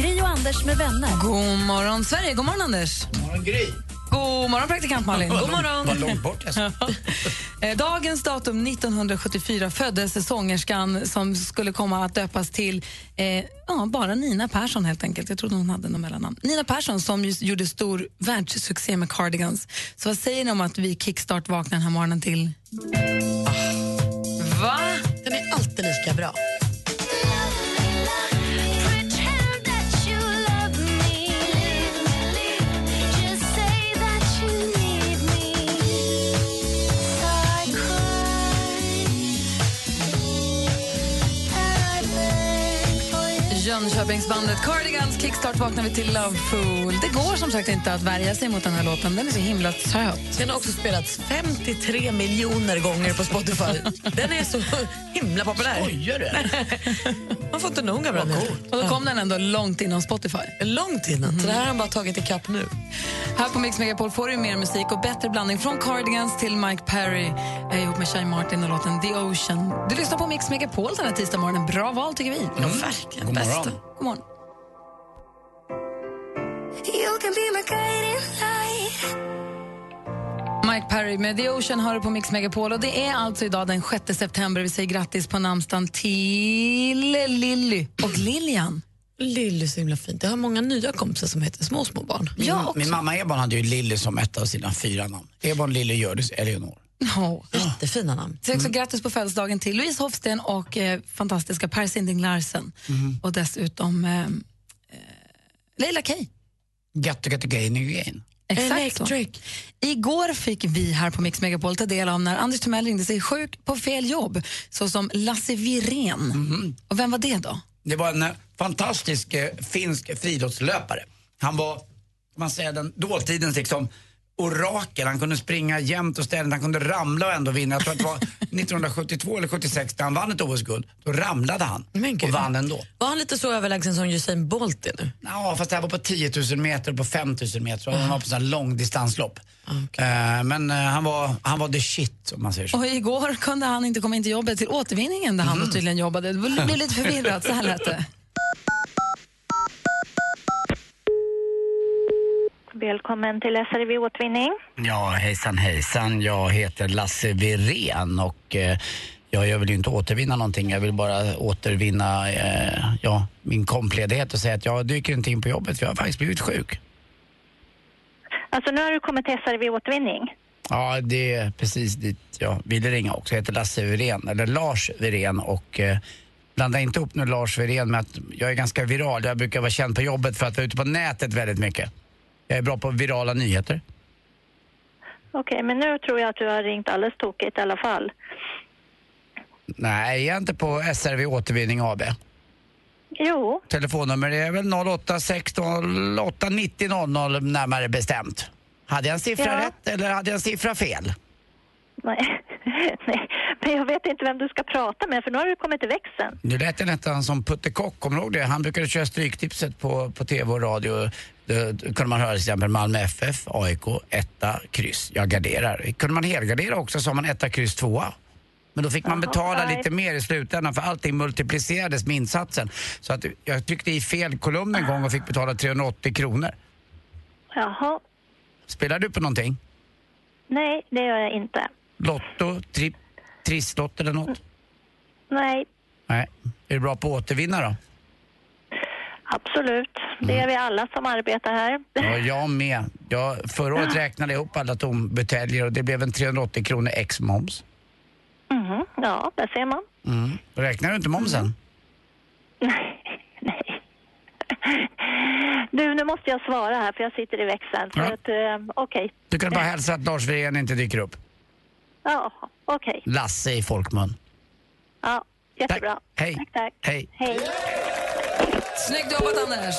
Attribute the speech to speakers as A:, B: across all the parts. A: Gri och Anders med vänner.
B: God morgon, Sverige. God morgon, Anders. God morgon, Gry. God morgon, praktikant Malin. God morgon. Vad långt bort Dagens datum 1974 föddes sångerskan som skulle komma att döpas till eh, ja, bara Nina Persson helt enkelt. Jag trodde hon hade något mellannamn. Nina Persson som just gjorde stor världssuccé med Cardigans. Så vad säger ni om att vi kickstart vaknar den här morgonen till? Ah. Va?
C: Den är alltid lika bra.
B: Jönköpingsbandet Cardigans kickstart vaknar vi till Loveful. Det går som sagt inte att värja sig mot den här låten. Den är så himla söt.
C: Den har också spelats 53 miljoner gånger på Spotify. Den är så himla populär. Skojar du? Man får inte nog av den.
B: Och då kom den ändå långt innan Spotify.
C: Långt innan. Så det här har han bara tagit ikapp nu.
B: Här på Mix Megapol får du mer musik och bättre blandning från Cardigans till Mike Perry Jag är ihop med Shai Martin och låten The Ocean. Du lyssnar på Mix Megapol den här tisdag morgonen. Bra val tycker vi.
C: Ja, verkligen. God Bästa.
B: God morgon. Mike Perry med The Ocean hör du på Mix Megapol och det är alltså idag den 6 september. Vi säger grattis på namnsdagen till Lilly och Lilian.
C: Lilly är så himla fint. Jag har många nya kompisar som heter små, små barn.
B: Jag också.
D: Min mamma Ebon hade ju Lilly som ett av sina fyra namn. Ebon, Lilly, Hjördis, Eleonor.
B: Ja.
C: Jättefina namn.
B: Så också grattis på födelsedagen till Louise Hofsten och eh, fantastiska Per Sinding Larsen. Och dessutom eh, eh, Leila Kay.
D: Gattu, gattu, gain, gain.
B: Exakt
C: Electric.
B: så. Igår fick vi här på Mix Megapol ta del av när Anders Timell ringde sig sjuk på fel jobb, såsom Lasse Wirén.
D: Mhm.
B: Och vem var det då?
D: Det var en eh, fantastisk eh, finsk friidrottslöpare. Han var, kan man säga, den dåtidens liksom orakel. Han kunde springa jämt och ständigt, han kunde ramla och ändå vinna. Jag tror att det var 1972 eller 76 när han vann ett OS-guld. Då ramlade han
C: Men gud.
D: och vann ändå.
C: Var han lite så överlägsen som Usain Bolt är nu?
D: Ja, fast det här var på 10 000 meter och på 5 000 meter. Och Han var på sån här långdistanslopp. Eh, Men eh, han var, han var the shit om man säger så.
B: Och igår kunde han inte komma in till jobbet till återvinningen där
D: Mhm.
B: han då tydligen jobbade. Det blev lite förvirrat, så här lät det.
E: Välkommen till SRV Återvinning.
D: Ja, hejsan hejsan. Jag heter Lasse Wirén och eh, ja, jag vill ju inte återvinna någonting. Jag vill bara återvinna eh, ja, min kompledighet och säga att jag dyker inte in på jobbet för jag har faktiskt blivit sjuk.
E: Alltså nu har du kommit till SRV Återvinning.
D: Ja, det är precis dit jag ville ringa också. Jag heter Lasse Wirén, eller Lars Wirén och eh, blanda inte ihop nu Lars Wirén med att jag är ganska viral. Jag brukar vara känd på jobbet för att vara ute på nätet väldigt mycket. Jag är bra på virala nyheter.
E: Okej, men nu tror jag att du har ringt alldeles tokigt i alla fall.
D: Nej, jag är inte på SRV Återvinning AB.
E: Jo,
D: Telefonnummer är väl 08-16-890-00 närmare bestämt. Hade jag en siffra
E: Ja.
D: rätt eller hade jag en siffra fel?
E: nej. nej. Men jag vet inte vem du ska prata med för nu har du kommit till växeln.
D: Nu lät det nästan som Putte Kock, kommer du ihåg det? Han brukade köra Stryktipset på, på tv och radio. Det, det kunde man höra till exempel Malmö FF, AIK, etta, kryss. Jag garderar. Kunde man helgardera också så har man etta, kryss, tvåa. Men då fick man betala
E: nej.
D: lite mer i slutändan för allting multiplicerades med insatsen. Så att jag tryckte i fel kolumn en gång och fick betala 380 kronor.
E: Jaha,
D: Spelar du på någonting?
E: nej det gör jag inte.
D: Lotto, tri, trisslott eller något?
E: Nej,
D: Nej. Är du bra på att återvinna då?
E: absolut. Det är vi alla som arbetar här.
D: Mm. Ja, jag med. Jag, förra året räknade jag ihop alla tombuteljer och det blev en 380 kronor ex moms.
E: Mhm, Ja, där ser man.
D: Mm. Räknar du inte momsen?
E: Nej. Du, nu måste jag svara här för jag sitter i växeln. Så
D: Ja.
E: att, eh, okej.
D: Du kan bara hälsa att Lars Wirén inte dyker upp.
E: Ja, okej.
D: Lasse i folkmun.
E: Ja, jättebra.
D: Hej.
E: Tack, tack.
D: Hej.
E: Hej.
B: Snyggt jobbat, Anders.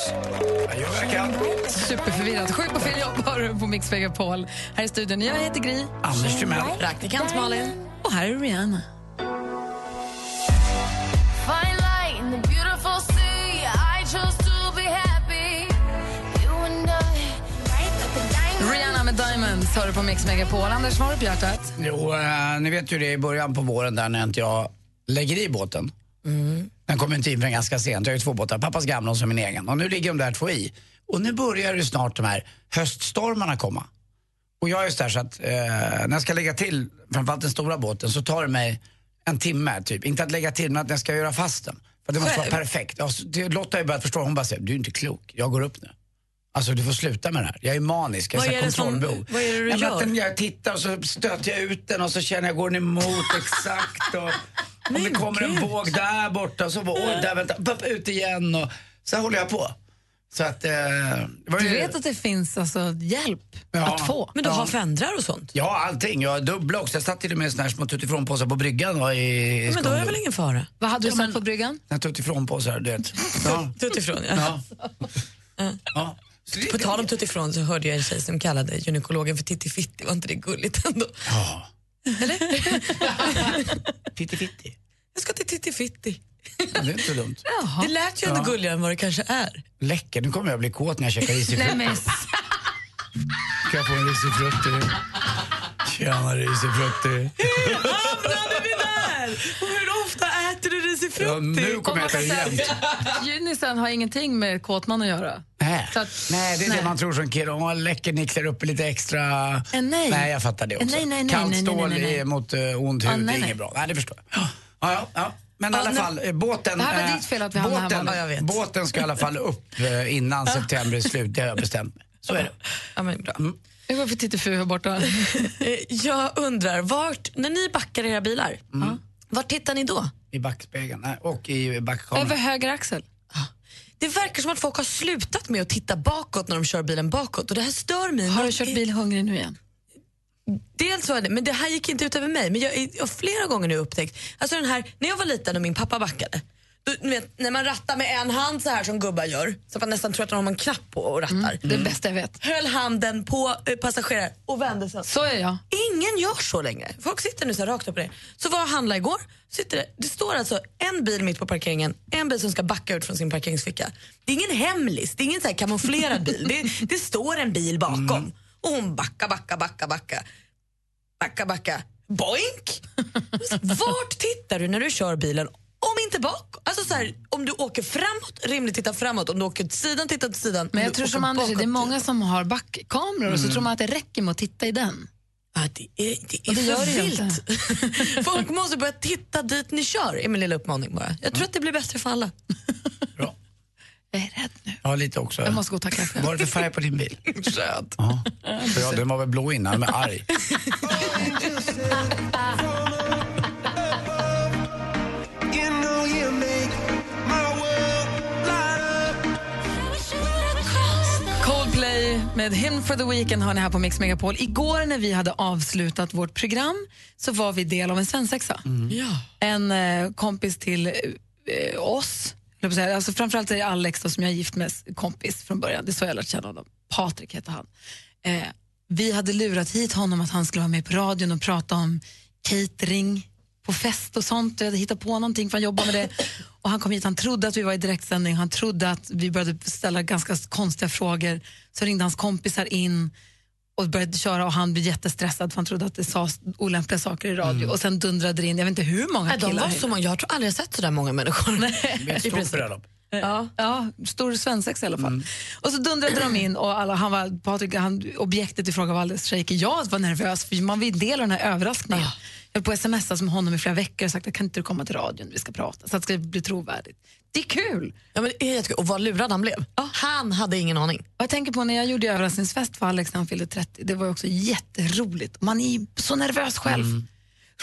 D: Jag gör vad jag kan.
B: Superförvirrat. Sjuk på fel jobb har du på Mix Megapol. Här i studion, jag heter Gry.
D: Anders Timell.
C: Praktikant Malin.
B: Och här är Rihanna. Rihanna med Diamonds har du på Mix Megapol. Anders, vad har du på hjärtat?
D: Jo, eh, ni vet ju det i början på våren där när inte jag lägger i båten.
B: Mm.
D: Den kommer inte in förrän ganska sent. Jag har ju två båtar, pappas gamla och så min egen. Och nu ligger de där två i. Och nu börjar ju snart de här höststormarna komma. Och jag är just där så att eh, när jag ska lägga till framförallt den stora båten så tar det mig en timme typ. Inte att lägga till men att jag ska göra fast den. För det måste vara perfekt. Ja, så det- Lotta har ju börjat förstå, hon bara säger du är inte klok, jag går upp nu. Alltså du får sluta med det här. Jag är manisk, jag
C: Vad
D: är
C: är det som-
D: kontrollbehov.
C: vad är det du
D: Nej, men att
C: gör?
D: den- jag tittar och så stöter jag ut den och så känner jag går den emot exakt. Och, om det kommer en våg där borta så bara, oj, där vänta, upp, ut igen. Och, så här håller jag på. Så att, eh, det var
B: Du
D: ju-
B: vet att det finns alltså hjälp
D: Ja.
B: att få.
C: Men du har fendrar och sånt?
D: Ja, allting. Jag har dubbla också. Jag satt till och med såna här små tuttifrånpåsar på bryggan och i, i
C: Men då är det väl ingen fara?
B: Vad hade du satt på bryggan?
D: ingen... Tuttifrånpåsar, du vet. Ja.
C: Tuttifrån, ja.
D: ja. ja. Så det-
C: På tal om tuttifrån så hörde jag en tjej som kallade gynekologen för Tittifitti. Var inte det gulligt ändå?
D: Ja. Eller? Fittifitti.
C: Jag ska till Tittifitti.
D: Ja, det är inte så dumt.
C: Det lät ju ändå gulligare än vad det kanske är.
D: Läcker. Nu kommer jag bli kåt när jag käkar risig frukt.
B: men
D: Kan jag få en risig frukt till dig? Tjena risig frukt till dig.
C: Hamnade vi där? Och hur ofta äter du
D: Ja,
C: risifrutti?
D: nu kommer jag äta det jämt.
B: Junisen har ingenting med kåtman att göra.
D: Nej.
B: Så att-
D: nej, det är
B: nej.
D: det man tror som kille. Om man läcker ni klär upp lite extra.
B: Eh, nej.
D: jag fattar det
B: Eh,
D: också.
B: nej, nej, nej,
D: Kallt
B: nej, nej,
D: stål
B: nej, nej.
D: i- mot uh, ont hud,
B: Ah,
D: det
B: nej,
D: är
B: nej.
D: inget bra. Nej, det förstår jag. Ja, ja, ja. Men i
B: Ja,
D: alla
B: nu-
D: fall, eh, båten,
B: Det här var
D: eh,
B: ditt fel att vi hamnade här,
D: båten,
B: Malin.
C: Ja, jag vet.
D: båten ska i alla fall upp eh, innan september är slut, det har jag bestämt mig. Så är det.
C: Ja, men bra.
D: Mm.
B: Nu går vi för Titti här borta.
C: Eh, Jag undrar, vart, när ni backar era bilar,
D: Mm.
C: vart tittar ni då?
D: I backspegeln nej, och i
B: Över
D: backkameran.
B: höger axel.
C: Ah. Det verkar som att folk har slutat med att titta bakåt när de kör bilen bakåt och det här stör mig.
B: Har
C: Men-
B: du kört bil hungrig nu igen?
C: Dels var det, men det här gick inte ut över mig. Men jag jag har flera gånger nu upptäckt, alltså den här, när jag var liten och min pappa backade, då, ni vet, när man rattar med en hand så här som gubbar gör, så att man nästan tror att man har en knapp på och rattar.
B: Mm, Det är det bästa jag vet.
C: Höll handen på eh, passagerare och vände sig.
B: Så är jag.
C: Ingen gör så längre. Folk sitter nu så här rakt upp och ner. Så var jag och handlade igår, sitter det, det står alltså en bil mitt på parkeringen, en bil som ska backa ut från sin parkeringsficka. Det är ingen hemlis, det är ingen så här kamouflerad bil. Det, det står en bil bakom
B: Mm.
C: och hon backar, backar, backar, backar. Backar, backar. Boink! Vart tittar du när du kör bilen om inte bak? Alltså så här, om du åker framåt, rimligt titta framåt. Om du åker till sidan, titta till sidan. Om
B: Men jag
C: du
B: tror som
C: åker
B: Anders, det är
C: bakåt,
B: många som har backkameror och
D: Mm.
B: så tror man att det räcker med att titta i den.
C: Ja, det är, det är
B: Och det gör
C: för
B: det ju
C: vilt. Folk måste börja titta dit ni kör, är min lilla uppmaning bara. Jag tror att det blir bättre för alla.
D: Bra.
B: Jag är rädd nu.
D: Ja, lite också.
B: Jag måste gå och ta kaffe.
D: Vad är det för färg på din bil?
C: Röd.
D: Ja, För ja, den var väl blå innan, men arg.
B: Coldplay med Him for the Weekend har ni här på Mix Megapol. Igår när vi hade avslutat vårt program så var vi del av en svensexa.
C: Ja.
B: En eh, kompis till eh, oss, höll jag på att säga. alltså framförallt är det Alex då, som jag är gift med, s- kompis från början. Det är så jag lärt känna honom. Patrik heter han. Eh, vi hade lurat hit honom att han skulle vara med på radion och prata om catering på fest och sånt. Jag hade hittat på någonting för han jobbar med det. Och han kom hit, han trodde att vi var i direktsändning, han trodde att vi började ställa ganska konstiga frågor. Så ringde hans kompisar in och började köra och han blev jättestressad för han trodde att det sades olämpliga saker i radio. Och sen dundrade det in, jag vet inte hur många
C: Mm. De
B: killar.
C: var så många, jag tror aldrig jag sett så där många människor.
D: Det är ett stort bröllop.
B: Eh, Ja. stor svensexa i alla
C: Mm.
B: fall. Och så dundrade de in och alla, han var, Patrik, han, objektet i fråga var alldeles shaky. Jag var nervös för man vill del av den här överraskningen. Jag höll på att smsa som honom i flera veckor och sagt att kan inte du komma till radion, vi ska prata så att det ska bli trovärdigt. Det är kul!
C: Ja, men det är jättekul. Och vad lurad han blev. Han hade ingen aning.
B: Och jag tänker på när jag gjorde överraskningsfest för Alex när han fyllde 30, det var ju också jätteroligt. Man är ju så nervös själv.
D: Mm.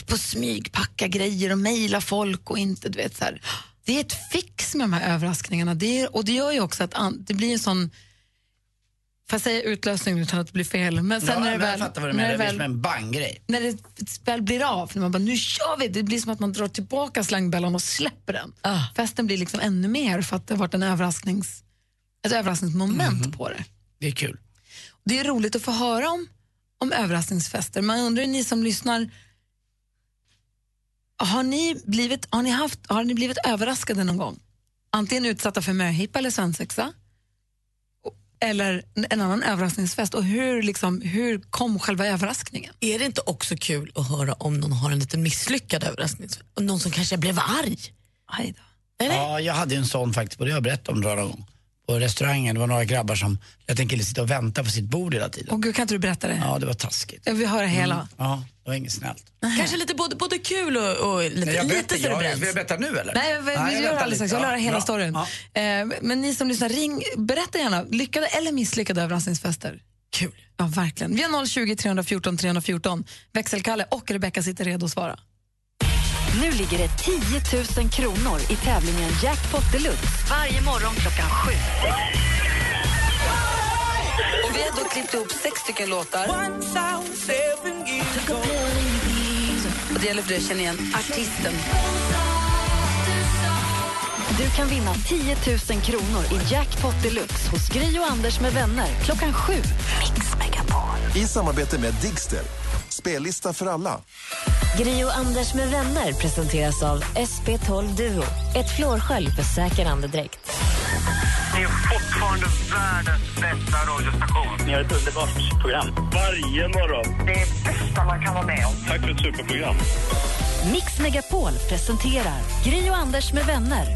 B: På smygpacka grejer och mejla folk och inte, du vet så här. Det är ett fix med de här överraskningarna det är, och det gör ju också att an, det blir en sån Får jag säga utlösningen utan att det blir fel? Men sen
D: ja,
B: när det
D: men
B: väl,
D: jag fattar vad du
B: när
D: menar,
B: det
D: det blir som
B: väl,
D: en banggrej.
B: när det väl blir av, när man bara nu kör vi, det blir som att man drar tillbaka slangbällan och släpper den.
D: Ah.
B: Festen blir liksom ännu mer för att det har varit en överrasknings, ett överraskningsmoment
D: Mhm.
B: på det.
D: Det är kul.
B: Det är roligt att få höra om, om överraskningsfester. Man undrar ju, ni som lyssnar, har ni, blivit, har, ni haft, har ni blivit överraskade någon gång? Antingen utsatta för möhippa eller svensexa? Och- Eller en- en annan överraskningsfest? Och hur, liksom, hur kom själva överraskningen?
F: Är det inte också kul att höra om någon har en liten misslyckad överraskning? Och Någon som kanske blev arg?
B: Aj då.
F: Eller?
D: Ja, jag hade ju en sån faktiskt, och det har jag berättat om några gång. På restaurangen, det var några grabbar som lät en kille sitta och vänta på sitt bord hela tiden.
B: Och gud, kan inte du berätta det?
D: Ja, det var taskigt. Mm.
B: Jag vill höra hela.
D: Ja, det var inget snällt.
F: Mm. Kanske lite både, både kul och, och lite,
D: Nej, jag
F: lite
D: berättar, jag,
F: cerebränt.
D: vill jag berätta nu eller?
B: Nej, vi, vi gör
D: väntar
B: alldeles strax.
D: lite.
B: Jag vill höra
D: Ja,
B: hela
D: bra.
B: storyn.
D: Ja.
B: Eh, men ni som lyssnar, ring, berätta gärna. Lyckade eller misslyckade överraskningsfester? Kul. Ja, verkligen. Vi har 020 314 314. Växelkalle och Rebecca sitter redo att svara.
A: Nu ligger det 10 000 kronor i tävlingen Jackpot Deluxe varje morgon klockan sju.
B: Och vi har då klippt ihop sex stycken låtar. Och det gäller för dig att känna igen artisten.
A: Du kan vinna 10 000 kronor i Jackpot Deluxe hos Gri och Anders med vänner klockan sju.
G: I samarbete med Digster. Spellista för alla.
H: Gri och Anders med vänner presenteras av SP12 Duo. Ett flårskölj för säker andedräkt.
I: Ni är fortfarande världens bästa radiostation. Ni har ett underbart program. Varje morgon. Det är det bästa man kan vara med om. Tack för ett superprogram.
A: Mix Megapol presenterar Gri och Anders med vänner.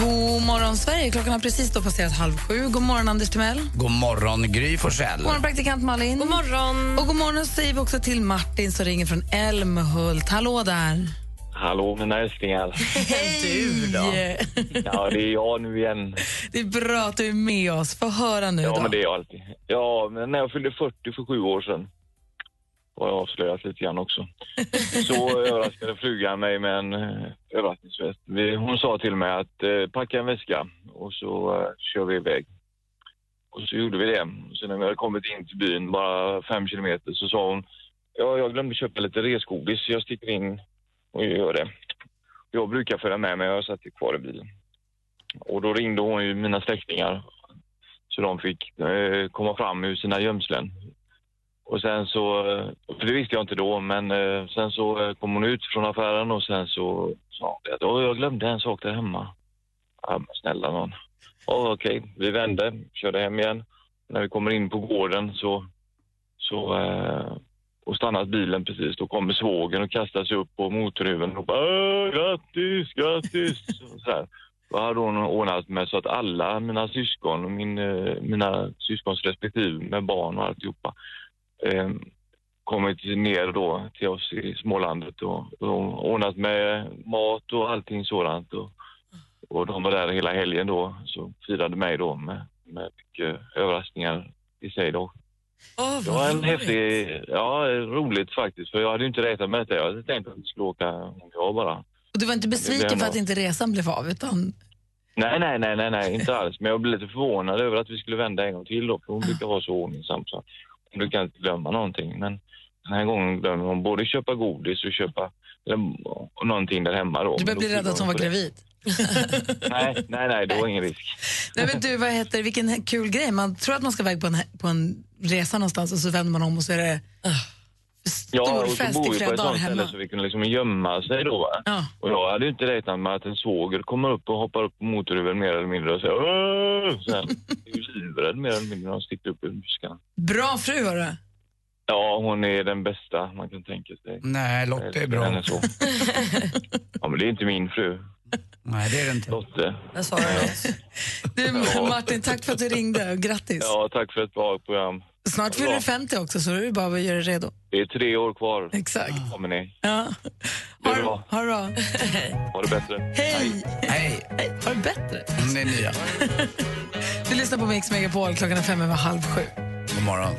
B: God morgon, Sverige. Klockan har precis då passerat halv sju. God morgon, Anders Timell. God
D: God morgon Gry Forssell.
B: morgon, praktikant Malin. God morgon. Och god morgon säger vi också till Martin som ringer från Älmhult. Hallå där.
I: Hallå mina älsklingar.
B: Du då?
I: Ja, det är jag nu igen.
B: Det är bra att du är med oss. Få höra nu
I: Ja,
B: då.
I: men det är jag alltid. Ja, men när jag fyllde 40 för sju år sedan har jag avslöjat lite grann också. Så överraskade frugan mig med en eh, överraskningsfest. Vi- Hon sa till mig att eh, packa en väska och så eh, kör vi iväg. Och så gjorde vi det. Sen när vi hade kommit in till byn, bara fem kilometer, så sa hon ja, jag glömde köpa lite resgodis så jag sticker in och gör det. Jag brukar föra med mig, jag satt ju kvar i bilen. Och då ringde hon ju mina släktingar så de fick eh, komma fram ur sina gömslen. Och sen så, eh, för det visste jag inte då, men eh, sen så eh, kom hon ut från affären och sen så sa hon att "Åh, jag glömde en sak där hemma. Ja, men snälla någon. Ja, Okej, vi vände, körde hem igen. När vi kommer in på gården så, så eh, och stannat bilen precis, då kommer svågen och kastar sig upp på motorhuven och bara "Åh, grattis, grattis. Och Så här. Då hade hon ordnat med så att alla mina syskon och min, eh, mina syskons respektive med barn och alltihopa eh, kommit ner då till oss i smålandet och, och ordnat med mat och allting sådant. Och, och de var där hela helgen då, så firade mig då med, med mycket överraskningar i sig då.
F: Åh,
I: Det
F: vad
I: var en
F: roligt.
I: häftig, ja roligt faktiskt för jag hade ju inte räknat med detta. Jag hade tänkt att vi skulle åka om jag bara.
B: Och du var inte
I: Det
B: besviken
I: blir
B: för
I: nog-
B: att inte resan blev av? Utan...
I: Nej, nej, nej, nej, nej, inte alls. Men jag blev lite förvånad över att vi skulle vända en gång till då, för hon brukar vara så ordningsam så hon brukar inte glömma någonting. Men den här gången glömmer hon både köpa godis och köpa eller, och någonting där hemma då.
B: Du
I: Men
B: började
I: då
B: bli rädd
I: skyllde
B: att hon var
I: på det.
B: gravid.
I: Nej, nej, nej, det var ingen risk.
B: Nej, men du, vad heter, vilken he- kul grej. Man tror att man ska iväg på en, he- på en resa någonstans och så vänder man om och så är det
I: Ja,
B: stor
I: och så
B: fest
I: bor
B: i
I: vi på
B: flera
I: ett
B: dagar
I: sånt ställe
B: hemma.
I: så vi kunde liksom gömma sig då. Va?
B: Ja.
I: Och jag hade ju inte räknat med att en svåger kommer upp och hoppar upp på motorhuven mer eller mindre och säger Åh! Så här. Jag är ju livrädd mer eller mindre när hon sticker upp ur buskarna.
B: Bra fru, hörru.
I: Ja, hon är den bästa man kan tänka sig.
D: Nej, Lotta Mm, är
I: Henne
D: bra.
I: så. Ja, men det är inte min fru.
D: Nej, det är det inte.
I: Lotte.
F: Jag sa det.
B: Du,
I: Ja.
B: Martin, tack för att du ringde. och Grattis.
I: Ja, tack för ett bra program.
B: Snart fyller du 50 också, så du bara att göra dig redo.
I: Det är tre år kvar.
B: Exakt.
I: Kommer ni.
B: Ja.
I: Det
B: Ha
I: är
B: det
I: bra.
B: ha det bra.
I: Ha det bättre.
B: Hej!
D: Hej,
B: Har det bättre?
D: det är nya.
B: Du lyssnar på Mix Megapol, klockan är fem över halv sju.
D: God morgon.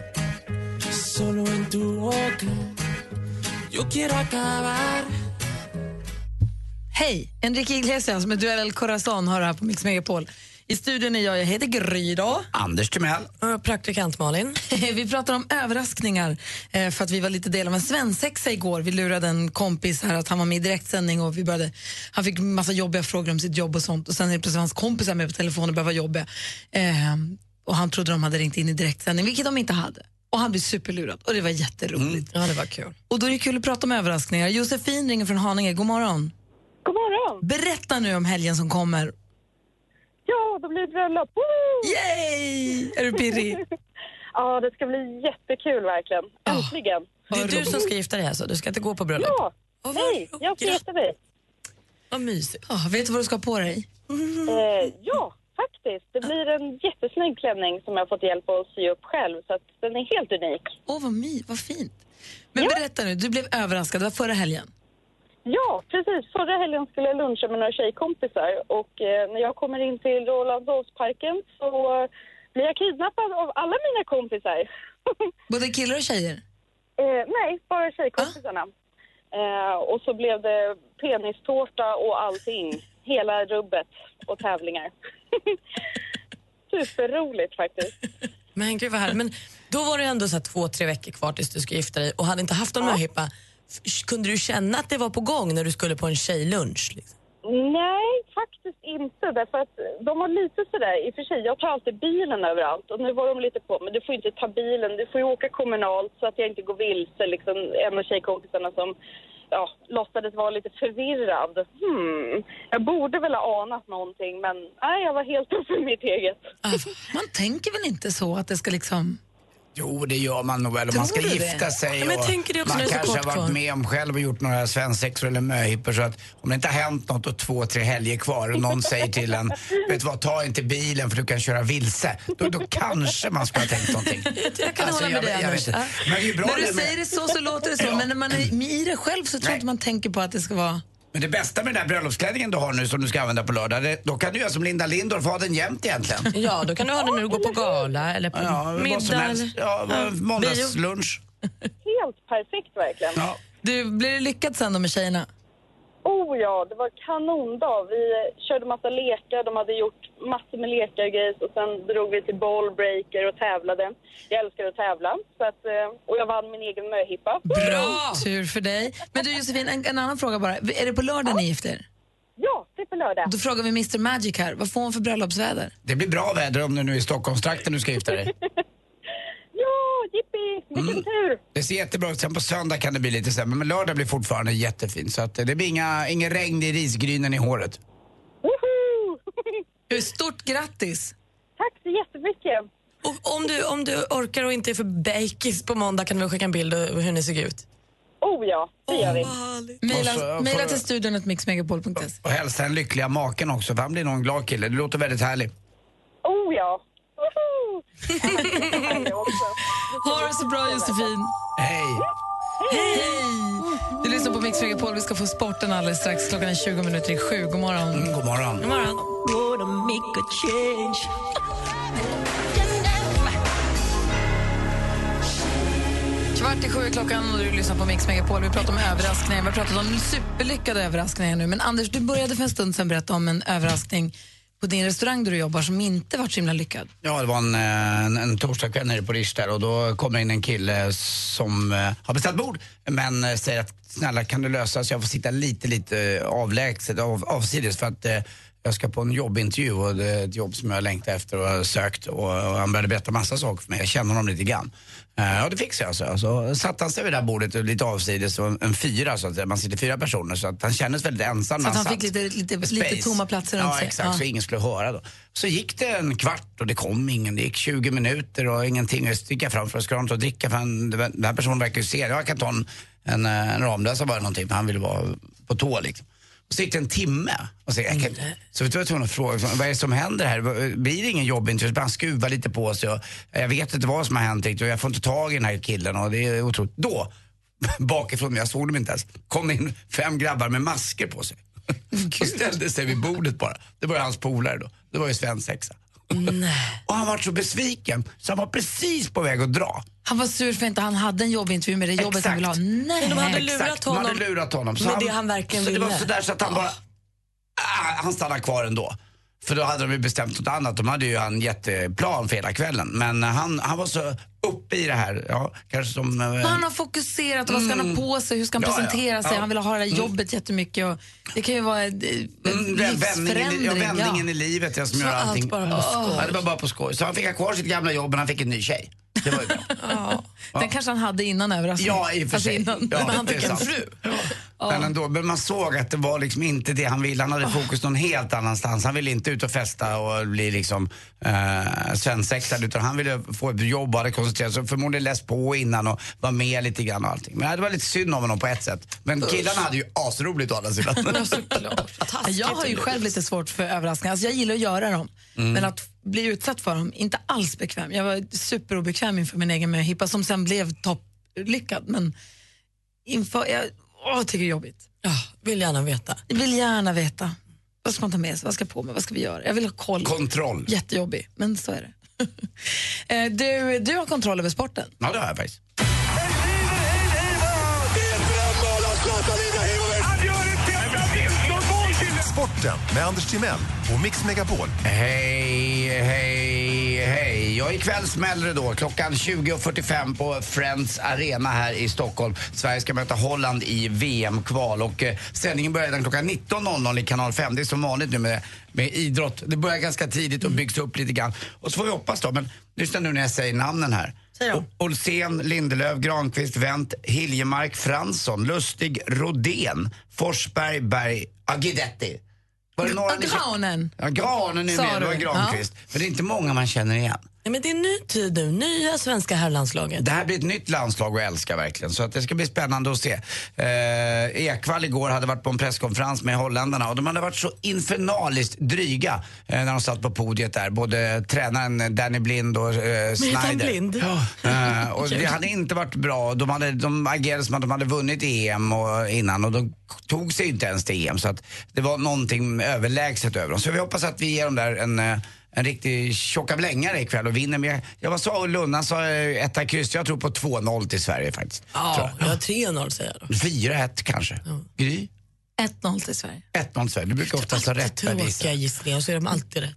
B: Hej! Enrique Iglesias med Duell El Corazon har det här på Mix Megapol. I studion är jag, jag heter Gry då.
D: Anders Timell.
B: Och Praktikant Malin. vi pratar om överraskningar eh, för att vi var lite del av en svensexa igår. Vi lurade en kompis här att han var med i direktsändning och vi började, han fick massa jobbiga frågor om sitt jobb och sånt och sen är det plötsligt hans kompisar med på telefon och började vara jobbiga. Eh, och han trodde de hade ringt in i direktsändning, vilket de inte hade. Och han blev superlurad och det var jätteroligt.
F: Ja, det var kul.
B: Och då är det kul att prata om överraskningar. Josefin ringer från Haninge, god morgon.
J: God morgon.
B: Berätta nu om helgen som kommer.
J: Ja, då blir det bröllop! Woo!
B: Yay! Är du pirrig? Ah,
J: ja, det ska bli jättekul verkligen. Äntligen!
F: Det är du som ska gifta dig alltså? Du ska inte gå på bröllop?
J: Ja! Nej, jag ska gifta mig.
F: Vad mysigt.
B: Ja, vet du vad du ska ha på dig?
J: Eh, ja, faktiskt. Det blir en jättesnygg klänning som jag har fått hjälp att sy upp själv, så att den är helt unik.
B: Åh, vad, my, vad fint. Men berätta nu, du blev överraskad. Det var förra helgen.
J: Ja, precis. Förra helgen skulle jag luncha med några tjejkompisar och eh, när jag kommer in till Rolandshovsparken så eh, blir jag kidnappad av alla mina kompisar.
B: Både killar och tjejer?
J: Eh, nej, bara tjejkompisarna. Eh, och så blev det penistårta och allting. Hela rubbet och tävlingar. Superroligt faktiskt.
F: Men gud vad härligt. Men då var det ändå så här två, tre veckor kvar tills du skulle gifta dig och hade inte haft någon möhippa. F- Kunde du känna att det var på gång när du skulle på en tjejlunch? Liksom?
J: Nej, faktiskt inte. Därför att de var lite sådär, i och för sig, jag tar alltid bilen överallt och nu var de lite på men du får inte ta bilen, du får ju åka kommunalt så att jag inte går vilse. Liksom, en av tjejkompisarna som ja, låtsades vara lite förvirrad. Hmm. Jag borde väl ha anat någonting men nej, jag var helt uppe i mitt eget.
B: Ah, Man tänker väl inte så att det ska liksom...
D: Jo, det gör man nog väl. Om man ska
B: Tror du det?
D: gifta sig
B: Ja, men jag tänker det
D: och
B: också
D: man
B: när det är så
D: kanske har
B: kort
D: varit
B: kvar.
D: med om själv och gjort några svensexor eller möhippor så att om det inte har hänt något och två, tre helger kvar och någon säger till en, vet du vad, ta inte bilen för du kan köra vilse. Då, då kanske man skulle ha tänkt någonting.
B: Jag kan
D: Alltså,
B: hålla med dig
D: jag vet- jag
B: Anders.
D: vet inte.
B: Ja.
D: Men det är bra
B: när
D: det
B: du
D: med-
B: säger det så så låter det så, men när man är i det själv så tror jag inte man tänker på att det ska vara...
D: Men det bästa med den där bröllopsklänningen du har nu som du ska använda på lördag, det, då kan du göra som Linda Lindorff, ha den jämt egentligen.
F: Ja, då kan du ha det när du går på gala eller på
D: Ja, vad som
F: middag.
D: helst.
F: eller-
D: Ja,
F: bio.
D: måndagslunch.
J: Helt perfekt verkligen.
B: Du, blir det lyckat sen då med tjejerna?
J: Oh ja, det var kanondag. Vi eh, körde massa lekar, de hade gjort massor med lekar och grejer och sen drog vi till ballbreaker och tävlade. Jag älskar att tävla så att, eh, och jag vann min egen möhippa.
B: Bra! Tur för dig. Men du Josefin, en, en annan fråga bara. Är det på lördag ni gifter er?
J: Ja, det är på lördag.
B: Då frågar vi Mr Magic här, vad får hon för bröllopsväder?
D: Det blir bra väder om du nu är i Stockholmstrakten du ska gifta dig.
J: Ja, jippi! Vilken
K: Mm.
J: tur!
D: Mm. Det ser jättebra ut. Sen på söndag kan det bli lite sämre, men lördag blir fortfarande jättefint. Så att eh, det blir inga, ingen regn i risgrynen i håret.
F: Eh,
B: Du, Stort grattis!
J: Tack så jättemycket.
F: Och om du, om du orkar och inte är för bakis på måndag kan du väl skicka en bild och hur ni såg ut?
J: Oh ja, det gör vi.
D: Och så,
B: Mejla,
D: eh,
B: mejla
D: får-
B: till studion att mixmegapol.se.
D: Och hälsa den lyckliga maken också, för han blir nog en glad kille. Det låter väldigt härligt.
J: Oh ja! Woho!
B: Ha det så bra Josefin!
D: Hej!
B: Hej! Du lyssnar på Mix Megapol. Vi ska få sporten alldeles strax. Klockan är 20 minuter i sju. God morgon.
D: Mm, god morgon.
B: God morgon. Kvart i sju är klockan och du lyssnar på Mix Megapol. Vi pratar om överraskningar. Vi har pratat om superlyckade överraskningar nu. Men Anders, du började för en stund sedan berätta om en överraskning på din restaurang där du jobbar som inte var så himla lyckad.
D: Ja, det var en, eh, en, en torsdagskväll nere på Rish där och då kommer in en kille som eh, har beställt bord men eh, säger att snälla kan du lösa så jag får sitta lite, lite eh, avlägset, av, avsides för att eh, jag ska på en jobbintervju och det är ett jobb som jag längtar efter och har sökt och, och han började berätta massa saker för mig. Jag känner honom lite grann. Eh, Ja, det fixade jag, så. Så satte han sig vid det där bordet och lite avsides, och en, en fyra så att säga. Man sitter fyra personer så att han kändes väldigt ensam
B: Så
D: när
B: att han
D: satt
B: fick lite, lite, lite
D: alltså, space.
B: tomma platser runt
D: ja,
B: sig.
D: Exakt, Så ingen skulle höra då. Så gick det en kvart och det kom ingen. Det gick 20 minuter och ingenting. Jag sticker fram för att ska ha något att dricka för han, den här personen verkar ju se. Jag kan ta en, en, eh, en Ramlösa bara någonting för han ville vara på tå liksom. Och så gick det en timme. Och så, jag kan, så vet du vad jag var tvungen att fråga, liksom, vad är det som händer här? Blir det ingen jobbintervju? Han skruvar lite på sig och eh, jag vet inte vad som har hänt riktigt och jag får inte tag i den här killen och det är otroligt. Då, bakifrån, men jag såg dem inte ens, kom in fem grabbar med masker på sig. Och ställde sig vid bordet bara. Det var ju hans polare då. Det var ju svensexa. Och han var så besviken så han var precis på väg att dra.
B: Han var sur för inte han hade en jobbintervju med det jobbet han ville ha. Nej.
F: Men de hade
D: Exakt,
F: lurat
D: de hade
F: honom
D: lurat honom. Så
F: med det han verkligen
D: så det var
F: ville.
D: sådär så att han bara... Ah, han stannade kvar ändå. För då hade de ju bestämt något annat. De hade ju en jätteplan för hela kvällen. Men eh, han, han var så uppe i det här. Ja, kanske som... eh,
B: Men han har fokuserat, vad ska han ha
D: Mm.
B: på sig, hur ska han
D: Ja, ja.
B: presentera sig,
D: Ja.
B: han vill ha det här
D: Mm.
B: jobbet jättemycket. Och det kan ju vara en
D: Mm, den vändningen, i-
B: livsförändring.
D: ja, vändningen i livet ja, som
B: Så
D: gör allting.
B: allt bara på skoj.
D: Ja, det var bara på skoj. Så han fick ha kvar sitt gamla jobb men han fick en ny tjej. Det var ju bra.
B: Den kanske han hade innan överraskningen.
D: Ja, i och för
B: Alltså
D: sig.
B: innan-
D: Ja,
B: men han
D: det
B: fick
D: är
B: en
D: sant.
B: fru.
D: Men, ändå, men man såg att det var liksom inte det han ville. Han hade fokus någon helt annanstans. Han ville inte ut och festa och bli liksom eh, svensexad utan han ville få ett jobb och hade koncentrerat sig. Förmodligen läst på innan och var med lite grann och allting. Men det var lite synd om honom på ett sätt. Men killarna hade ju asroligt å andra sidan.
B: alltså, Jag har ju själv lite svårt för överraskningar. Alltså jag gillar att göra dem,
D: Mm.
B: men att bli utsatt för dem, inte alls bekväm. Jag var superobekväm inför min egen möhippa som sen blev topplyckad. Men inför, jag åh, tycker det är jobbigt.
F: vill gärna veta.
B: Jag vill gärna veta. Vad ska man ta med sig? Vad ska jag på mig? Vad ska vi göra? Jag vill ha koll.
D: Kontroll.
B: Jättejobbig, men så är det. Eh, du, du har kontroll över sporten.
D: Ja, det har jag faktiskt.
G: Sporten med Anders Timell och Mix Megapol.
D: Hej, hej, hej. Ja, ikväll smäller det då. Klockan 20.45 på Friends Arena här i Stockholm. Sverige ska möta Holland i VM-kval. Och eh, sändningen börjar redan klockan 19.00 i kanal 5. Det är som vanligt nu med, med idrott. Det börjar ganska tidigt och byggs upp lite grann. Och så får vi hoppas då. Men lyssna nu när jag säger namnen här. O- Olsén, Lindelöf, Granqvist, Wendt, Hiljemark, Fransson, Lustig, Rodén, Forsberg, Berg, Agidetti. Var det några ni-
B: Granen.
D: Ja, granen är
B: Sa
D: med, det var
B: du?
D: Granqvist. Men det är inte många man känner igen.
F: Nej, men det är ny tid nu, nya svenska herrlandslaget.
D: Det här blir ett nytt landslag att älska verkligen. Så att det ska bli spännande att se. Eh, Ekvall igår hade varit på en presskonferens med holländarna och de hade varit så infernaliskt dryga eh, när de satt på podiet där. Både tränaren Danny Blind och eh,
F: Men heter han
D: Snyder.
F: Blind?
D: Eh, och det hade inte varit bra. De, hade, de agerade som att de hade vunnit EM och, innan och de tog sig inte ens till EM. Så att det var någonting överlägset över dem. Så vi hoppas att vi ger dem där en, eh, en riktig tjocka blängare ikväll och vinner. Men jag, jag var sa och Lunna sa eh, etta kryss. Jag tror på 2-0 till Sverige faktiskt.
F: Ja, jag har 3-0 säger jag
D: 4-1 kanske. Gry?
B: 1-0 till Sverige.
D: 1-0 Sverige. Du brukar oftast ha rätt
F: då.
D: Parisa.
F: Tråkiga gissningar, så är de alltid rätt.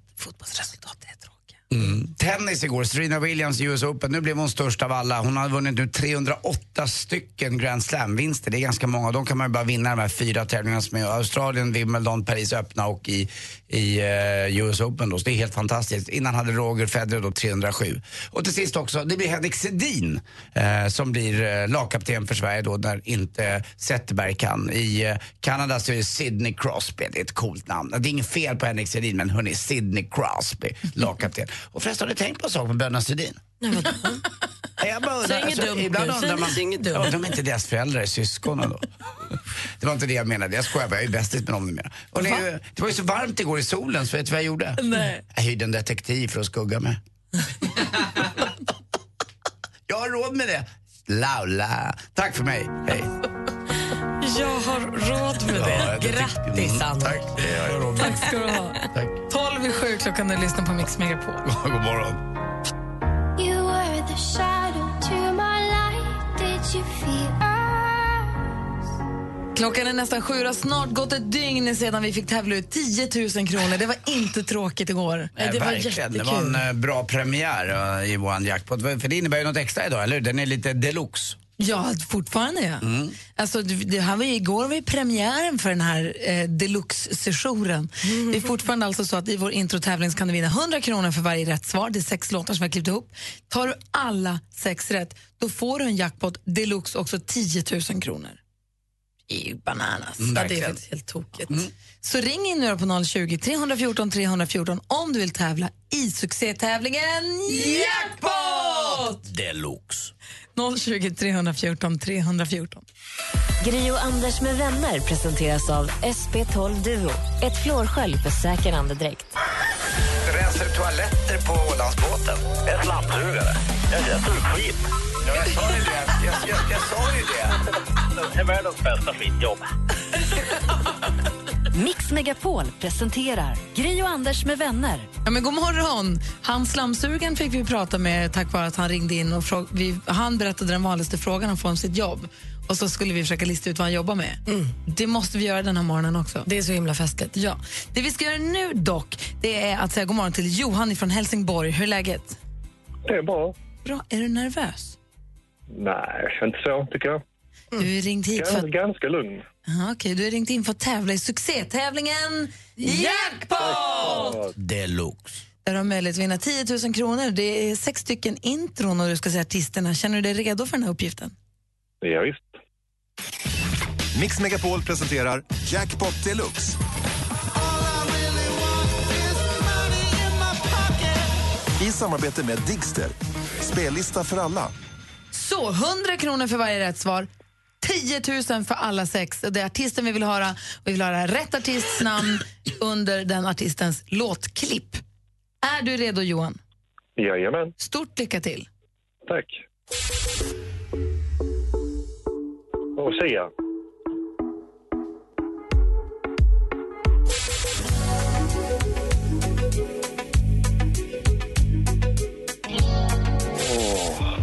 D: Mm. Tennis igår, Serena Williams i US Open. Nu blev hon störst av alla. Hon har vunnit nu 308 stycken Grand Slam-vinster. Det är ganska många. De kan man ju bara vinna de här fyra tävlingarna som är Australien, Wimbledon, Paris öppna och i, i eh, US Open. Då. Så det är helt fantastiskt. Innan hade Roger Federer då 307. Och till sist också, det blir Henrik Sedin eh, som blir eh, lagkapten för Sverige då när inte Zetterberg kan. I eh, Kanada så är det Sidney Crosby. Det är ett coolt namn. Det är inget fel på Henrik Sedin men hörni, Sidney Crosby, lagkapten. Och förresten, har ni tänkt på en sak med bröderna Sedin? Nej, jag bara undrar, alltså,
F: Säg inget dumt
D: ibland
F: nu,
D: undrar
F: säg- säg inget
D: man,
F: dumt.
D: ja, de är inte deras föräldrar, är syskonen då? Det var inte det jag menade, jag skojar bara, jag är bästis med dem numera. Och det, är ju- det var ju så varmt igår i solen, så vet du vad jag gjorde?
F: Nej.
D: Jag hyrde en detektiv för att skugga mig. jag har råd med det. Laula. Tack för mig, hej.
F: Jag har råd med
D: Ja,
F: det.
D: jag tycker-
F: Grattis,
D: Mm,
F: Anna.
D: Tack, det har jag råd med.
B: Tack ska du ha.
D: Tack.
B: 12 i 7 klockan och lyssnar på Mix Megapol.
D: God morgon.
K: You were the shadow to my light. Did you feel us?
B: Klockan är nästan sju och har snart gått ett dygn sedan vi fick tävla ut 10 000 kronor. Det var inte tråkigt igår.
D: Nej,
B: det var
D: verkligen.
B: jättekul.
D: Det var en eh, bra premiär eh, i vår jackpot. För det innebär ju något extra idag, eller hur? Den är lite deluxe. Mm.
B: Ja, fortfarande ja. Alltså, det det här var ju, igår var ju premiären för den här eh, deluxe-sessionen. Det är fortfarande alltså så att i vår introtävling så kan du vinna 100 kronor för varje rätt svar. Det är sex låtar som vi har klippt ihop. Tar du alla sex rätt, då får du en jackpot deluxe också 10 000 kronor. Det är ju bananas.
F: Mm,
B: Ja, det är
F: verkligen.
B: faktiskt helt tokigt. Mm. Så ring in nu då på 020 314 314 om du vill tävla i succétävlingen Jackpot!
D: Deluxe.
B: 020 314 314.
H: Gri och Anders med vänner presenteras av SP12 Duo. Ett flårskölj för säker andedräkt.
D: Rensar du toaletter på Ålandsbåten? En slamsugare. Jag jäser ut skit. Ja, jag sa ju det. Jag, jag, jag sa ju det.
C: Det är världens bästa skitjobb.
H: Mix Megapol presenterar Gri och Anders med vänner.
B: Ja, men god morgon! Han slamsugaren fick vi prata med tack vare att han ringde in och frå- vi, han berättade den vanligaste frågan han får om sitt jobb. Och så skulle vi försöka lista ut vad han jobbar med. Det måste vi göra den här morgonen också.
C: Mm. Det är så himla festligt.
B: Ja. Det vi ska göra nu dock, det är att säga god morgon till Johan från Helsingborg. Hur är läget?
L: Det är bra.
B: Bra. Är du nervös?
L: Nej, inte så tycker jag.
B: Du är ringt hit för
M: Mm.
L: Gans,
B: att...
L: ganska lugn.
B: Ja, okej, du är ringt in för att tävla i succétävlingen Jackpot!
D: Deluxe.
B: Där du har möjlighet att vinna 10 000 kronor. Det är sex stycken intron och du ska säga artisterna. Känner du dig redo för den här uppgiften?
L: Ja, visst.
G: Mix Megapol presenterar Jackpot Deluxe. I samarbete med Digster. Spellista för alla.
B: Så 100 kronor för varje rätt svar. 10 000 för alla sex. Och Det är artisten vi vill höra. Och vi vill höra rätt artists namn under den artistens låtklipp. Är du redo, Johan?
L: Jajamän.
B: Stort lycka till.
L: Tack. Och Sia. Åh.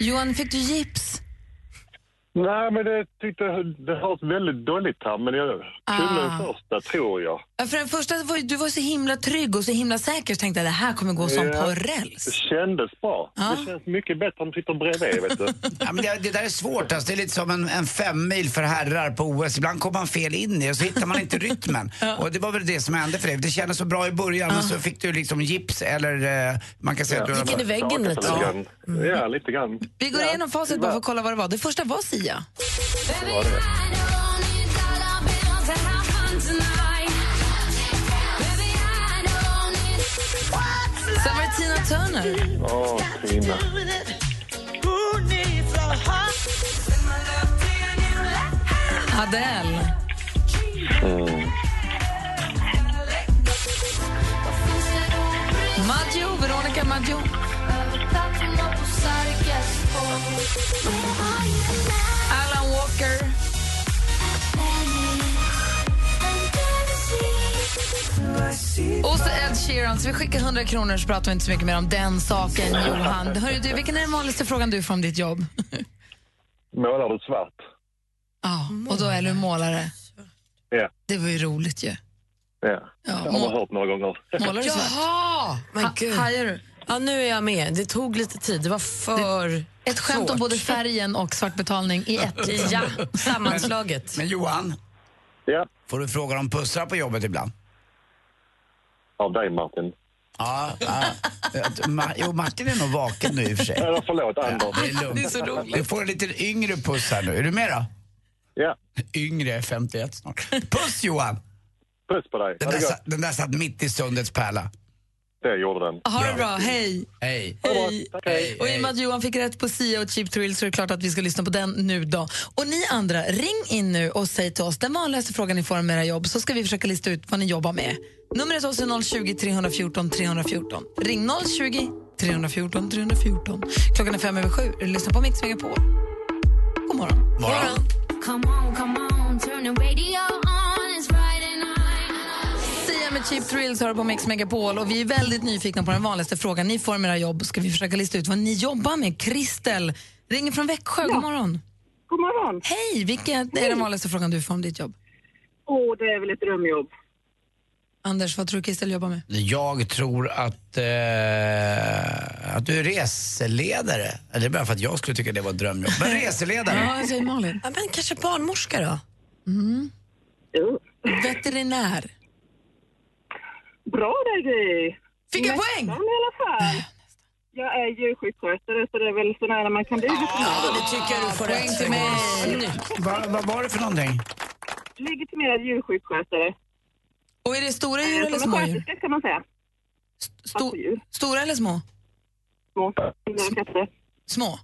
B: Johan, fick du gips?
L: Nej, men det tyckte jag- det hörs väldigt dåligt här, men jag kunde
B: Ah.
L: den första tror jag.
B: Ja, För den första, var ju- du var så himla trygg och så himla säker så tänkte jag det här kommer gå som
L: Ja.
B: på räls. Ah.
L: Det kändes bra. Det känns mycket bättre om du sitter bredvid, vet du.
D: Ja, men det, det där är svårt. Alltså. Det är lite som en, en femmil för herrar på OS. Ibland kommer man fel in i och så hittar man inte rytmen. Och det var väl det som hände för dig. Det kändes så bra i början men så fick du liksom gips eller eh, man kan säga att du...
C: Gick in i väggen
D: Ja,
C: lite. Mm.
D: lite grann.
L: Ja, lite grann.
B: Vi går igenom facit bara för att kolla vad det var. Det första var Sia. Sen var det Tina Turner.
L: Åh, Tina.
B: Adele.
L: Mm.
B: Maggio, Veronica Maggio. Alan Walker. Och så Ed Sheeran, så vi skickar 100 kronor så pratar vi inte så mycket mer om den saken, Johan. Hörru, du, vilken är den vanligaste frågan du får om ditt jobb?
L: Målar du svart?
B: Ja, och då är du målare.
L: Ja.
B: Det var ju roligt ju.
L: ja. Det har man
C: må-
L: hört några gånger.
C: Målar du svart? Jaha! Men gud. du? Ja, nu är jag med. Det tog lite tid. Det var för
B: Ett skämt om
C: svårt.
B: både färgen och svartbetalning i ett.
C: Ja,
D: Men, men Johan.
L: Ja.
D: Får du fråga om pussar på jobbet ibland?
L: Av dig, Martin.
D: Ja, ja. Att Ma- jo, Martin är nog vaken nu i och för sig.
L: Eller förlåt, Anders.
D: det är lugnt.
L: Det är så roligt.
D: Du får en liten yngre puss här nu. Är du med då?
L: Ja.
D: Yngre, 51 snart. Puss Johan!
L: Puss på dig.
D: Den där, sa- den där satt mitt i sundets pärla.
L: Det gjorde den.
B: Ha det bra, hej!
D: Hej.
B: Hej. Och i och med att Johan fick rätt på Sia och Cheap Thrill så är det klart att vi ska lyssna på den nu då. Och ni andra, ring in nu och säg till oss den vanligaste frågan ni får om era jobb så ska vi försöka lista ut vad ni jobbar med. Numret till oss är 020 314 314. Ring 020 314 314. Klockan är fem över sju. Lyssna på Mix Megapol. God morgon.
K: Come on, come on, turn the radio on. It's Friday night.
B: Sia med Cheap Thrills hör på Mix Megapol och vi är väldigt nyfikna på den vanligaste frågan ni får om era jobb. Ska vi försöka lista ut vad ni jobbar med? Kristel ringer från Växjö. God morgon.
N: God morgon.
B: Hej! Vilken är den vanligaste frågan du får om ditt jobb?
N: Åh, det är väl ett drömjobb.
B: Anders, vad tror du Kristel jobbar med?
D: Jag tror att, eh, att du är reseledare. Eller Det är bara för att jag skulle tycka det var ett drömjobb. Men reseledare?
B: säger Malin.
C: Ja, men kanske barnmorska då?
B: Mm. Veterinär.
N: Bra där, Gry!
B: Fick jag poäng?
N: i alla fall. Jag är djursjukskötare, så det är väl så nära man kan bli veterinär.
C: Ja, det tycker jag du får
N: Poäng
C: rätt
N: till
C: för.
N: mig.
D: Vad vad var det för någonting?
N: Legitimerad djursjukskötare.
B: Och är det stora djur
N: Eh,
B: eller
N: som en
B: små djur?
N: sköterska, kan man säga.
B: Sto- stora eller små?
O: Små. Hundar och katter.
B: Små?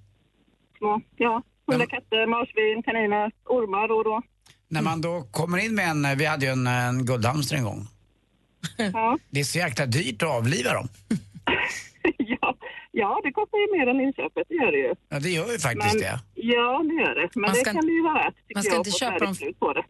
O: Små, ja. Hundar, katter, marsvin, kaniner, ormar då och då.
D: När man då kommer in med en, vi hade ju en, en guldhamster en gång.
O: Ja,
D: Det är så jäkla dyrt att avliva dem.
O: ja det kostar ju mer än inköpet, det gör det ju.
D: Ja, det gör ju faktiskt det.
O: Ja, det gör det. Men
B: Man
O: det
B: ska-
O: kan det ju vara värt, tycker
B: man ska
O: jag,
B: inte
O: att få
B: köpa
O: ett
B: dem-
O: värdigt slut på det.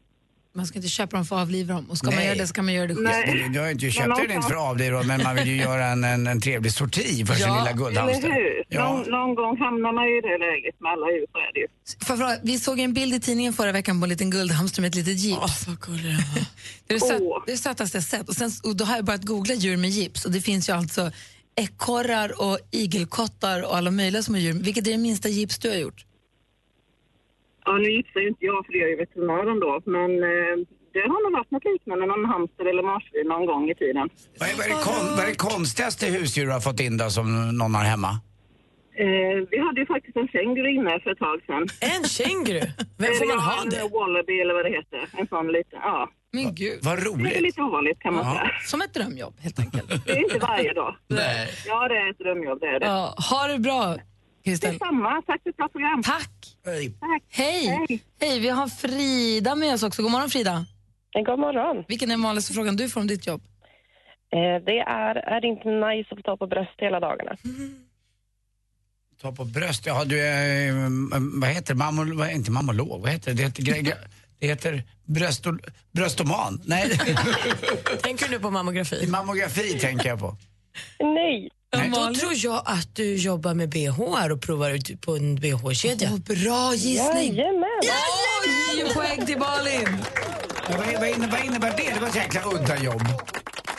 B: Man ska inte köpa dem för att avliva dem. Och ska man
D: Nej.
B: göra det ska man göra det själv.
D: Nej. Jag har inte
B: Men
D: köpt den
B: någonstans-
D: inte för att avliva dem, men man vill ju göra en, en, en trevlig sorti för sin
B: Ja,
D: lilla guldhamster.
O: Eller hur?
D: Ja.
O: Någon, någon gång hamnar man ju i det läget med alla djur, så är det ju.
B: Får jag fråga, vi såg en bild i tidningen förra veckan på en liten guldhamster med ett litet gips. det är det, söt, det är det sötaste jag sett. Och, sen, och då har jag börjat googla djur med gips och det finns ju alltså ekorrar och igelkottar och alla möjliga små djur. Vilket är det minsta gips du har gjort?
O: Ja, nu gissar ju inte jag för det gör ju veterinären då, men eh, det har nog varit något liknande, någon hamster eller marsvin någon gång i tiden.
D: Vad, är, vad, är det kon, vad är det konstigaste husdjur du har fått in då som någon har hemma?
O: Eh, vi hade ju faktiskt en känguru inne för ett tag sedan.
C: En känguru?
D: Vem får man ha
O: det? En wallaby eller vad det heter. En sån liten, ja.
B: Men gud.
D: Vad
O: Det är
D: roligt.
O: lite ovanligt kan man
D: Ja.
O: säga.
B: Som ett drömjobb helt enkelt.
O: Det är inte varje dag.
D: Nej.
O: Ja, det är ett drömjobb, det är det.
B: Ja, ha det bra, Kristel.
O: Detsamma, tack för ett bra program.
B: Tack.
D: Hej.
B: Hej. Hej. Vi har Frida med oss också. God morgon Frida.
P: God morgon.
B: Vilken är den vanligaste frågan du får om ditt jobb?
P: Eh, Det är, är det inte nice att få ta på bröst hela dagarna?
D: Ta på bröst, ja du är, mm, vad heter det, mammo, vad, inte mammolog, vad heter det? Det heter, gre- gre- det heter brösto, bröstoman. Nej.
C: tänker du på mammografi?
D: Mammografi tänker jag på.
P: Nej.
C: Då tror jag att du jobbar med BH och provar ut på en BH-kedja.
B: bra
C: gissning!
P: Jajamän!
B: Oj, poäng till Malin!
D: Ja, vad, vad, innebär, vad innebär det? Det var ett jäkla udda jobb.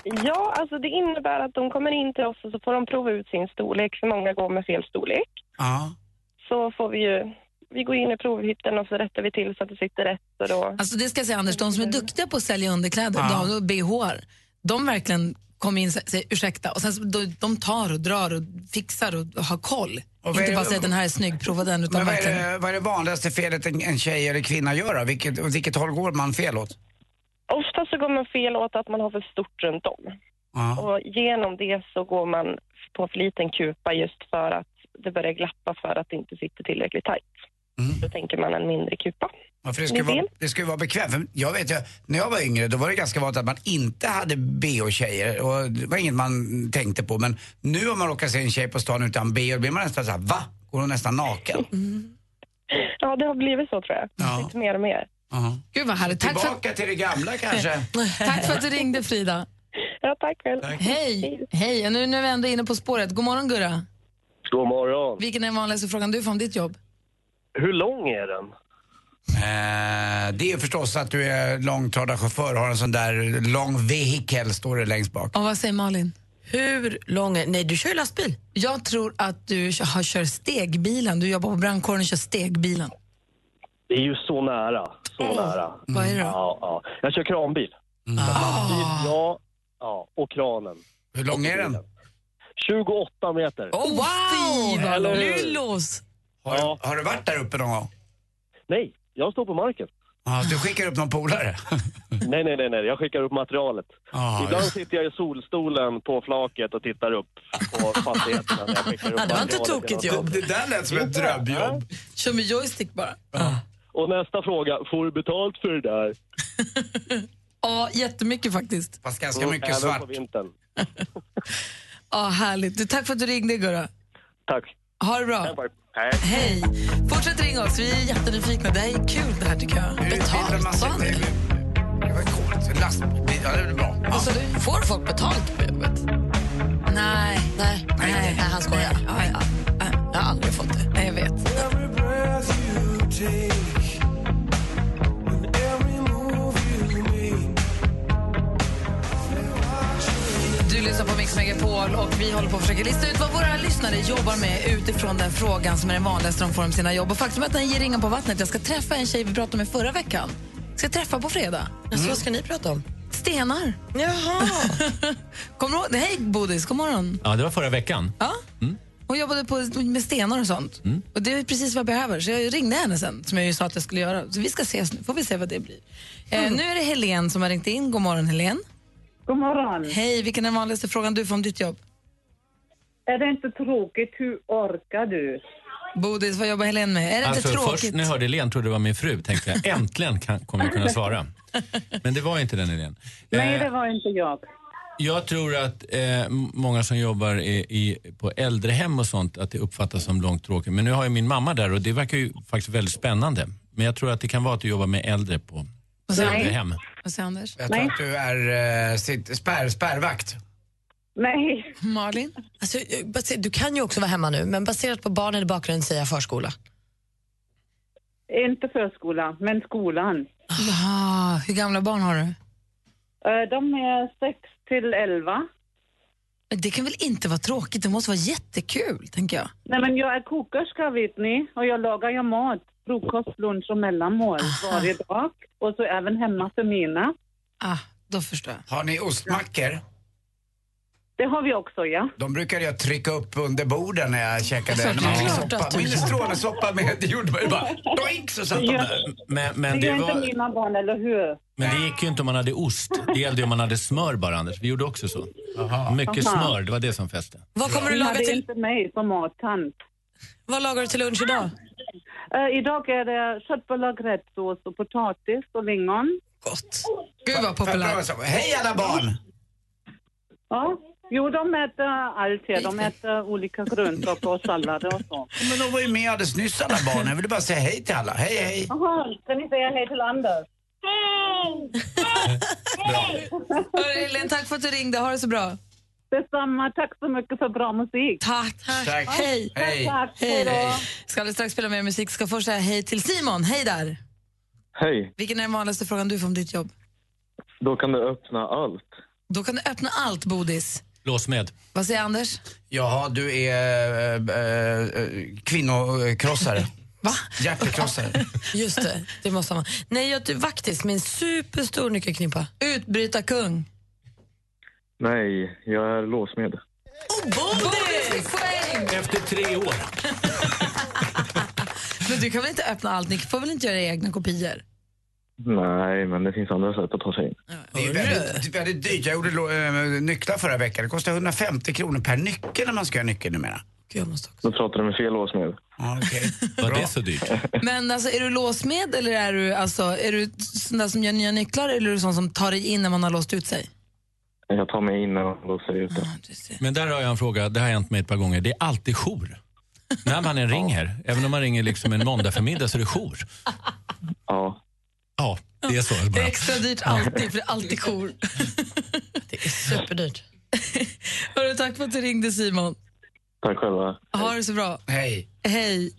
P: Ja, alltså det innebär att de kommer in till oss och så får de prova ut sin storlek, för många går med fel storlek.
D: Ja.
P: Så får vi ju, vi går in i provhytten och så rättar vi till så att det sitter rätt. Och då...
B: Alltså det ska jag säga Anders, de som är duktiga på att sälja underkläder,
P: Ja.
B: de, och BH, de verkligen kommer in och säger ursäkta och sen så, de, de tar och drar och fixar och har koll.
D: vad är
B: Inte
D: det-
B: bara säga den här är snygg, prova den. Utan
D: Men vad, är
B: verkligen,
D: det, vad är det vanligaste felet en, en tjej eller kvinna gör då? Vilket, åt vilket håll går man fel åt?
P: Ofta så går man fel åt att man har för stort runt om.
D: Ja.
P: Och genom det så går man på för liten kupa just för att det börjar glappa för att det inte sitter tillräckligt tajt.
D: Mm.
P: Då tänker man en mindre kupa.
D: Ja, för det, ska ju
P: Min
D: vara, det ska ju vara bekvämt. För Jag vet ju, när jag var yngre då var det ganska vanligt att man inte hade bh-tjejer och det var inget man tänkte på. Men nu om man råkar se en tjej på stan utan bh, då blir man nästan såhär, va? Går hon nästan naken?
B: Mm.
P: Ja, det har blivit så tror jag. Lite mer och mer.
D: Ja.
B: Gud vad härligt. Tack för,
D: Tillbaka till det gamla kanske.
B: tack för att du ringde Frida.
P: Ja, tack själv.
B: Hej. Hej, och nu, nu är vi ändå inne på spåret. God morgon Gurra.
M: God morgon.
B: Vilken är den vanligaste frågan du får om ditt jobb?
M: Hur lång är den?
D: Eh, det är förstås att du är långtradarchaufför och har en sån där lång vehikel står det längst bak.
B: Och vad säger Malin? Hur lång är... Nej, du kör ju lastbil. Jag tror att du kö- har- kör stegbilen. Du jobbar på brandkåren och kör stegbilen.
M: Det är ju så nära. Så nära.
B: Vad är det då?
M: Ja, ja. Jag kör kranbil.
D: Mm.
M: Lastbil, ja, ja. Och kranen.
D: Ah. Hur lång är den?
M: 28 meter.
C: Oh, wow!
M: Eller hur?
C: Lyllos!
D: Har, har du varit där uppe någon gång?
M: Nej, jag står på marken.
D: Ja, du skickar upp någon polare?
M: Nej, nej, nej, nej. Jag skickar upp materialet.
D: Ja,
M: Ibland
D: just-
M: sitter jag i solstolen på flaket och tittar upp på fastigheterna när jag skickar upp
C: Ja, det var inte
M: materialet
C: tokigt
M: genom-
C: jobb. Det- det där lät som ett drömjobb.
B: Kör med joystick bara. Ah.
M: Och nästa fråga, får du betalt för det där?
B: Ja, jättemycket faktiskt.
D: Fast ganska
M: Mm,
D: mycket
M: även
D: svart.
M: på vintern.
B: Ja, härligt. Du, tack för att du ringde, Gurra.
M: Tack.
B: Ha det bra.
M: Hej.
B: Hej. Fortsätt ringa oss. Vi är jättenyfikna. Det här är kul det här tycker jag.
D: Mm.
B: Betalt.
D: Man sitter, i- det var ju coolt. Lastbil, ja det är bra. Ja.
C: Alltså, du får folk betalt på jobbet?
B: Nej. Nej,
C: nej, nej, han skojar.
B: Ja, ja.
C: Jag har aldrig fått det.
B: Nej, jag vet. Du lyssnar på Mix Megapol och vi håller på att försöka lista ut vad våra lyssnare jobbar med utifrån den frågan som är den vanligaste de får om sina jobb. Och faktum är att den ger ringan på vattnet. Jag ska träffa en tjej vi pratade med förra veckan. Ska jag träffa på fredag.
C: Alltså, vad ska ni prata om?
B: Stenar. Jaha. Kommer du ihåg? Hej Bodis, god morgon.
Q: Ja, det var förra veckan.
B: Ja. Hon jobbade på, med stenar och sånt. Och Det är precis vad jag behöver, så jag ringde henne sen, som jag ju sa att jag skulle göra. Så vi ska ses nu, får vi se vad det blir. Eh, nu är det Helen som har ringt in. God morgon, Helen.
O: God morgon.
B: Hej, vilken är den vanligaste frågan du får om ditt jobb?
O: Är det inte tråkigt? Hur orkar du?
B: Bodis, vad jobbar Helene med? Är det inte tråkigt?
Q: Alltså, Först när jag hörde Helene trodde det var min fru, tänkte jag äntligen kan, kommer jag kunna svara. Men det var inte den Helene. Eh.
O: Nej, det var inte jag.
Q: Jag tror att eh, många som jobbar i, i, på äldrehem och sånt, att det uppfattas som långt tråkigt. Men nu har jag min mamma där och det verkar ju faktiskt väldigt spännande. Men jag tror att det kan vara att du jobbar med äldre på äldrehem.
B: Vad säger Anders?
D: Jag tror att du är eh, sitt, spärr, spärrvakt.
O: Nej.
B: Malin?
C: Alltså, baser- du kan ju också vara hemma nu, men baserat på barnen i bakgrunden säger jag förskola.
O: Inte förskolan, men skolan.
B: Ah, hur gamla barn har du?
O: Eh, De är 6 till 11.
B: Men Det kan väl inte vara tråkigt? Det måste vara jättekul, tänker jag.
O: Nej, men jag är kokerska, vet ni. Och jag lagar ju mat. Frukost, lunch och mellanmål varje dag. Och så även hemma för mina.
B: Ah, då förstår jag.
D: Har ni ostmackor?
O: Det har vi också, ja.
D: De brukade jag trycka upp under borden när jag
B: Alltså,
D: käkade.
O: Såklart
D: när man fick
O: att
D: soppa.
O: du-
D: Min strålesoppa med jordbär bara doink så satt de
O: Ja.
D: där.
Q: Men, men,
O: det
Q: det
O: gör inte
Q: var,
O: mina barn, eller hur?
Q: men det gick ju inte om man hade ost. Det gällde ju om man hade smör bara, Anders. Vi gjorde också så. Mycket
O: Aha.
Q: smör, det var det som fäste.
C: Vad kommer du
O: Ni
C: laga
O: hade
C: till-
O: inte mig som mattant.
C: Vad lagar du till lunch idag?
O: Eh, idag är det köttbullar, gräddsås och potatis och lingon.
C: Gott.
B: Gud vad populärt.
D: Hej alla barn!
O: Ja. Jo, de äter allt här. De äter olika grönsaker och sallader och så.
D: Men de var ju med alldeles nyss alla barn. Jag ville bara säga hej till alla. Hej hej.
O: Jaha, ska ni säga hej till Anders?
B: Hörru, Elin, tack för att du ringde. Ha det så bra.
O: Detsamma. Tack så mycket för bra musik.
B: Tack.
D: Tack.
B: Hej.
D: Hej.
O: Tack,
B: Hej.
O: hej.
B: Ska alldeles strax spela mer musik. Ska först säga hej till Simon. Hej där.
R: Hej,
B: Vilken är den vanligaste frågan du får om ditt jobb?
R: då kan du öppna allt.
B: Då kan du öppna allt, Bodis.
Q: Lås med.
B: Vad säger Anders?
D: Jaha, du är äh, kvinnokrossare.
C: Va?
D: Hjärtekrossare.
C: Just det, det måste man. Nej, jag är vaktis med en superstor nyckelknippa.
B: Utbryta kung.
R: Nej, jag är låsmed.
B: Bodis! Poäng!
Q: Efter tre år.
B: Men du kan väl inte öppna allt? Ni får väl inte göra era egna kopior?
R: Nej, men det finns andra sätt att ta sig in.
D: Det är ju väldigt, det är väldigt dyrt. Jag gjorde lo- eh, nycklar förra veckan. Det kostar 150 kronor per nyckel när man ska göra nyckel numera.
R: Då pratar du med fel låsmed.
D: Ah, okay.
Q: Var det så dyrt?
B: Men alltså, är du låsmed eller är du, alltså, är du sån där som gör nya nycklar eller är du sån som tar dig in när man har låst ut sig?
R: Jag tar mig in och låser ut det.
Q: Men där har jag en fråga, det har hänt mig ett par gånger. Det är alltid jour. När man än ringer, även om man ringer liksom en måndag förmiddag så är det jour.
R: Ja.
Q: Ja, det är så.
B: Det är
Q: Bara.
B: extra dyrt alltid, för det är alltid jour.
C: Det är superdyrt.
B: Hörru, tack för att du ringde Simon.
R: Tack själva.
B: Ha det så bra.
D: Hej.
B: Hej.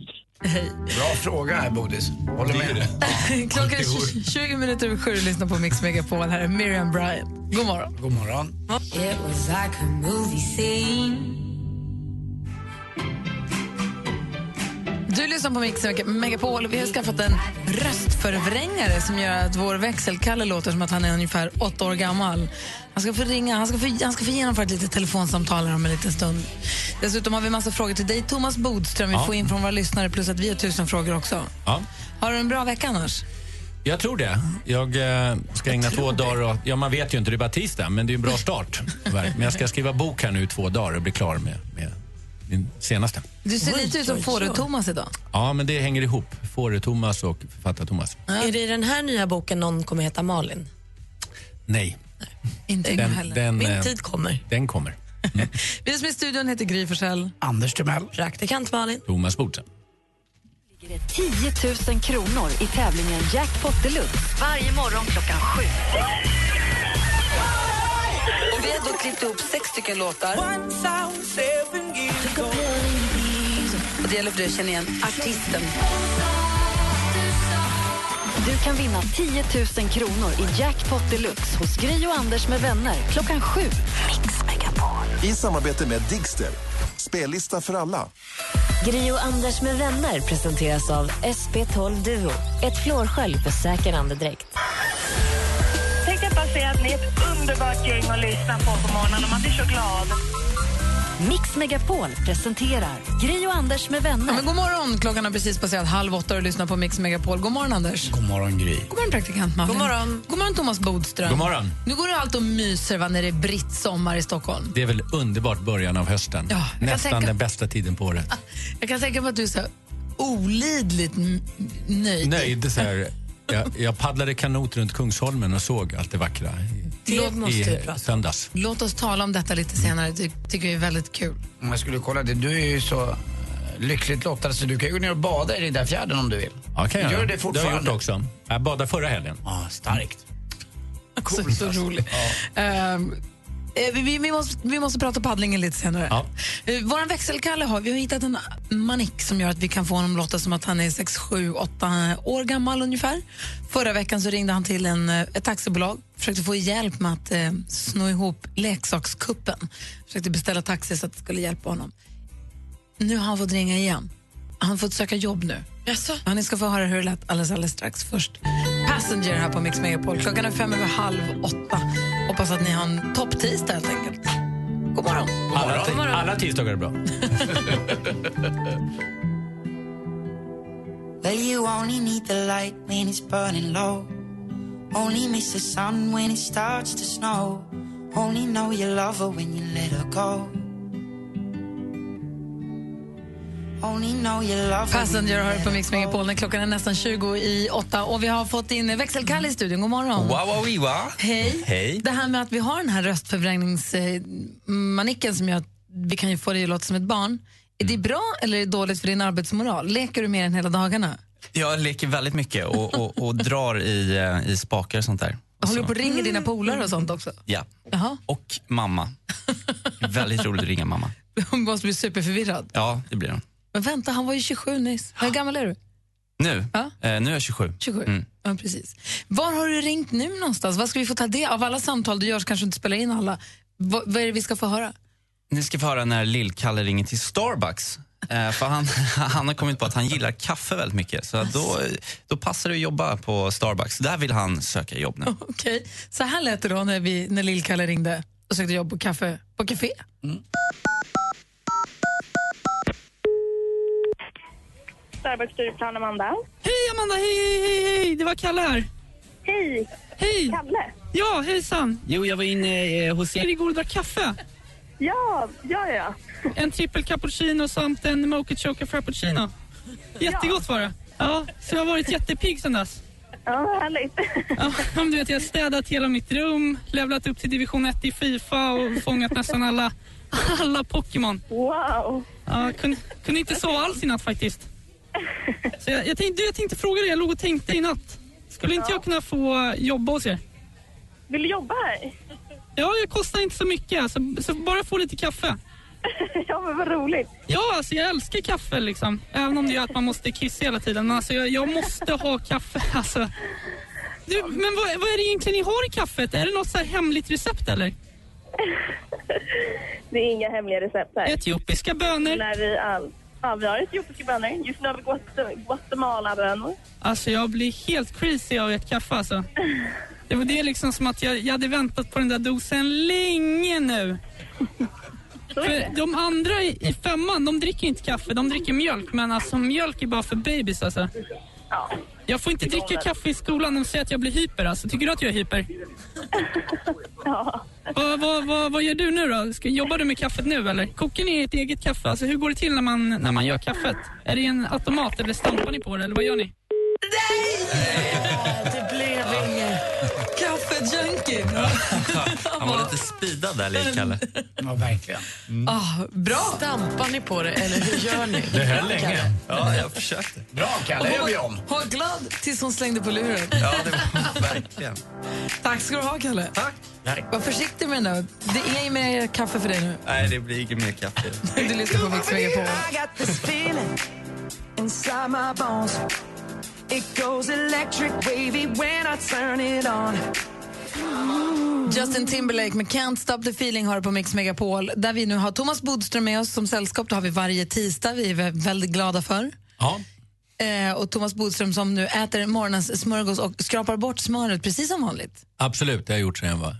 B: Hej.
D: Bra fråga här, Bodis. Håller med.
B: Klockan är 20 20 minuter över sju och lyssnar på Mix Megapol. Här är Miriam Bryant. God morgon.
D: God morgon.
S: It was like a movie scene.
B: Du lyssnar på Mix Megapol. Vi har skaffat en röstförvrängare som gör att vår växelkalle låter som att han är ungefär åtta år gammal. Han ska få ringa, han ska få, han ska få genomföra ett litet telefonsamtal här om en liten stund. Dessutom har vi massa frågor till dig, Thomas Bodström. Vi
Q: Ja.
B: får in från våra lyssnare, plus att vi har tusen frågor också.
Q: Ja,
B: Har du en bra vecka annars?
Q: jag tror det. Jag eh, ska ägna två dagar åt... Ja, man vet ju inte, det är bara tisdag, men det är en bra start. tyvärr. Men jag ska skriva bok här nu i två dagar och bli klar med, med min senaste.
B: Du ser lite ut som Fårö-Thomas idag.
Q: Ja, men det hänger ihop. Fåre-Thomas och författar-Thomas.
C: Är det i den här nya boken någon kommer heta Malin?
Q: Nej.
B: Inte
Q: Den, den,
C: Min
Q: eh,
C: tid kommer.
Q: Den kommer.
B: Vi som är i studion heter Gry Forssell.
D: Anders Timell.
C: Praktikant Malin.
Q: Thomas Bodström.
A: Ligger det 10 000 kronor i tävlingen Jackpot Deluxe. Varje morgon klockan sju.
C: Och vi har då klippt ihop sex stycken låtar.
A: Och det gäller för dig att känna igen artisten. Du kan vinna 10 000 kronor i Jackpot Deluxe hos Gry och Anders med vänner klockan sju.
G: I samarbete med Digster. Spellista för alla.
H: Gri och Anders med vänner presenteras av SP12 Duo. Ett flårskölj för säker andedräkt.
P: Tänkte jag bara säga att ni är ett underbart gäng att lyssna på på morgonen och man blir så glad.
A: Mix Megapol presenterar Gri och Anders med vänner.
B: Ja, men god morgon, klockan har precis passerat halv åtta och du lyssnar på Mix Megapol. God morgon Anders.
D: God morgon Gry.
B: God morgon praktikant Malin.
C: God morgon.
B: God morgon Thomas Bodström.
Q: God morgon.
B: Nu går du allt och myser va, när det är britt sommar i Stockholm.
Q: Det är väl underbart början av hösten.
B: Ja, jag kan
Q: Nästan
B: tänka-
Q: den bästa tiden på året.
B: Jag kan tänka mig att du är så här olidligt n- nöjd.
Q: Nöjd så här. Jag, jag paddlade kanot runt Kungsholmen och såg allt det vackra i,
B: Det måste vi
Q: i
B: prata om.
Q: söndags.
B: Låt oss tala om detta lite senare. Det tycker jag är väldigt kul.
D: Om jag skulle kolla det, du är ju så eh, lyckligt lottad så du kan ju gå ner och bada i den där fjärden om du vill.
Q: Ja, kan jag
D: Gör
Q: göra. Det
D: det
Q: har jag
D: fortfarande.
Q: gjort också. Jag badade förra helgen.
D: Ja, starkt.
B: Coolt, Alltså, så roligt. Ehm, eh, vi- vi, vi, måste, vi måste prata paddlingen lite senare.
Q: Ja.
B: Eh, Vår växelkalle har, vi har hittat en manik som gör att vi kan få honom låta som att han är 6, 7, 8 år gammal ungefär. Förra veckan så ringde han till en, eh, ett taxibolag försökte få hjälp med att eh, sno ihop leksakskuppen. Försökte beställa taxi så att det skulle hjälpa honom. Nu har han fått ringa igen. Han har fått söka jobb nu. Jaså? Ja, ni ska få höra hur det lät alldeles, alldeles strax. Först Passenger här på Mix Megapol. Klockan är fem över halv åtta. Hoppas att ni har en topptisdag helt enkelt. God morgon.
Q: Alla, ti- alla tisdagar är bra.
E: Well, you only need the light when it's burning low. Only miss the sun when it starts to snow. Only know you love her when you let her go. Only know you love her. when you
B: Passenger hör
E: let
B: på
E: her
B: Mix
E: go.
B: Megapol. När Klockan är nästan 20 i åtta och vi har fått in växelkalle i studion. God morgon.
T: wiwa.
B: Hej.
T: Hej.
B: Det här med att vi har den här röstförvrängningsmanicken som gör att vi kan ju få dig att låta som ett barn. Är det bra eller är det dåligt för din arbetsmoral? Leker du med den hela dagarna?
T: Jag leker väldigt mycket och, och, och drar i, eh, i spakar och sånt där.
B: Håller du på att ringa dina polare och sånt också?
T: Ja.
B: Jaha.
T: Och mamma. väldigt roligt att ringa mamma.
B: Hon måste bli superförvirrad.
T: Ja, det blir hon.
B: Men vänta, han var ju 27 nyss. Hur gammal är du?
T: Nu,
B: Ja.
T: eh, nu är jag 27.
B: 27.
T: Mm.
B: Ja, precis. Var har du ringt nu någonstans? Vad ska vi få ta del av? alla samtal du gör så kanske du inte spelar in alla. Vad, vad är det vi ska få höra?
T: Ni ska få höra när Lill-Kalle ringer till Starbucks. Eh, för han, han har kommit på att han gillar kaffe väldigt mycket. Så då, då passar det att jobba på Starbucks. Där vill han söka jobb nu.
B: Okej, så här lät det då när, vi- när Lill-Kalle ringde och sökte jobb på kaffe på café.
P: Starbucks styrplan Amanda.
U: Hej Amanda, hej, hej, hej, hej, det var Kalle här. Hej. Hej. Kalle. Ja, hejsan. Jo, jag var inne eh, hos er igår och drack kaffe. Ja, ja, ja. En trippel cappuccino samt en mochachoca frappuccino. Jättegott var det. Ja, så jag har varit jättepigg sen dess. Ja, vad härligt. Ja, men du vet, jag har städat hela mitt rum, levlat upp till division 1 i Fifa och fångat nästan alla, alla Pokémon. Wow. Ja, kunde, kunde inte sova alls i natt faktiskt. Så jag, jag, tänkte, jag tänkte fråga dig, jag låg och tänkte i natt. Skulle inte jag kunna få jobba hos er? Vill du jobba här? Ja, jag kostar inte så mycket, så, så bara få lite kaffe. ja, men vad roligt. Ja, alltså jag älskar kaffe liksom. Även om det är att man måste kissa hela tiden. Men alltså jag, jag måste ha kaffe alltså. Du, men vad, vad är det egentligen ni har i kaffet? Är det något så här hemligt recept eller?
P: Det är inga hemliga recept här.
U: Etiopiska bönor?
P: Lär vi allt. Ja, vi har etiopiska bönor. Just nu har vi Guat- Guatemala-bönor.
U: Alltså jag blir helt crazy av ert kaffe alltså. Det, var- det är liksom som att jag, jag hade väntat på den där dosen länge nu. För de andra i, i femman, de dricker inte kaffe, de dricker mjölk. Men alltså mjölk är bara för babys alltså. Jag får inte dricka kaffe i skolan, de säger att jag blir hyper alltså. Tycker du att jag är hyper? Vad, vad, vad, vad gör du nu då? Ska, jobbar du med kaffet nu eller? Kokar ni ert eget kaffe? Alltså hur går det till när man, när man gör kaffet? Är det en automat eller stampar ni på det eller vad gör ni?
C: Det blev inget.
B: Kaffejunkie.
T: Han var lite speedad där, Lill-Kalle.
D: Ja, verkligen.
B: Ah, bra.
C: Stampar ni på det eller hur gör ni?
T: Det höll länge. Ja, jag försökte.
D: Bra,
B: Och
D: Kalle.
B: hon
D: gör
B: var-
D: vi om.
B: hon var glad tills hon slängde på luren.
T: Ja, det var verkligen.
B: Tack ska du ha, Kalle. Tack.
T: Nej.
B: Var försiktig med den där. Det är inget mer kaffe för dig nu.
T: Nej, det blir inget mer kaffe.
B: Du lyssnar på Mix Megapol.
E: I got this feeling inside my bones. It goes electric wavy when I turn it on.
B: Justin Timberlake med Can't Stop The Feeling har du på Mix Megapol där vi nu har Thomas Bodström med oss som sällskap. Det har vi varje tisdag. Vi är vä- väldigt glada för.
Q: Ja.
B: Eh, och Thomas Bodström som nu äter morgonens smörgås och skrapar bort smöret precis som vanligt.
Q: Absolut, det har jag gjort sedan jag var...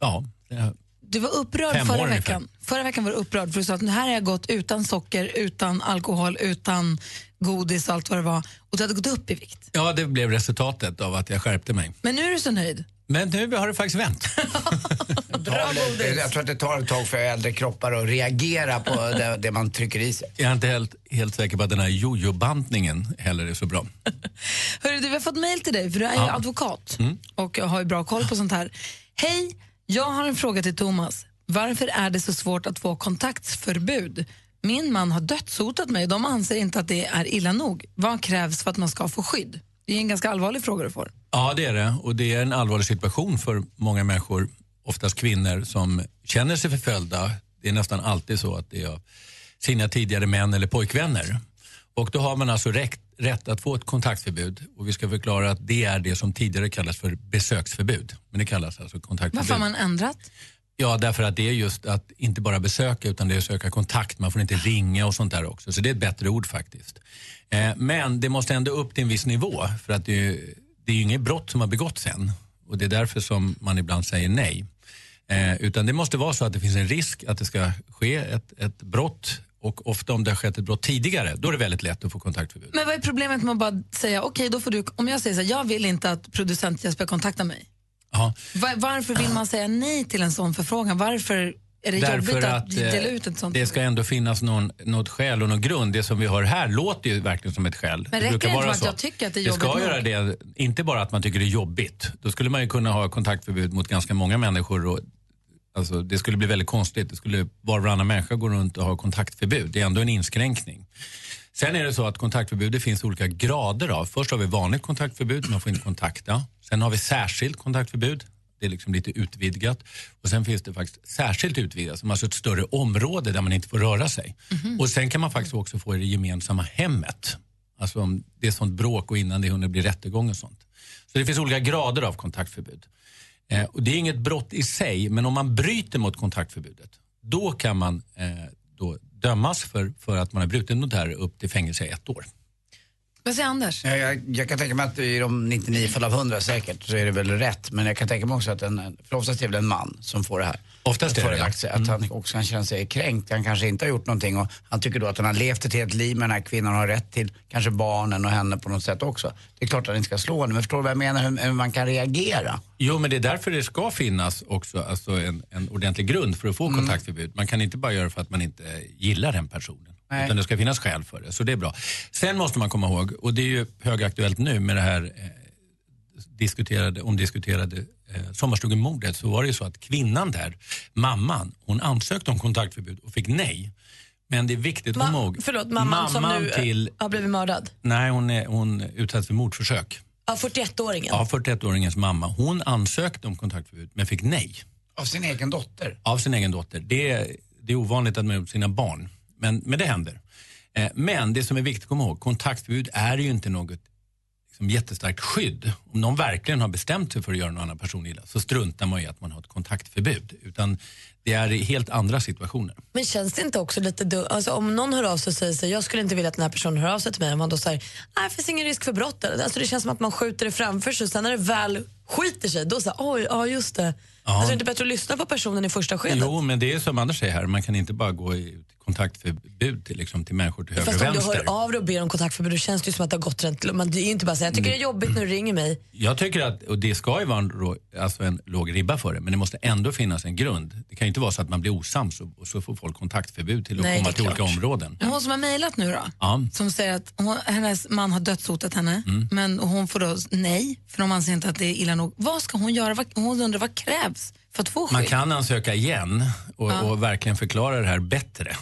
Q: Ja, det har-
B: Du var upprörd
V: Fem år
B: förra
V: ungefär.
B: veckan. Förra veckan var du upprörd för du sa att nu här har jag gått utan socker, utan alkohol, utan godis och allt vad det var. Och du hade gått upp i vikt.
Q: Ja, det blev resultatet av att jag skärpte mig.
B: Men nu är du så nöjd.
Q: Men nu har det faktiskt vänt.
D: Bra jag tror att det tar ett tag för äldre kroppar att reagera på det, det man trycker i sig.
Q: Jag är inte helt, helt säker på att den här jojo-bantningen heller är så bra.
B: Hörru, du, vi har fått mejl till dig, för du är ju
Q: Ja.
B: advokat
Q: Mm.
B: och har ju bra koll på sånt här. Hej, jag har en fråga till Thomas. Varför är det så svårt att få kontaktförbud? Min man har dödshotat mig och de anser inte att det är illa nog. Vad krävs för att man ska få skydd? Det är en ganska allvarlig fråga du får.
Q: Ja, det är det. Och det är en allvarlig situation för många människor, oftast kvinnor, som känner sig förföljda. Det är nästan alltid så att det är av sina tidigare män eller pojkvänner. Och då har man alltså rätt, rätt att få ett kontaktförbud. Och vi ska förklara att det är det som tidigare kallas för besöksförbud. Men det kallas alltså kontaktförbud.
B: Varför har man ändrat?
Q: Ja, därför att det är just att inte bara besöka utan det är att söka kontakt. Man får inte ringa och sånt där också. Så det är ett bättre ord faktiskt. Eh, men det måste ändå upp till en viss nivå för att det är, ju- det är ju inget brott som har begåtts än. Och det är därför som man ibland säger nej. Eh, utan det måste vara så att det finns en risk att det ska ske ett, ett brott och ofta om det har skett ett brott tidigare, då är det väldigt lätt att få kontaktförbud.
B: Men vad är problemet med att bara säga, okej, då får du, om jag säger så här, jag vill inte att producent Jesper kontaktar mig.
Q: Ja.
B: Va- Varför vill man säga nej till en sån förfrågan? Varför är det jobbigt att,
Q: eh,
B: dela ut ett sånt?
Q: Det ska ändå finnas någon, något skäl och någon grund. Det som vi hör här låter ju verkligen som ett skäl.
B: Men räcker det inte med att jag tycker att det är
Q: Det ska
B: jobbigt
Q: göra det, inte bara att man tycker det är jobbigt. Då skulle man ju kunna ha kontaktförbud mot ganska många människor. Och, alltså, det skulle bli väldigt konstigt. Det skulle var och varannan människa gå runt och ha kontaktförbud. Det är ändå en inskränkning. Sen är det så att kontaktförbud det finns olika grader av. Först har vi vanligt kontaktförbud, man får inte kontakta. Sen har vi särskilt kontaktförbud, det är liksom lite utvidgat. Och sen finns det faktiskt särskilt utvidgat, som alltså ett större område där man inte får röra sig.
O: Mhm.
D: Mm-hmm.
Q: Och sen kan man faktiskt också få i det gemensamma hemmet. Alltså om det är sånt bråk och innan det hunnit bli rättegång och sånt. Så det finns olika grader av kontaktförbud. Eh, och det är inget brott i sig, men om man bryter mot kontaktförbudet, då kan man eh, då dömas för, för att man har brutit mot det här upp till fängelse i ett år.
B: Vad säger Anders?
D: Ja, jag, jag kan tänka mig att i de 99 fall av 100 säkert så är det väl rätt. Men jag kan tänka mig också att en, för oftast är det väl en man som får det här.
Q: Oftast är det Mm.
D: Förelagt sig, Att han också kan känna sig kränkt. Han kanske inte har gjort någonting och han tycker då att han har levt ett helt liv med den här kvinnan och har rätt till kanske barnen och henne på något sätt också. Det är klart att han inte ska slå henne men förstår du vad jag menar hur, hur man kan reagera?
Q: Jo, men det är därför det ska finnas också alltså en, en ordentlig grund för att få kontaktförbud. Man kan inte bara göra för att man inte eh, gillar den personen.
M: Nej.
Q: Utan det ska finnas skäl för det, så det är bra. Sen måste man komma ihåg, och det är ju högaktuellt nu med det här eh, diskuterade, omdiskuterade eh, sommarstugemordet, så var det ju så att kvinnan där, mamman, hon ansökte om kontaktförbud och fick nej. Men det är viktigt att komma ihåg.
F: Förlåt, mamman, som
Q: mamman
F: nu eh,
Q: till,
F: har blivit mördad.
Q: nej hon, är, hon utsattes för mordförsök.
F: Ja, 41-åringen.
Q: Ja, 41-åringens mamma. Hon ansökte om kontaktförbud men fick nej
D: Av sin egen dotter?
Q: av sin egen dotter. Det är, det är ovanligt att man har gjort sina barn, men, men det händer. Eh, Men det som är viktigt att komma ihåg, kontaktförbud är ju inte något liksom jättestarkt skydd. Om någon verkligen har bestämt sig för att göra någon annan person illa så struntar man ju i att man har ett kontaktförbud. Utan det är i helt andra situationer.
F: Men känns det inte också lite dumt? Alltså, om någon hör av sig och säger så här, jag skulle inte vilja att den här personen hör av sig till mig, om man då säger nej det finns ingen risk för brott. eller?" Alltså, det känns som att man skjuter det framför sig och sen när det väl skiter sig, då säger oj, ja just det.
Q: Ja.
F: Alltså, är det inte bättre att lyssna på personen i första skedet?
Q: Jo, men det är som Anders säger här, man kan inte bara gå i kontaktförbud till, liksom, till människor till höger och
F: Fast om du
Q: vänster.
F: hör av dig och ber om kontaktförbud, då känns det ju som att det har gått rent. Man, det är ju inte bara så här, jag tycker det är jobbigt när du ringer mig.
Q: Jag tycker att, och det ska ju vara en, rå- alltså en låg ribba för det, men det måste ändå finnas en grund. Det kan ju inte vara så att man blir osams och, och så får folk kontaktförbud till att
B: Nej, det
Q: komma
B: är
Q: till olika
B: klart.
Q: områden.
B: Men Hon som har mejlat nu då?
Q: Ja.
B: Som säger att hon, hennes man har dödshotat henne,
Q: Mm.
B: men hon får då nej, för de anser inte att det är illa nog. Vad ska hon göra? Vad- Hon undrar vad krävs för att få skydd?
Q: Man kan ansöka igen och,
B: Ja.
Q: och verkligen förklara det här bättre.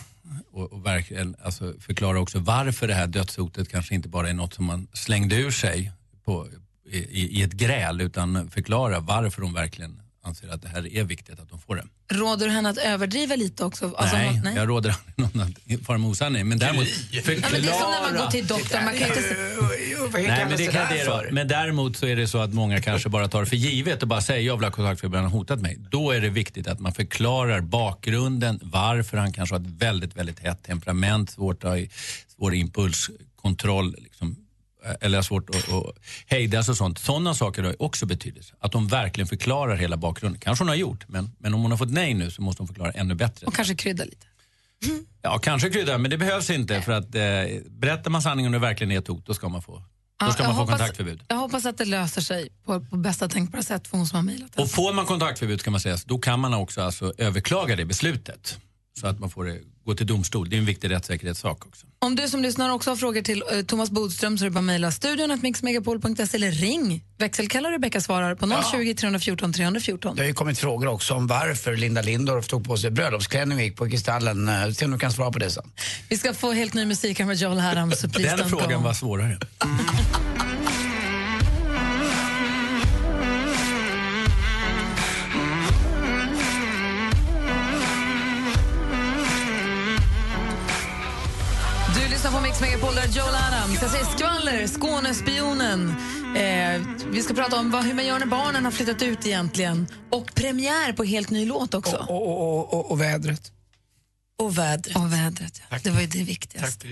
Q: Och, och verkligen, alltså förklara också varför det här dödshotet kanske inte bara är något som man slängde ur sig på, i, i- i ett gräl, utan förklara varför de verkligen anser att det här är viktigt att de får det.
B: Råder du henne att överdriva lite också? Alltså,
Q: nej,
B: hon-
Q: jag råder aldrig någon att fara med osanning. Men däremot förklara...
B: Ja, men det är som när man går till doktorn. Man kan inte...
Q: Nej, men, det kan det då.
D: för?
Q: men däremot så är det så att många kanske bara tar för givet och bara säger jag vill ha kontakt för han har hotat mig. Då är det viktigt att man förklarar bakgrunden, varför han kanske har ett väldigt, väldigt hett temperament, svårt att ha i- svår impulskontroll, liksom, eller har svårt att att hejda sig och sånt. Sådana saker har ju också betydelse. Att hon verkligen förklarar hela bakgrunden. Kanske hon har gjort, men, men om hon har fått nej nu så måste hon förklara ännu bättre.
B: Och kanske krydda lite.
Q: Ja, kanske krydda, men det behövs inte för att eh, berättar man sanningen och det verkligen är ett hot, då ska man få, då
B: Ja,
Q: ska
B: jag
Q: man få
B: hoppas-
Q: kontaktförbud.
B: Jag hoppas att det löser sig på, på bästa tänkbara sätt för hon som har mejlat.
Q: Och får man kontaktförbud ska man säga, så då kan man också alltså överklaga det beslutet. Så att man får det, gå till domstol. Det är en viktig rättssäkerhetssak också.
B: Om du som lyssnar också har frågor till eh, Thomas Bodström så är det bara att mejla studion att mixmegapol.se eller ring. Växelkalla och Rebecka svarar på 020 314 314.
D: Det har ju kommit frågor också om varför Linda Lindorff tog på sig bröllopsklänning och gick på Kristallen. Eh, Se om du kan svara på det sen.
B: Vi ska få helt ny musik här med Joel Haram, så please
D: Den
B: don't
D: frågan
B: go.
D: var
Q: svårare.
B: Du lyssnar på Mix Megapol, där är Joel Adams. Jag säger skvaller, Skånespionen. Eh, vi ska prata om vad, hur man gör när barnen har flyttat ut egentligen. Och premiär på helt ny låt också.
D: Och, och, och, och vädret.
B: Och vädret. Och vädret, ja. Det var ju det viktigaste.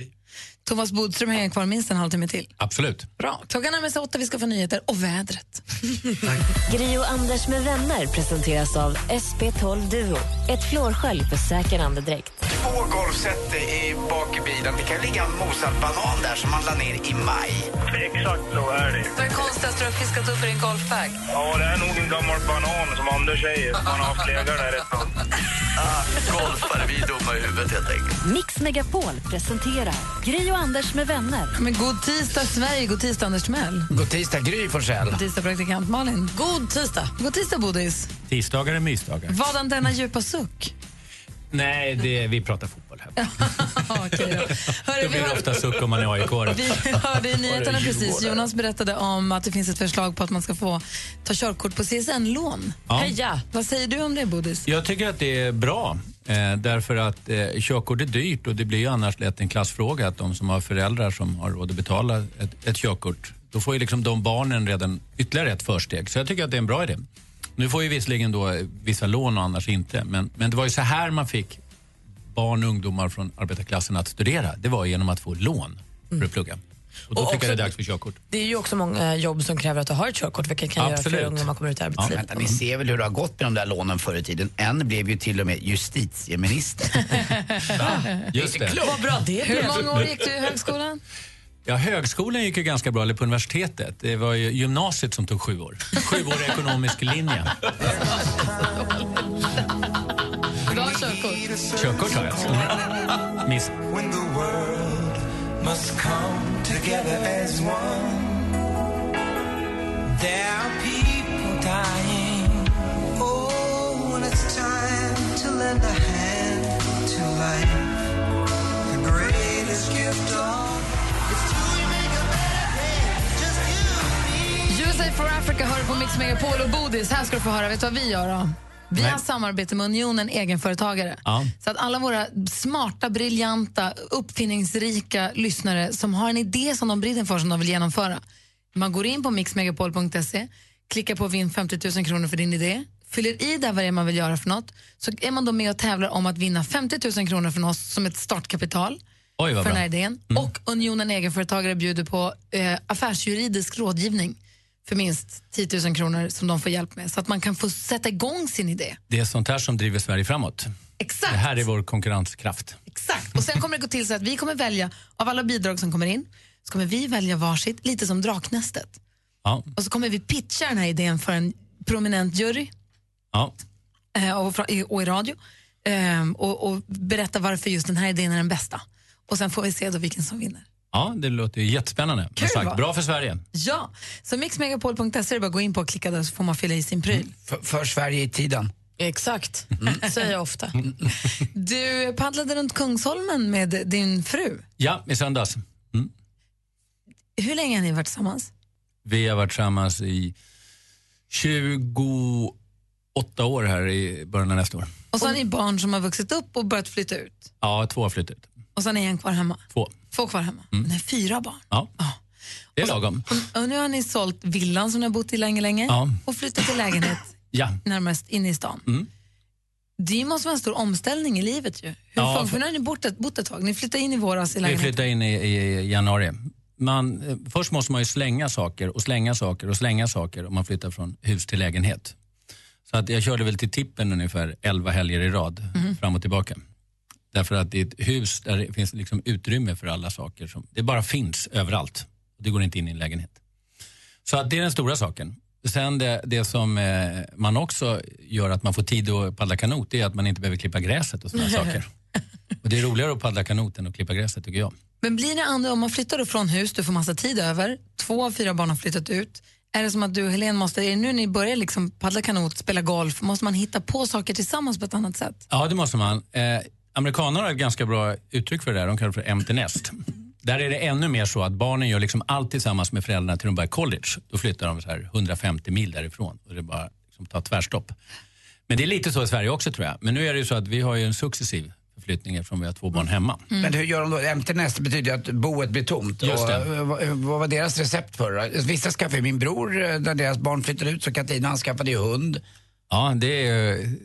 B: Thomas Bodström hänger kvar minst en halvtimme till.
Q: Absolut.
B: Bra. Klockan närmar sig åtta, vi ska få nyheter och vädret.
H: Gri och Anders med vänner presenteras av SP12 Duo. Ett flårskölj för säker andedräkt.
D: Två golfset i bak i bilen. Det kan ligga en mosad banan där som man la ner i maj.
V: Exakt så är det.
B: Vad är det konstigaste du har fiskat upp i din golfbag?
V: Ja, det är nog en gammal banan som Anders säger. Man har haft legat där ett tag. Ah, golfare, vi är dumma i huvudet helt enkelt.
H: Mix Megapol presenterar Gri och Anders med vänner.
B: Men god tisdag, Sverige. God tisdag, Anders Timell.
D: God tisdag, Gry Forssell.
B: God tisdag, praktikant Malin. God tisdag. God tisdag, Bodis.
Q: Tisdagar är mysdagar.
B: Vadan denna djupa suck?
Q: Nej, det, vi pratar fotboll här. det blir ofta suck om man är aik
B: Vi hörde i nyheterna precis, Jonas berättade om att det finns ett förslag på att man ska få ta körkort på CSN-lån.
Q: Ja.
B: Heja! Vad säger du om det, Bodis?
Q: Jag tycker att det är bra. Eh, därför att eh, körkort är dyrt och det blir ju annars lätt en klassfråga att de som har föräldrar som har råd att betala ett, ett körkort, då får ju liksom de barnen redan ytterligare ett försteg. Så jag tycker att det är en bra idé. Nu får ju visserligen då eh, vissa lån och annars inte, men, men det var ju så här man fick barn och ungdomar från arbetarklassen att studera. Det var genom att få lån för att plugga. Och då
C: Mm. Och
Q: tycker jag det
C: också-
Q: är dags för körkort.
C: Det är ju också många jobb som kräver att du har ett körkort vilket kan göra
D: Absolut.
C: för unga man kommer ut i arbetslivet.
D: Vänta, ni ser väl hur det har gått med de där lånen förr i tiden. En blev ju till och med justitieminister.
Q: Just det.
C: Vad bra det
B: Hur
C: blev.
B: många år gick du i högskolan?
Q: Ja, högskolan gick ju ganska bra, eller på universitetet. Det var ju gymnasiet som tog sju år. Sju år ekonomisk linje.
B: Du har körkort?
Q: Körkort har jag. Miss.
M: When the world must come together as one. There are people dying. Oh, when it's time to lend a hand to life. The greatest gift of
B: USA for Africa hör på Mix Megapol och Bodis. Här ska du få höra. Vet du vad vi gör då? Vi har samarbete med Unionen Egenföretagare.
I: Ja.
B: Så att alla våra smarta, briljanta, uppfinningsrika lyssnare som har en idé som de brinner för som de vill genomföra. Man går in på mixmegapol.se, klickar på vinn 50 000 kronor för din idé, fyller i där vad det är man vill göra för något. Så är man då med och tävlar om att vinna 50 000 kronor från oss som ett startkapital
Q: Oj,
B: för
Q: vad
B: den här
Q: bra. Mm.
B: idén. Och Unionen Egenföretagare bjuder på eh, affärsjuridisk rådgivning för minst 10 000 kronor som de får hjälp med så att man kan få sätta igång sin idé.
Q: Det är sånt här som driver Sverige framåt.
B: Exakt.
Q: Det här är vår konkurrenskraft.
B: Exakt. Och sen kommer det gå till så att vi kommer välja, av alla bidrag som kommer in, så kommer vi välja varsitt, lite som Draknästet.
Q: Ja.
B: Och så kommer vi pitcha den här idén för en prominent jury
Q: Ja.
B: eh, och, fra- i- och i radio eh, och, och berätta varför just den här idén är den bästa. Och sen får vi se då vilken som vinner.
Q: ja, det låter ju jättespännande.
B: Kul,
Q: Kul,
B: va? Mm.
Q: sagt, bra för Sverige.
B: Ja, så mixmegapol.se är det bara att gå in på och klicka där så får man fylla i sin pryl.
Q: Mm.
D: För, för Sverige i tiden.
B: Mm. Exakt, säger jag ofta.
Q: Mm.
B: Du paddlade runt Kungsholmen med din fru.
Q: Ja, i söndags.
B: Hur länge har ni varit tillsammans?
Q: Vi har varit tillsammans i 28 år här i början av nästa år.
B: Och så har ni barn som har vuxit upp och börjat flytta ut.
Q: Ja, två har flyttat ut.
B: Och så har ni en kvar hemma.
Q: Två.
B: Två kvar hemma. Nej, fyra barn.
Q: Ja. Det är lagom.
B: Och nu har ni sålt villan som ni har bott i länge, länge
Q: Ja.
B: och flyttat till lägenhet
Q: Ja.
B: närmast inne i stan.
Q: Mm.
B: Det måste vara en stor omställning i livet ju. Hur
Q: Ja,
B: funkar-
Q: för-
B: för nu har ni bott ett, bott ett tag. Ni flyttade in i våras i
Q: Vi
B: lägenheten.
Q: flyttade in i, i januari man, eh, först måste man ju slänga saker och slänga saker och slänga saker om man flyttar från hus till lägenhet. Så att jag körde väl till tippen ungefär 11 helger i rad
I: Mhm.
Q: fram och tillbaka. Därför att det är ett hus där det finns liksom utrymme för alla saker. Som, det bara finns överallt. Det går inte in i en lägenhet. Så att det är den stora saken. Sen det, det som eh, man också gör att man får tid att paddla kanot det är att man inte behöver klippa gräset och sådana saker. Och det är roligare att paddla kanot än att klippa gräset tycker jag.
B: Men blir det andra, om man flyttar då från hus, du får massa tid över, två av fyra barn har flyttat ut, är det som att du och Helene måste, är det nu ni börjar liksom paddla kanot, spela golf, måste man hitta på saker tillsammans på ett annat sätt?
Q: Ja, det måste man. Eh, amerikaner har ett ganska bra uttryck för det där. De kallar det för empty nest. Där är det ännu mer så att barnen gör liksom allt tillsammans med föräldrarna till de börjar college. Då flyttar de så här 150 mil därifrån och det bara liksom tar tvärstopp. Men det är lite så i Sverige också tror jag. Men nu är det ju så att vi har ju en successiv förflyttning eftersom vi har två barn hemma.
D: Men hur gör de då? MTNS betyder ju att boet blir tomt.
Q: Just
D: Och,
Q: det.
D: eh, vad, eh, vad var deras recept för det? Vissa skaffade ju min bror, eh, när deras barn flyttade ut, så Katina han skaffade ju hund.
Q: Ja, det, är, ju-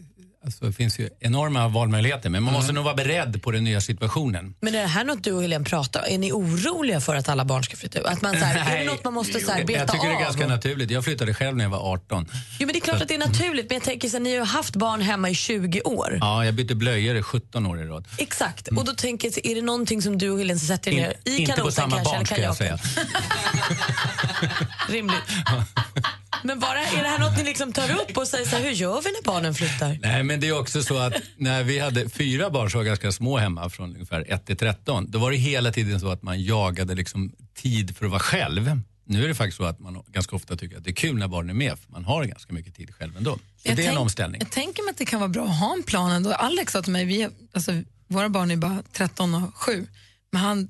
Q: alltså, det finns ju enorma valmöjligheter men
D: Mm.
Q: man måste nog vara beredd på den nya situationen.
C: Men är det här något du och Helene pratar Är ni oroliga för att alla barn ska flytta ut? Att man, så här, är det något man måste så här, beta
Q: jag tycker
C: av?
Q: det är ganska naturligt. Jag flyttade själv när jag var 18.
C: Jo, men det är klart att det är naturligt, men jag tänker så här, ni har ju haft barn hemma i 20 år.
Q: Ja, jag bytte blöjor i 17 år i rad.
C: Exakt, och då tänker jag, så är det någonting som du och Helene sätter er
Q: Mm. In-
C: ner i
Q: inte på
C: kanoten
Q: samma
C: kanske,
Q: barn
C: eller
Q: ska jag säga.
C: Rimligt. Men bara, är det här något ni liksom tar upp och säger så här, hur gör vi när barnen flyttar?
Q: Nej, men det är också så att när vi hade fyra barn som var ganska små hemma från ungefär 1 till 13, då var det hela tiden så att man jagade liksom tid för att vara själv. Nu är det faktiskt så att man ganska ofta tycker att det är kul när barnen är med, för man har ganska mycket tid själv ändå. Så
B: Jag
Q: det är en
B: tänk-
Q: omställning.
B: Jag tänker mig att det kan vara bra att ha en plan ändå. Alex sa till mig, vi, alltså, våra barn är bara 13 och 7, men han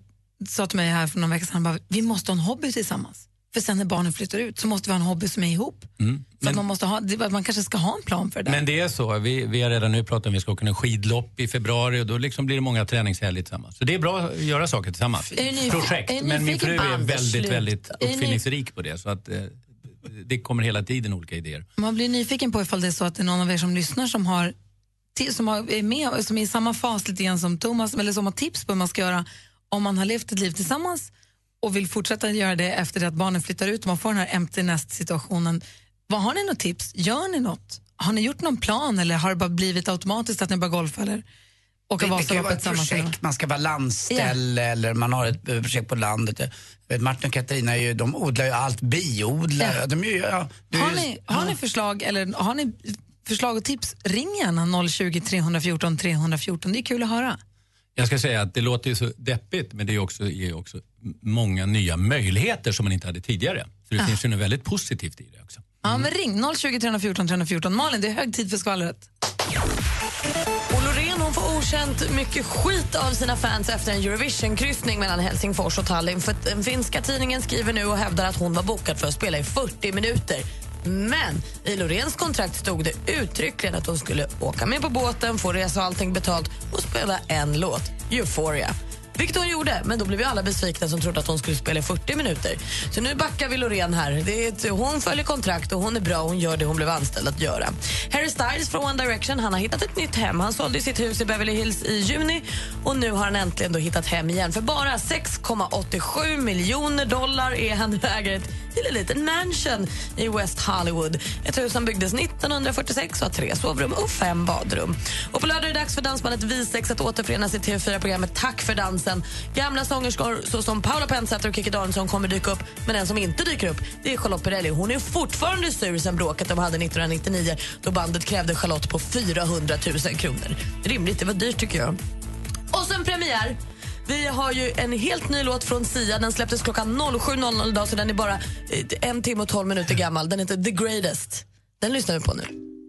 B: sa till mig här för någon vecka sedan, han bara, vi måste ha en hobby tillsammans. För sen när barnen flyttar ut så måste vi ha en hobby som är ihop.
Q: Mm.
B: För man, måste ha, det- man kanske ska ha en plan för det.
Q: Men det är så, vi, vi har redan nu pratat om att vi ska åka en skidlopp i februari och då liksom blir det många träningshelger tillsammans. Så det är bra att göra saker tillsammans.
B: Är ni nyfiken- är
Q: Projekt,
B: ni
Q: men min
B: nyfiken
Q: fru
B: på
Q: är
B: Anders?
Q: väldigt,
B: Sluta.
Q: väldigt
B: Är ni-
Q: uppfinningsrik på det. Så att, eh, det kommer hela tiden olika idéer.
B: Man blir nyfiken på ifall det är så att det är någon av er som lyssnar som har ti- som har, är med som är i samma fas lite grann som Thomas eller som har tips på hur man ska göra om man har levt ett liv tillsammans och vill fortsätta göra det efter det att barnen flyttar ut och man får den här empty nest situationen. Vad Har ni något tips? Gör ni något? Har ni gjort någon plan eller har det bara blivit automatiskt att ni börjar golfa eller åka
D: det, det kan ju vara
B: Vasaloppet
D: ett
B: tillsammans? eller något?
D: projekt, man ska vara landställe eller man har ett eh, projekt på landet. Jag Vet, Martin och Katarina är ju, de odlar ju allt, biodlar.
B: Ja.
D: De är ju, ja, det är
B: Har
D: ju-
B: ni,
D: ja.
B: har ni förslag eller har ni förslag och tips? Ring gärna 020 314 314. Det är kul att höra.
Q: Jag ska säga att det låter ju så deppigt men det är också, ger också m- många nya möjligheter som man inte hade tidigare. Så det
B: Ah.
Q: finns ju något väldigt positivt i det.
B: Ja, men ring 020 314 314. Malin, det är hög tid för skvallret.
C: Och Loreen hon får okänt mycket skit av sina fans efter en Eurovision-kryssning mellan Helsingfors och Tallinn. För att den finska tidningen skriver nu och hävdar att hon var bokad för att spela i 40 minuter. Men i Loreens kontrakt stod det uttryckligen att hon skulle åka med på båten, få resa och allting betalt och spela en låt, Euphoria. Vilket hon gjorde, men då blev ju alla besvikna som trodde att hon skulle spela i 40 minuter. Så nu backar vi Loreen här. Det är, ett- hon följer kontrakt och hon är bra. Hon gör det hon blev anställd att göra. Harry Styles från One Direction han har hittat ett nytt hem. Han sålde ju sitt hus i Beverly Hills i juni och nu har han äntligen då hittat hem igen. För bara 6,87 miljoner dollar är han nu ägare till en liten mansion i West Hollywood. Ett hus som byggdes 1946 och har tre sovrum och fem badrum. Och på lördag är det dags för dansbandet Visex att återförenas i TV4-programmet Tack för dansen. Gamla sångerskor såsom Paula Pennsäter och Kikki Danielsson kommer dyka upp, men en som inte dyker upp det är Charlotte Perrelli. Hon är fortfarande sur sen bråket de hade 1999 då bandet krävde Charlotte på 400 000 kronor. Rimligt, det var dyrt tycker jag. Och sen premiär. Vi har ju en helt ny låt från Sia. Den släpptes klockan 07.00 idag så den är bara eh, en timme och tolv minuter gammal. Den heter The Greatest. Den lyssnar vi på nu.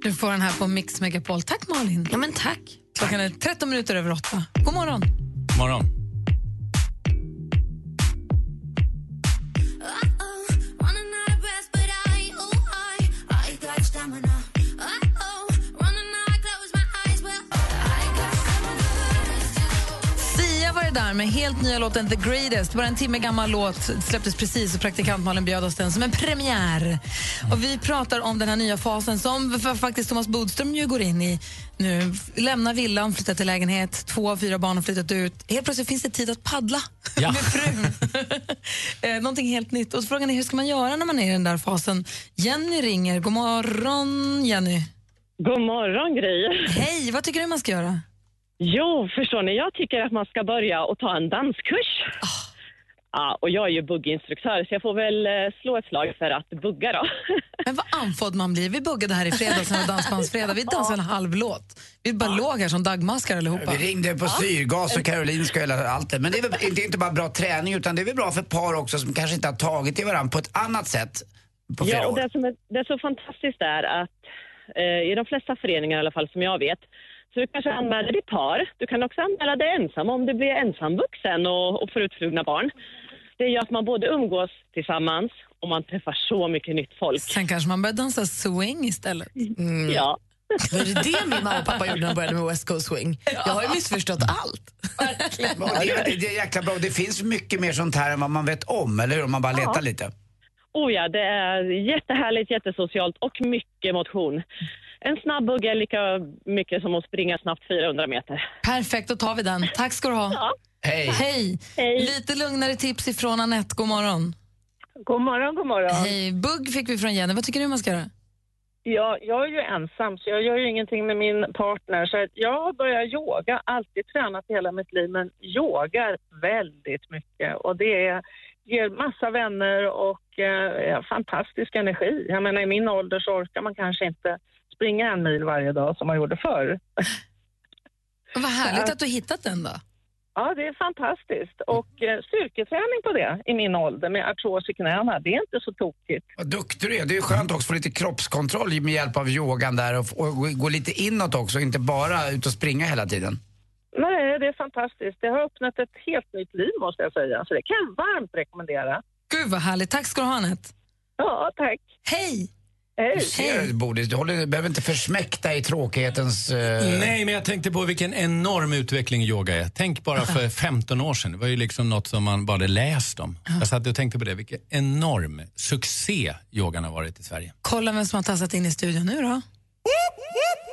B: Du får den här på Mix Megapol. Tack Malin.
C: Ja, men tack.
B: Klockan är 13 minuter över 8. God morgon.
Q: Morgon.
I: Running out of breath, but I, oh, I, I got stamina. Uh-oh, running out, I close my eyes, well, I got stamina.
B: Sia var det där med helt nya låten The Greatest. Bara en timme gammal låt släpptes precis och praktikant Malin bjöd oss den som en premiär. Och vi pratar om den här nya fasen som f- faktiskt Thomas Bodström ju går in i nu. Lämnar villan, flyttar till lägenhet, två av fyra barn har flyttat ut. Helt plötsligt finns det tid att paddla
Q: Ja.
B: med frun. eh, någonting helt nytt. Och så frågan är hur ska man göra när man är i den där fasen? Jenny ringer. God morgon, Jenny.
J: God morgon, Gry.
B: Hej, vad tycker du man ska göra?
J: Jo, förstår ni, jag tycker att man ska börja och ta en danskurs.
D: Ah.
J: Ja, och jag är ju bugginstruktör, så jag får väl eh, slå ett slag för att bugga då.
B: Men vad anfådd man blir. Vi buggade här i fredags, när det var dansbandsfredag. Vi dansade en halv låt. Vi bara låg här som dagmaskar allihopa.
D: Vi ringde på syrgas och Karolinska och hela allt det. Men det är, väl, det är inte bara bra träning utan det är väl bra för par också som kanske inte har tagit i varandra på ett annat sätt på flera
J: Ja, och
D: år.
J: det som är, det är så fantastiskt är att eh, i de flesta föreningar i alla fall som jag vet, så du kanske anmäler dig par. Du kan också anmäla dig ensam om du blir ensamvuxen och, och får utflugna barn. Det gör att man både umgås tillsammans och man träffar så mycket nytt folk.
B: Sen kanske man börjar dansa swing istället. Mm.
J: Ja.
C: Var det det min mamma och pappa gjorde när de började med West Coast Swing? Jag har ju missförstått allt.
D: Och det, är- det är jäkla bra. Det finns mycket mer sånt här än vad man vet om, eller hur? Om man bara letar
J: Ja.
D: lite.
J: Oh ja, det är jättehärligt, jättesocialt och mycket motion. En snabb bugg är lika mycket som att springa snabbt 400 meter.
B: Perfekt, då tar vi den. Tack ska du ha.
J: Hej.
B: Hej. Lite lugnare tips ifrån Anette. God morgon.
P: God morgon, god morgon.
B: Hej. Bugg fick vi från Jenny. Vad tycker du man ska göra?
P: Ja, jag är ju ensam, så jag gör ju ingenting med min partner. Så att jag börjar yoga, alltid tränat hela mitt liv, men yogar väldigt mycket. Och det är, ger massa vänner och eh, fantastisk energi. Jag menar, i min ålder så orkar man kanske inte springa en mil varje dag som man gjorde förr.
B: Vad härligt att du har hittat den då.
P: Ja, det är fantastiskt. Och eh, styrketräning på det i min ålder med artros i knäna, det är inte så tokigt.
D: Vad duktig du är. Det är skönt också att få lite kroppskontroll med hjälp av yogan där och, och gå- gå lite inåt också, inte bara ut och springa hela tiden.
P: Nej, det är fantastiskt. Det har öppnat ett helt nytt liv måste jag säga. Så det kan jag varmt rekommendera.
B: Gud vad härligt. Tack ska du ha Anette.
P: Ja, tack.
B: Hej!
P: Hej!
D: Du ser, du, Bodis, du, håller, du behöver inte försmäkta i tråkighetens... eh,
Q: Nej, men jag tänkte på vilken enorm utveckling yoga är. Tänk bara för 15 år sedan. Det var ju liksom något som man bara hade läst om. Jag satt och tänkte på det. Vilken enorm succé yogan har varit i Sverige.
B: Kolla vem som har tassat in i studion nu då.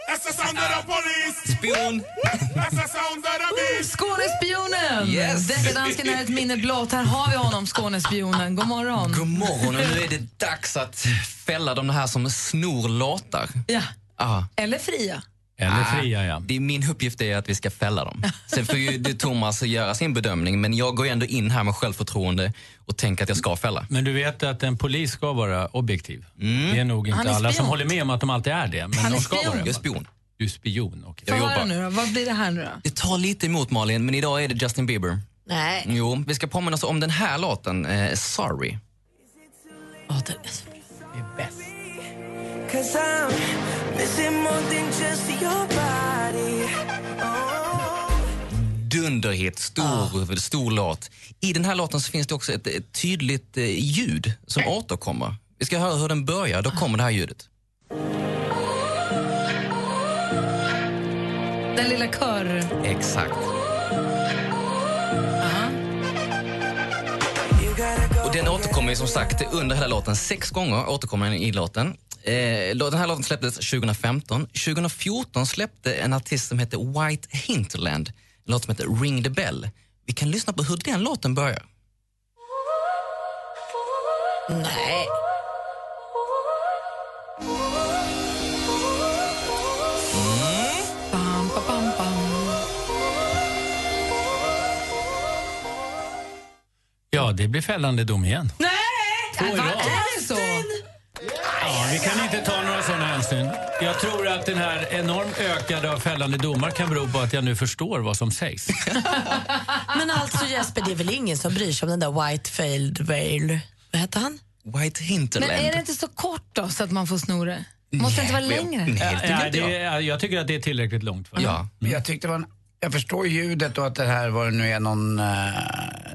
M: That's the sound of the police.
Q: Spion.
M: That's the sound of the beast.
B: Skånespionen!
M: Yes.
B: Deckardansken är ett minne blott. Här har vi honom, Skånespionen. God morgon.
K: God morgon och nu är det dags att fälla de här som snor låtar.
B: Ja.
K: Ah.
B: Eller Fria.
K: Eller fria, ja. Det är min uppgift är att vi ska fälla dem. Sen får ju det Thomas göra sin bedömning, men jag går ju ändå in här med självförtroende och tänker att jag ska fälla.
Q: Men du vet att en polis ska vara objektiv. Det är nog
K: Mm. Han
Q: inte
K: är
Q: alla som
K: spion.
Q: håller med om att de alltid är det. Men
K: Han
Q: de
K: är
Q: ska
K: spion.
Q: Vara det.
K: Jag är spion.
Q: Du är spion, okej.
B: Få höra nu då. Vad blir det här nu då?
K: Det tar lite emot Malin, men idag är det Justin Bieber.
C: Nej.
K: Jo, vi ska påminna oss om den här låten, eh, Sorry.
M: Cause I'm missing more than just your body.
K: dunderhit, stor, stor låt. I den här låten så finns det också ett, ett tydligt eh, ljud som återkommer. Vi ska höra hur den börjar, då kommer det här ljudet.
B: Den lilla kör...
K: Exakt. Och den återkommer ju som sagt under hela låten. Sex gånger återkommer den i låten. Eh, lå- den här låten släpptes 2015. 2014 släppte en artist som hette White Hinterland en låt som heter Ring the Bell. Vi kan lyssna på hur den låten börjar.
C: Nej.
B: Bam, ba, bam, bam.
Q: Ja, det blir fällande dom igen.
B: Nej!
Q: Två i
B: Vad
Q: rad.
B: är det så?
Q: Ja, vi kan inte ta några sådana hänsyn. Jag tror att den här enormt ökade av fällande domar kan bero på att jag nu förstår vad som sägs.
C: Men alltså Jesper, det är väl ingen som bryr sig om den där White Failed Veil? Vad hette han?
K: White
B: Men
K: Hinterland.
B: är det inte så kort då, så att man får sno det? Måste det inte vara längre?
Q: Ja, det, är- jag tycker att det är tillräckligt långt. För.
D: Ja. Men jag tyckte det var en, jag förstår ljudet och att det här var det nu är någon eh,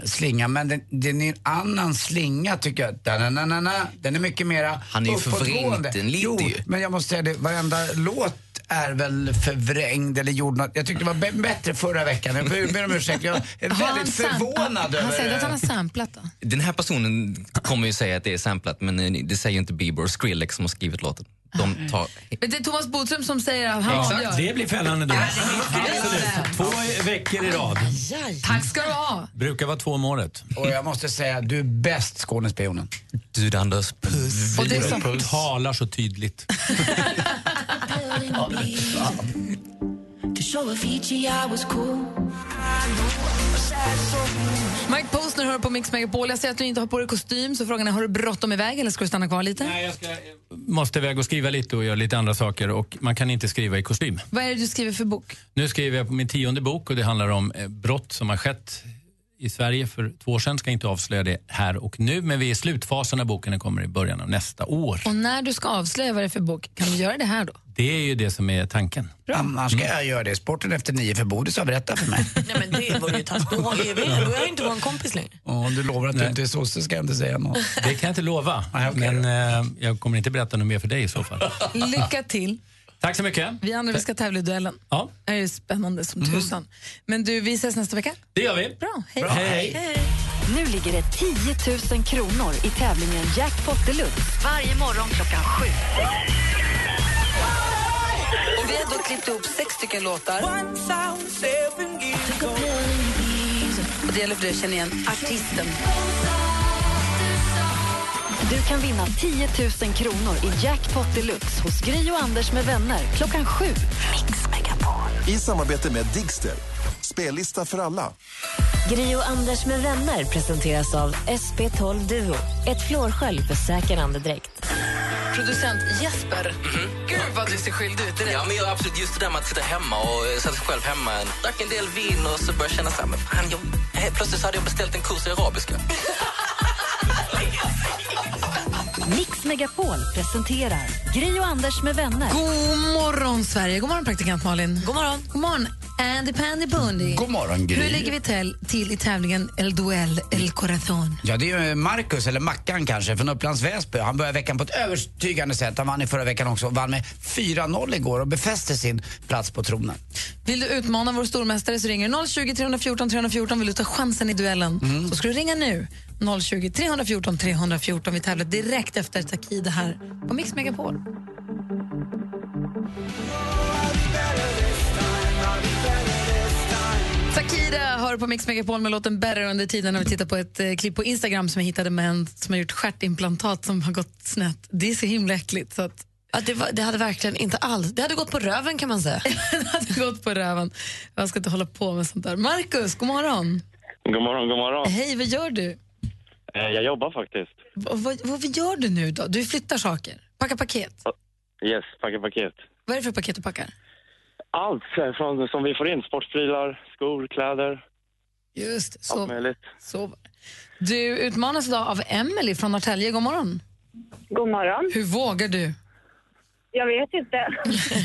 D: slinga, men den, den är en annan slinga tycker jag. Da-na-na-na-na. Den är mycket mera
K: Han är ju
D: uppåtgående.
K: förvrängt, den lite
D: Jo,
K: ju.
D: men jag måste säga det, varenda låt är väl förvrängd eller gjord något. Jag tyckte det var b- bättre förra veckan. Jag ber ber om ursäkt. Jag är
B: Har han
D: väldigt
B: sam-
D: förvånad
B: Han säger
D: över...
B: att han har samplat då.
K: Den här personen kommer ju säga att det är samplat men eh, det säger inte Bieber och Skrillex som har skrivit låten. De tar...
B: Men det är Thomas Bodström som säger att han avgör.
K: Exakt.
Q: Det blir fällande dom. Absolut. Två veckor i rad.
B: Tack ska du ha.
Q: Brukar vara två om året.
D: Och jag måste säga, du är bäst Skånespionen.
Q: Du Anders, puss.
B: Och det är så-
Q: puss. talar så tydligt.
M: To show a Fiji I was cool.
B: Mike Postner hör på Mix Megapol. Jag ser att du inte har på dig kostym, så frågan är har du bråttom iväg eller ska du stanna kvar lite? Nej,
Q: jag ska... Måste iväg och skriva lite och göra lite andra saker och man kan inte skriva i kostym.
B: Vad är det du skriver för bok?
Q: Nu skriver jag på min tionde bok och det handlar om eh, brott som har skett i Sverige för två år sedan. Ska inte avslöja det här och nu, men vi är i slutfasen när boken kommer i början av nästa år.
B: Och när du ska avslöja vad det är för bok, kan du göra det här då?
Q: Det är ju det som är tanken. Mm.
D: Annars ska jag göra det. Sporten efter nio för Bodis har berättat för mig.
C: Nej, men det vore ju taskigt. Då har vi- då är jag inte vår kompis längre.
D: Om du lovar att du inte är sosse ska jag inte säga något.
Q: Det kan jag inte lova, men eh, jag kommer inte berätta något mer för dig i så fall.
B: Lycka till.
Q: Tack så mycket.
B: Vi andra vi ska tävla i duellen.
Q: Ja.
B: Det är spännande som tusan. Men du, vi ses nästa vecka.
Q: Det gör vi.
B: Bra, hej.
Q: Bra, hej.
A: Nu ligger det 10 000 kronor i tävlingen Jackpot Deluxe. Varje morgon klockan sju.
M: Och vi har då klippt ihop sex stycken låtar.
A: Och det gäller för dig att känna igen artisten. Du kan vinna 10 000 kronor i Jackpot Deluxe hos Gry och Anders med vänner klockan sju.
G: I samarbete med Digster. Spellista för alla.
H: Gri och Anders med vänner presenteras av SP12 Duo. Ett fluorskölj för säker andedräkt.
C: Producent Jesper.
K: Gud vad du ser skyldig ut Mhm. Ja, men jag, absolut. Just det där med att sitta hemma och eh, sätta sig själv hemma. Drack en del vin och så började jag känna så här, men fan, jag, eh, plötsligt så hade jag beställt en kurs i arabiska.
A: Mix Megapol presenterar Gri och Anders med vänner.
B: God morgon, Sverige. God morgon, praktikant Malin. God morgon. God morgon, Andy Pandy Bundy. God
D: morgon, Gry.
B: Hur ligger vi till, till i tävlingen El Duell El Corazon?
D: Ja, det är ju eh, Marcus, eller Mackan kanske, från Upplands Väsby. Han börjar veckan på ett övertygande sätt. Han vann i förra veckan också. Vann med 4-0 igår och befäste sin plats på tronen.
B: Vill du utmana vår stormästare så ringer du 020 314 314. Vill du ta chansen i duellen så ska du ringa nu. 020 314 314. Vi tävlar direkt efter Takida här på Mix Megapol. Takida hör på Mix Megapol med låten Better under tiden när vi tittar på ett eh, klipp på Instagram som jag hittade med en som har gjort stjärtimplantat som har gått snett. Det är så himla äckligt. Så att...
C: det, var, det hade verkligen inte alls... Det hade gått på röven kan man säga.
B: det hade gått på röven. Jag ska inte hålla på med sånt där. Markus, god morgon.
R: God morgon, god morgon.
B: Hej, vad gör du?
R: Eh, Jag jobbar faktiskt.
B: Vad, vad, vad gör du nu då? Du flyttar saker, packar paket.
R: Yes, packar paket.
B: Vad är det för paket du packar?
R: Allt eh, från, som vi får in. Sportprylar, skor, kläder.
B: Just det,
R: Allt
B: så,
R: möjligt.
B: så. var det. Du utmanas idag av Emily från Norrtälje. God morgon.
O: God morgon.
B: Hur vågar du?
O: Jag vet inte.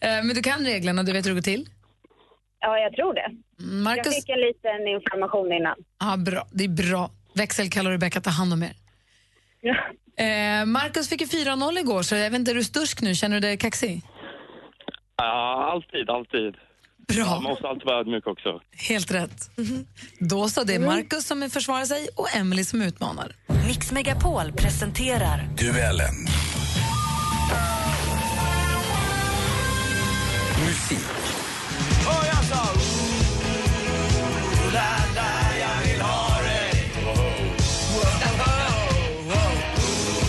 B: Eh, Men du kan reglerna, du vet hur det går till?
O: Ja, jag tror det. Jag
B: Marcus,
O: fick en liten information innan.
B: ja, bra. det är bra. Växelkalla och Rebecka ta hand om er. Eh, Marcus fick ju 4-0 igår, så jag vet inte, är du stursk nu? Känner du dig kaxig?
R: Ja, alltid, alltid.
B: Bra.
R: Man måste alltid vara ödmjuk också.
B: Helt rätt.
O: Mhm.
B: Då så, det
O: Mm.
B: är Marcus som försvarar sig och Emily som utmanar.
A: Mix Megapol presenterar
G: Duellen.
M: Musik. Och jag sa
W: alltså.
M: ooh, la, la, jag vill ha dig. Wow, wow,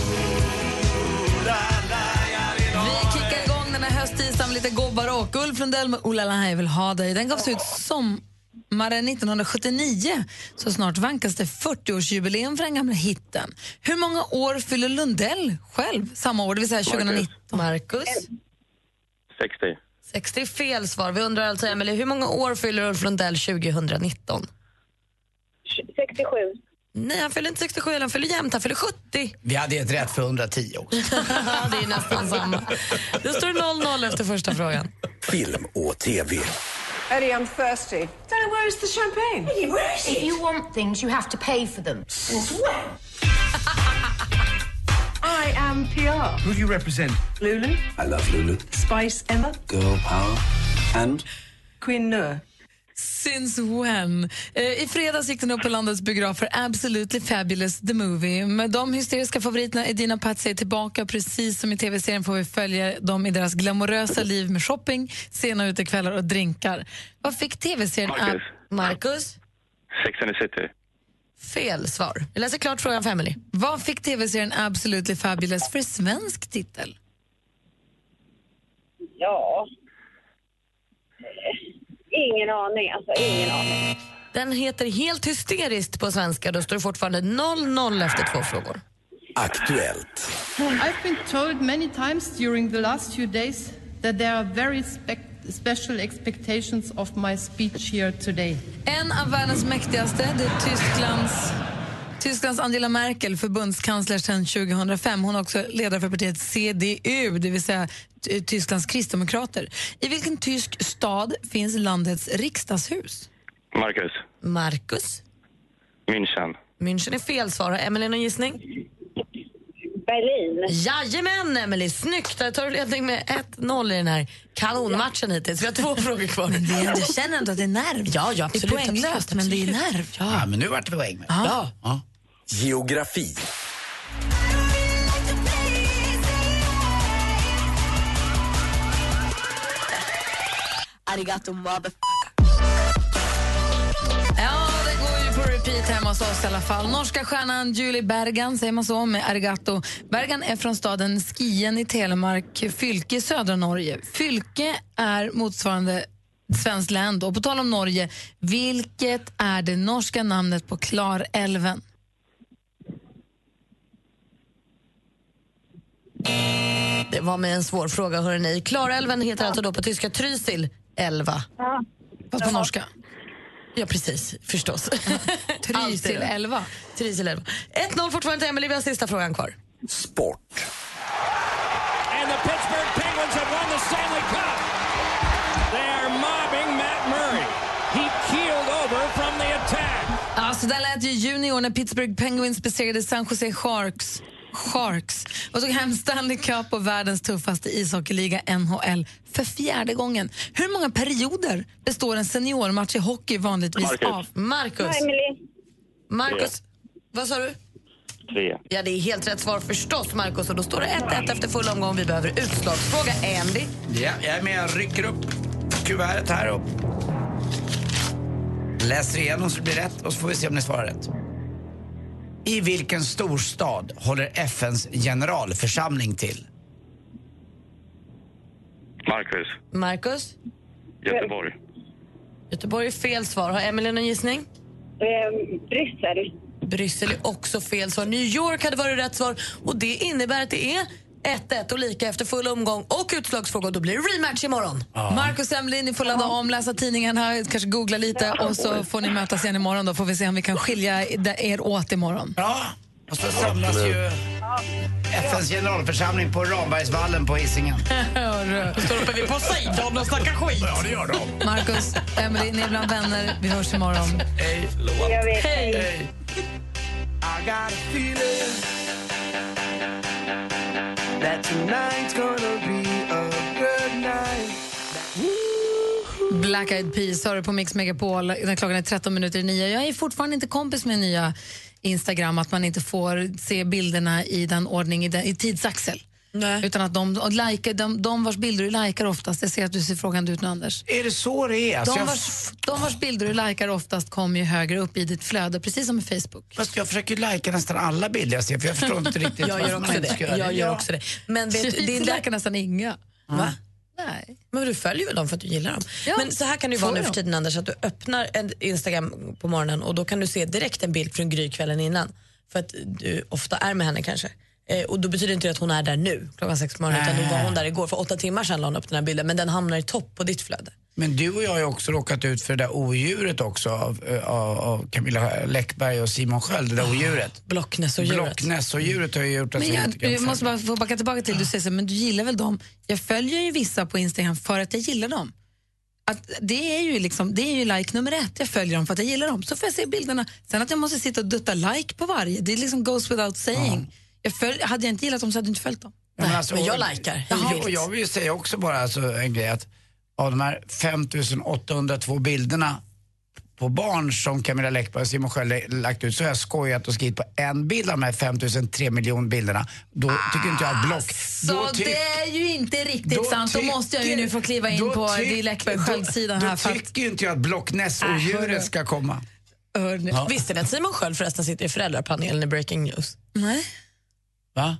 M: ooh, la, la, jag vill ha
B: Vi kickar igång den här hösttisdagen med lite gobbar och Ulf Lundell med Oh la la, jag vill ha dig. Den gavs ut sommaren 1979, så snart vankas det 40-årsjubileum för den gamla hitten. Hur många år fyller Lundell själv samma år, det vill säga 2019?
C: Marcus?
R: 60.
C: 60 fel svar. Vi undrar alltså, Emily, hur många år fyller Ulf Lundell 2019?
O: 67.
C: Nej, han fyller inte 67, han fyller jämnt. Han fyller 70.
D: Vi hade ett rätt för 110 också.
C: det är nästan samma. Det står 0-0 efter första frågan.
G: Film och TV.
L: Eddie, Oh. I'm thirsty. Daddy, where is the champagne? Eddie, where is it?
N: If you want things, you have to pay for them. Since when?
L: I
N: I am PR.
W: Who do you represent?
N: Lulu,
W: I love Lulu.
N: Spice Emma,
W: Girl power. And?
N: Queen Noor.
B: Since when? Eh, I fredags gick den upp på landets biografer Absolutely Fabulous The Movie. Med de hysteriska favoriterna Edina Patsy är tillbaka. Precis som i tv-serien får vi följa dem i deras glamorösa liv med shopping, sena utekvällar och drinkar. Vad fick tv-serien...
R: Marcus.
B: Ab- Marcus?
R: Sex and the City.
B: Fel svar. Jag läser klart frågan för Emily. Vad fick tv-serien Absolutely Fabulous för svensk titel?
N: Ja. Ingen aning, alltså. Ingen aning.
C: Den heter Helt hysteriskt på svenska. Då står det fortfarande 0-0 efter två frågor.
W: Aktuellt.
X: I've been told many times during the last few days that there are very spec- special expectations of my speech here today.
B: En av världens mäktigaste, det är Tysklands, Tysklands Angela Merkel, förbundskansler sedan 2005. Hon är också ledare för partiet CDU, det vill säga Ty- Tysklands kristdemokrater. I vilken tysk stad finns landets riksdagshus?
R: Marcus.
C: Marcus.
R: München.
C: München är fel svar. Har Emelie någon gissning? Berlin. Jajamän, Emelie. Snyggt! Där tar du ledning med 1-0 i den här kanonmatchen hittills. Vi har två frågor kvar. Men
B: det är- jag känner ändå att det är nerv.
C: Ja, ja, absolut.
B: det är poänglöst, men det är nerv.
D: Ja. men nu vart det poäng med.
B: Ja.
W: Geografi.
C: Arigato motherfucker. Ja,
B: det går ju på repeat hemma hos oss i alla fall. Norska stjärnan Julie Bergan, säger man så, med Arigato. Bergan är från staden Skien i Telemark fylke i södra Norge. Fylke är motsvarande svenskt län då. På tal om Norge, vilket är det norska namnet på Klarälven?
C: Det var med en svår fråga, hörrni. Klarälven heter alltså då på tyska Trysil elva. Fast på norska. Ja, precis. Förstås.
B: Trysil elva.
C: Trysil elva. 1-0 fortfarande till Emelie. Vi har sista frågan kvar.
W: Sport.
X: And the Pittsburgh Penguins have won the Stanley Cup. They are mobbing Matt Murray. He keeled over from the attack.
B: Ja, så där lät ju junior när Pittsburgh Penguins besegrade San Jose Sharks, Sharks och tog hem Stanley Cup och världens tuffaste ishockeyliga NHL för fjärde gången. Hur många perioder består en seniormatch i hockey vanligtvis
C: Marcus.
B: av? Marcus.
C: Ja, Marcus,
B: Ja.
C: vad sa du?
R: Tre.
C: Ja, det är helt rätt svar förstås, Marcus. Och då står det 1-1 efter full omgång. Vi behöver utslagsfråga. Andy.
D: Ja, jag är med. Jag rycker upp kuvertet här och läser igenom så det blir rätt och så får vi se om ni svarar rätt. I vilken storstad håller FNs generalförsamling till?
R: Marcus.
C: Marcus,
R: Göteborg.
C: Göteborg är fel svar. Har Emelie någon gissning? Bryssel. Bryssel är också fel svar. New York hade varit rätt svar. Och Det innebär att det är 1-1 och lika efter full omgång och utslagsfråga. Då blir det rematch imorgon.
B: Ja. Marcus Emlin, ni får ladda om, läsa tidningen här, kanske googla lite och så får ni mötas igen imorgon då får vi se om vi kan skilja er åt imorgon.
D: Ja, och så samlas ju FNs generalförsamling på Rambergsvallen på Hisingen.
B: Hörru.
C: Står uppe vid Poseidon och snackar skit.
D: Ja, det gör de.
B: Marcus, Emily, ni är bland vänner. Vi hörs imorgon.
D: Hej.
B: Jag vet. Hej.
M: I got a feeling that tonight's gonna be a good night.
B: Black Eyed Peas har du på Mix Megapol när klockan är 13 minuter i nio. Jag är fortfarande inte kompis med nya Instagram, att man inte får se bilderna i den ordning, i, den, i tidsaxel. Utan att de, och like, de, de vars bilder du likar oftast, jag ser att du ser frågande ut nu Anders.
D: Är det så det är? Alltså,
B: De
D: jag,
B: vars, de vars bilder du likar oftast kommer ju högre upp i ditt flöde, precis som i Facebook.
D: fast jag försöker ju lajka nästan alla bilder jag ser för jag förstår inte riktigt
C: Jag
D: varför
C: gör
D: man
C: också
D: inte
C: det.
D: ska göra
C: Jag
D: Ja.
C: gör också det. Men vet du, det är
B: Vi likar nästan inga.
C: Va?
B: Nej.
C: Men du följer väl dem för att du gillar dem?
B: Ja,
C: Men så här kan det ju
B: får
C: vara nu
B: jag
C: för
B: dem.
C: tiden Anders, att du öppnar en Instagram på morgonen och då kan du se direkt en bild från Gry kvällen innan. För att du ofta är med henne kanske. Eh, och då betyder inte det att hon är där nu klockan sex på morgonen utan då var hon där igår. För åtta timmar sedan la hon upp den här bilden men den hamnar i topp på ditt flöde.
D: Men du och jag har ju också råkat ut för det där odjuret också av, eh, av, av Camilla Läckberg och Simon Sköld, det där odjuret.
C: Blocknäsodjuret.
D: Blocknäsodjuret har ju gjort att
B: Ah, Men
D: vi
B: jag,
D: inte kan
B: jag måste
D: följa.
B: bara få backa tillbaka till, du säger så, här, men du gillar väl dem? Jag följer ju vissa på Instagram för att jag gillar dem. Att det, är ju liksom, det är ju like nummer ett, jag följer dem för att jag gillar dem. Så får jag se bilderna. Sen att jag måste sitta och dutta like på varje, det liksom goes without saying. Jag följ, hade jag inte gillat dem så hade jag inte följt dem.
D: Ja,
B: men
D: och-
B: jag likar.
D: alltså, och Jag, och jag vill ju säga också bara alltså, en grej att av de här 5802 bilderna på barn som Camilla Läckberg och Simon Sköld lagt ut så har jag skojat och skrivit på en bild av de här 5003 miljoner bilderna. Då tycker inte jag att block...
B: Så
D: då ty-
B: det är ju inte riktigt sant. Då måste jag ju nu få kliva in
D: då
B: på
D: ty-
B: Di Läckberg-sidan
D: då-
B: här.
D: Då
B: För att, Äh,
D: tycker ju inte jag att Blocknäs-odjuret ska komma.
B: Hörni.
D: Ja.
C: Visste ni att Simon Sköld förresten sitter i föräldrapanelen i Breaking News?
B: Nej.
D: Va?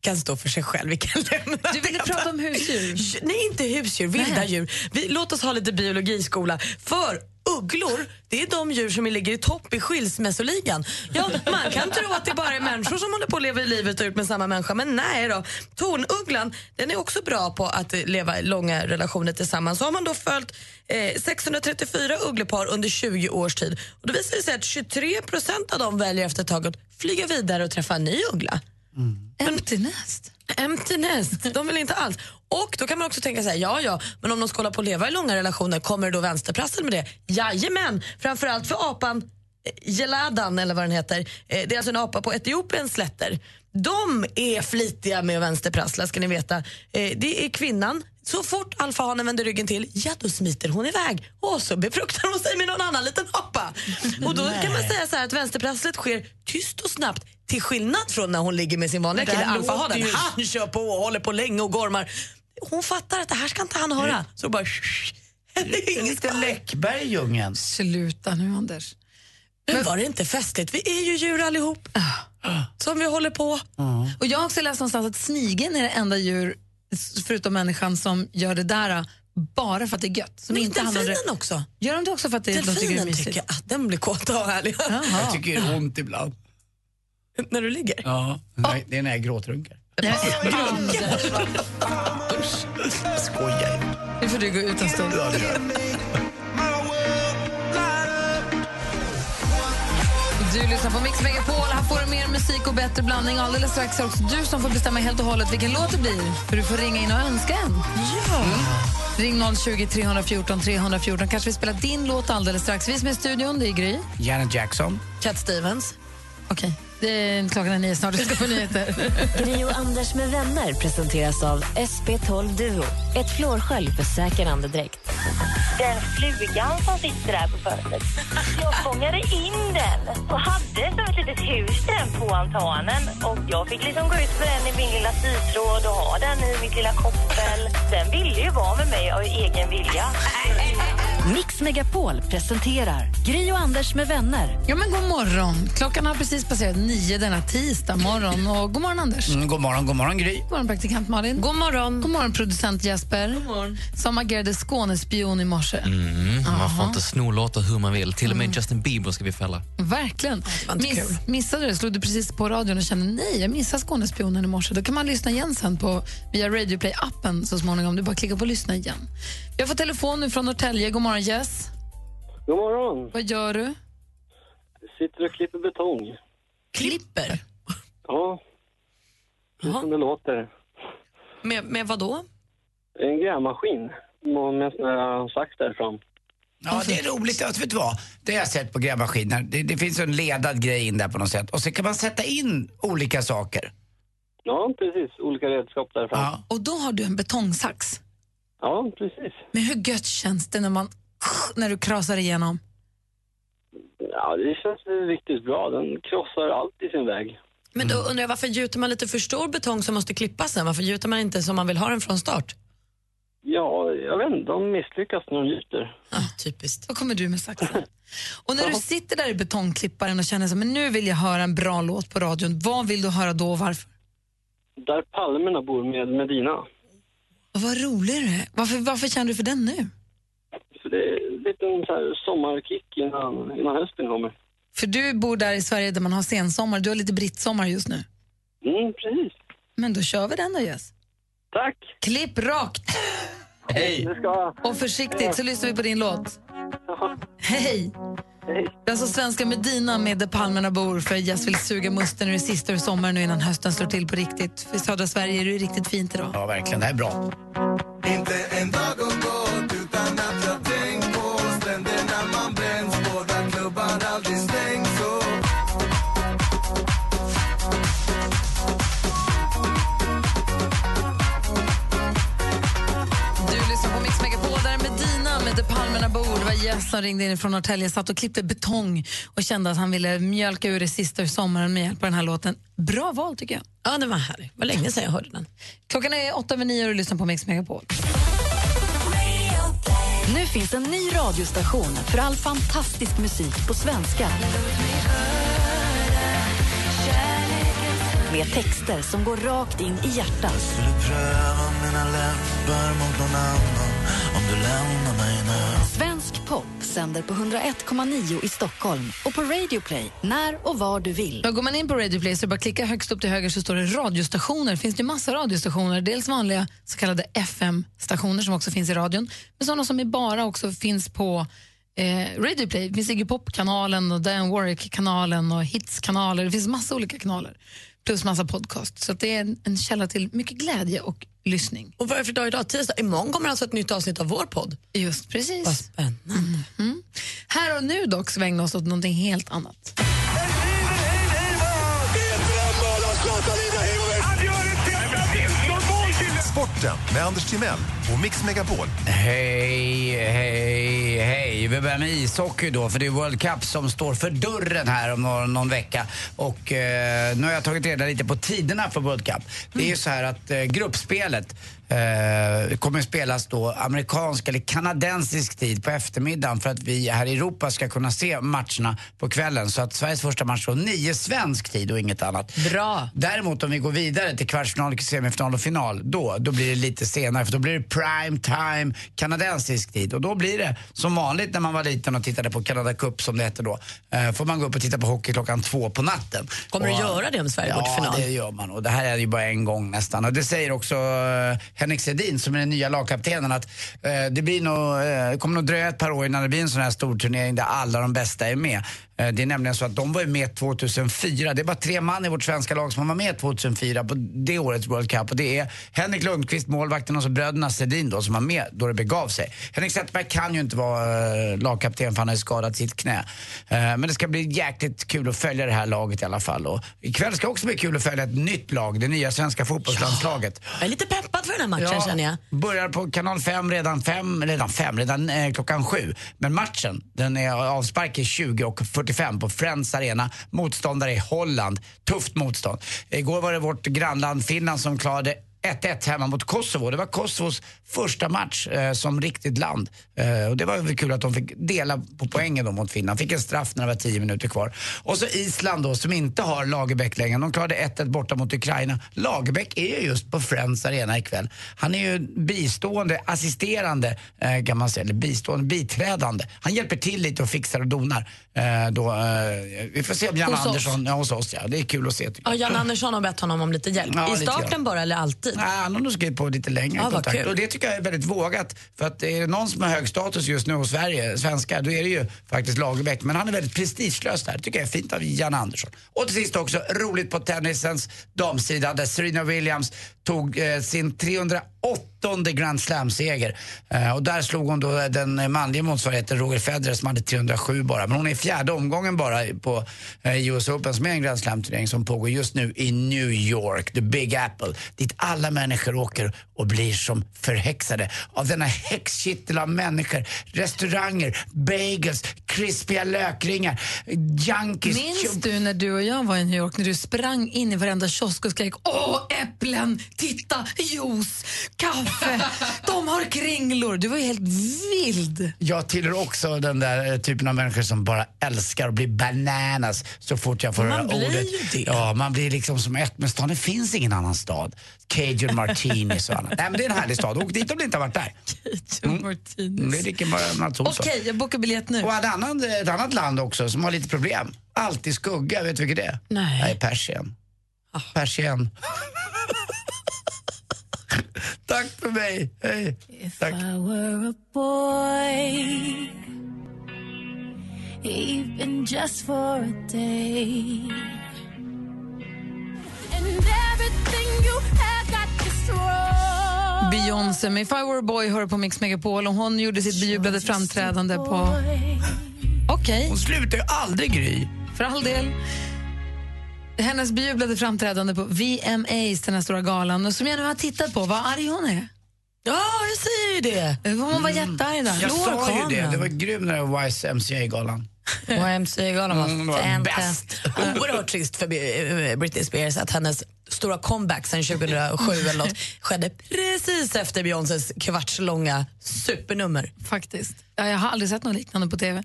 C: Kan stå för sig själv. Vi kan lämna
B: Du ville prata om husdjur?
C: Nej, inte husdjur. Vilda djur. Vi, låt oss ha lite biologiskola. För ugglor, det är de djur som ligger i topp i skilsmässoligan. Ja, man kan tro att det bara är människor som håller på att leva i livet och ut med samma människa, men nej då. Tornugglan, den är också bra på att eh, leva i långa relationer tillsammans. Så har man då följt eh, 634 ugglepar under 20 års tid. Och då visar det sig att 23 procent av dem väljer efter ett tag att flyga vidare och träffa en ny uggla.
B: Empty nest.
C: Empty nest. De vill inte alls. Och då kan man också tänka så här, ja ja, men om de ska hålla på och leva i långa relationer, kommer då vänsterprassen med det? Jajamän, framförallt för apan eh, Geladan eller vad den heter. Eh, Det är alltså en apa på Etiopiens slätter. De är flitiga med att vänsterprassla ska ni veta. Eh, Det är kvinnan. Så fort alfahanen vänder ryggen till, ja då smiter hon iväg och så befruktar hon sig med någon annan liten apa. Och då kan man
B: Nej.
C: säga så här att vänsterprasslet sker tyst och snabbt till skillnad från när hon ligger med sin vanliga
B: Men det
C: kille
B: här
C: alfahanen.
B: låter ju-
C: Han kör på och håller på länge och gormar. Hon fattar att det här ska inte han höra. Så bara... shh, Det är inget läck.
D: Läckberg i djungeln.
B: Sluta nu, Anders.
C: Men var det inte festligt? Vi är ju djur allihop.
B: Ah.
C: Som vi håller på.
B: Och jag har också läst någonstans att snigeln är det enda djur, s- förutom människan, som gör det där ah, bara för att det är gött. Som
C: Men
B: inte handlar om
C: Mm, delfinen
B: det-
C: också.
B: Gör de det också för att det, de tycker det är
C: Delfinen
B: mysigt?
C: tycker att den blir kåt av härliga.
D: Jag tycker det gör ont ibland.
C: När du ligger?
D: Ja, nej, det är när jag gråtrunkar. Skojar.
B: Nu får du gå ut en stund.
D: Ja, det gör jag.
B: Du lyssnar på Mix Megapol. Här får du mer musik och bättre blandning. Alldeles strax är också du som får bestämma helt och hållet vilken låt det blir. För du får ringa in och önska en. Mm.
C: Ja.
B: Ring 020 314 314. Kanske vi spelar din låt alldeles strax. Vi som är i studion, det är Gry.
D: Janet Jackson.
C: Cat Stevens.
B: Okej, det är klockan är nio snart. Du ska få nyheter.
H: Gri och Anders med vänner presenteras av SP12 Duo. Ett flårskölj för säker andedräkt.
E: Den flugan som sitter där på fönstret. Jag fångade in den och hade som ett litet hus den på altanen. Och jag fick liksom gå ut med den i min lilla sytråd och ha den i mitt lilla koppel. Den ville ju vara med mig av egen vilja.
H: Mix Megapol presenterar Gri och Anders med vänner.
B: Ja, men god morgon. Klockan har precis passerat nio denna tisdag morgon. Och god morgon, Anders.
D: Mm, god morgon, god morgon Gry.
B: God morgon, praktikant Malin. God morgon. God morgon, producent Jesper. God morgon. Som agerade Skånespion i morse.
K: Mm, man får
B: Jaha.
K: inte sno låtar hur man vill. Till och med Justin Bieber ska vi fälla.
B: Verkligen.
K: inte
B: Miss, missade du det? Slog du precis på radion och kände nej, jag missade Skånespionen i morse. Då kan man lyssna igen sen på, via Radio Play appen så småningom. Du bara klickar på lyssna igen. Jag får telefon nu från Norrtälje. God morgon Jess.
T: God morgon.
B: Vad gör du?
T: Sitter och klipper betong.
C: Klipper?
T: Ja. Det är som det låter.
C: Med, med vad då?
T: En grävmaskin med med en sån här sax där fram.
D: Ja, det är roligt. Alltså, vet du vad? Det har jag sett på grävmaskiner. Det, det finns en ledad grej in där på något sätt. Och så kan man sätta in olika saker.
T: Ja, precis. Olika redskap där fram. Ja,
B: Och då har du en betongsax.
T: precis.
B: Men hur gött känns det när man när du krasar igenom?
T: Ja, det känns riktigt bra. Den krossar allt i sin väg.
C: Men
D: Mm.
C: då undrar jag varför gjuter man lite för stor betong som måste klippas sen? Varför gjuter man inte som man vill ha den från start?
T: Ja, jag vet inte. De misslyckas när de gjuter.
C: Typiskt.
B: Då kommer du med saxen. Och när du sitter där i betongklipparen och känner så, här, men nu vill jag höra en bra låt på radion. Vad vill du höra då och varför?
T: Där palmerna bor med Medina.
B: Och vad rolig du är. Varför, varför känner du för den nu?
T: Så det är en liten så här sommarkick innan, innan hösten kommer.
B: För du bor där i Sverige där man har sensommar. Du har lite brittsommar just nu.
T: Mm, precis.
B: Men då kör vi den då, Jess.
T: Tack!
B: Klipp rakt!
T: Hej!
B: Och försiktigt så lyssnar vi på din låt. Hej! Det är alltså svenska Medina med Där palmerna bor för Jess vill suga musten ur det sista ur sommaren nu innan hösten slår till på riktigt. För i södra Sverige är det ju riktigt fint idag.
D: Ja, verkligen. Det här är bra.
M: Inte en dag har gått utan att jag tänkt på stränderna man bränns på där klubbar aldrig stängs och
B: andra bord. Det var Jess som ringde in från Norrtälje, satt och klippte betong och kände att han ville mjölka ur det sista ur sommaren med hjälp av den här låten. Bra val tycker jag.
C: Ja, den var härlig. Det var länge sedan jag hörde den.
B: Klockan är åtta över nio och du lyssnar på Mix Megapol.
A: Nu finns en ny radiostation för all fantastisk musik på svenska. Med texter som går rakt in i hjärtat.
M: Pröva mina läppar mot någon annan om du lämnar mig nu
A: Svensk pop sänder på 101,9 i Stockholm och på Radio Play när och var du vill.
B: Då går man in på Radio Play så är det bara att klicka högst upp till höger så står det radiostationer. Det finns ju massa radiostationer, dels vanliga så kallade FM-stationer som också finns i radion, men sådana som är bara också finns på eh, Radio Play. Det finns Iggy Pop-kanalen och Diane Warwick-kanalen och Hits-kanaler. Det finns massa olika kanaler, plus massa podcast. Så att det är en, en källa till mycket glädje och lyssning.
C: Och vad är det för dag idag? Tisdag? Imorgon kommer alltså ett nytt avsnitt av vår podd.
B: Just precis. Vad spännande. Här och nu dock svänger oss åt någonting helt annat.
G: Sporten med Anders Timell och Mix Megapol.
D: Hej, hej, hej. Vi börjar med ishockey då, för det är World Cup som står för dörren här om någon, någon vecka. Och eh, nu har jag tagit reda lite på tiderna för World Cup. Det är ju så här att eh, gruppspelet eh, kommer spelas då amerikansk eller kanadensisk tid på eftermiddagen för att vi här i Europa ska kunna se matcherna på kvällen. Så att Sveriges första match då, nio svensk tid och inget annat.
C: Bra.
D: Däremot om vi går vidare till kvartsfinal, semifinal och final, då, då blir det lite senare för då blir det prime time kanadensisk tid. Och då blir det som vanligt när man var liten och tittade på Canada Cup som det hette då. Eh, får man gå upp och titta på hockey klockan två på natten.
C: Kommer
D: och,
C: du göra det om Sverige
D: ja,
C: går till final?
D: det gör man. Och det här är ju bara en gång nästan. Och det säger också eh, Henrik Sedin som är den nya lagkaptenen att eh, det blir nog, eh, kommer nog dröja ett par år innan det blir en sån här stor turnering där alla de bästa är med. Eh, det är nämligen så att de var ju med 2004. Det är bara tre man i vårt svenska lag som var med 2004 på det årets World Cup. Och det är Henrik Lundqvist, målvakten, och så bröderna Sedin då som var med då det begav sig. Henrik Zetterberg kan ju inte vara eh, lagkapten för han har ju skadat sitt knä. Eh, Men det ska bli jäkligt kul att följa det här laget i alla fall. Och ikväll ska också bli kul att följa ett nytt lag, det nya svenska fotbollslandslaget.
C: Jag är lite peppad för den här matchen känner jag.
D: Börjar på kanal 5 redan fem, redan fem, redan eh, klockan sju. Men matchen, den är avspark i 20 och 45 på Friends Arena. Motståndare är Holland. Tufft motstånd. Igår var det vårt grannland Finland som klarade 1-1 hemma mot Kosovo. Det var Kosovos första match eh, som riktigt land. Eh, och det var väl kul att de fick dela på poängen då mot Finland. Fick en straff när det var 10 minuter kvar. Och så Island då, som inte har Lagerbäck längre. De klarade 1-1 borta mot Ukraina. Lagerbäck är ju just på Friends Arena ikväll. Han är ju bistående, assisterande eh, kan man säga, eller bistående, biträdande. Han hjälper till lite och fixar och donar. Eh, då, eh, vi får se om Jan
C: Hos oss.
D: Andersson, ja, hos oss ja. Det är kul att se tycker
C: Ja,
D: jag.
C: Jan Andersson har bett honom om lite hjälp.
D: Ja,
C: I
D: lite grann.
C: starten bara eller alltid?
D: Nej, han har nog skrivit på lite längre
C: Ja, vad
D: kontrakt.
C: kul.
D: Och det tycker jag är väldigt vågat. För att är det någon som har hög status just nu hos Sverige, svenskar, då är det ju faktiskt Lagerbäck. Men han är väldigt prestigelös där. Det tycker jag är fint av Jan Andersson. Och till sist också, roligt på tennisens damsida där Serena Williams tog eh, sin 308 Grand Slam-seger. Eh, och där slog hon då den eh, manliga motsvarigheten Roger Federer som hade 307 bara. Men hon är i fjärde omgången bara på eh, US Open som är en Grand Slam-turnering som pågår just nu i New York, the Big Apple. Dit alla människor åker och blir som förhäxade av denna häxkittel av människor. Restauranger, bagels, krispiga lökringar, junkies.
B: Minns du när du och jag var i New York när du sprang in i varenda kiosk och skrek Åh, äpplen! Titta! Juice! Kaffe! De har kringlor! Du var ju helt vild.
D: Jag tillhör också den där eh, typen av människor som bara älskar att bli bananas så fort jag får
B: Man
D: höra
B: blir
D: ordet.
B: ju det.
D: Ja, man blir liksom som ett med stan. Det finns ingen annan stad. Cajun martinis och annat. Nej, men det är en härlig stad. Åk dit om ni inte har varit där.
B: Cajun martinis.
D: Mm. Vi dricker bara Mats Olsson.
B: Okej, jag bokar biljett nu.
D: Och ett annat, eh, ett annat land också som har lite problem. Alltid skugga, vet du vilket det är?
B: Nej.
D: Nej, Persien.
B: Ah,
D: Persien. Tack för mig. Hej. Tack.
I: I were a boy, even just for a day. And everything you have got destroyed.
B: Beyoncé med If I Were A Boy hör på Mix Megapol och hon gjorde sitt bejublade framträdande på... Okej.
D: Hon slutar ju aldrig, Gry.
B: För all del. Hennes bejublade framträdande på VMAs, den här stora galan, och som jag nu har tittat på. Vad arg hon är.
C: Ja, jag säger ju det. Hon var jättearg där.
D: Mm. Jag sa ju det, det var grym den där YMCA-galan.
C: YMCA-galan
D: Mm, det
C: var
D: var
C: fint.
D: bäst.
C: Oerhört trist för eh, Britney Spears att hennes stora comeback sen 2007 eller något skedde precis efter Beyoncés kvartslånga supernummer.
B: Faktiskt. Ja, Jag har aldrig sett något liknande på tv.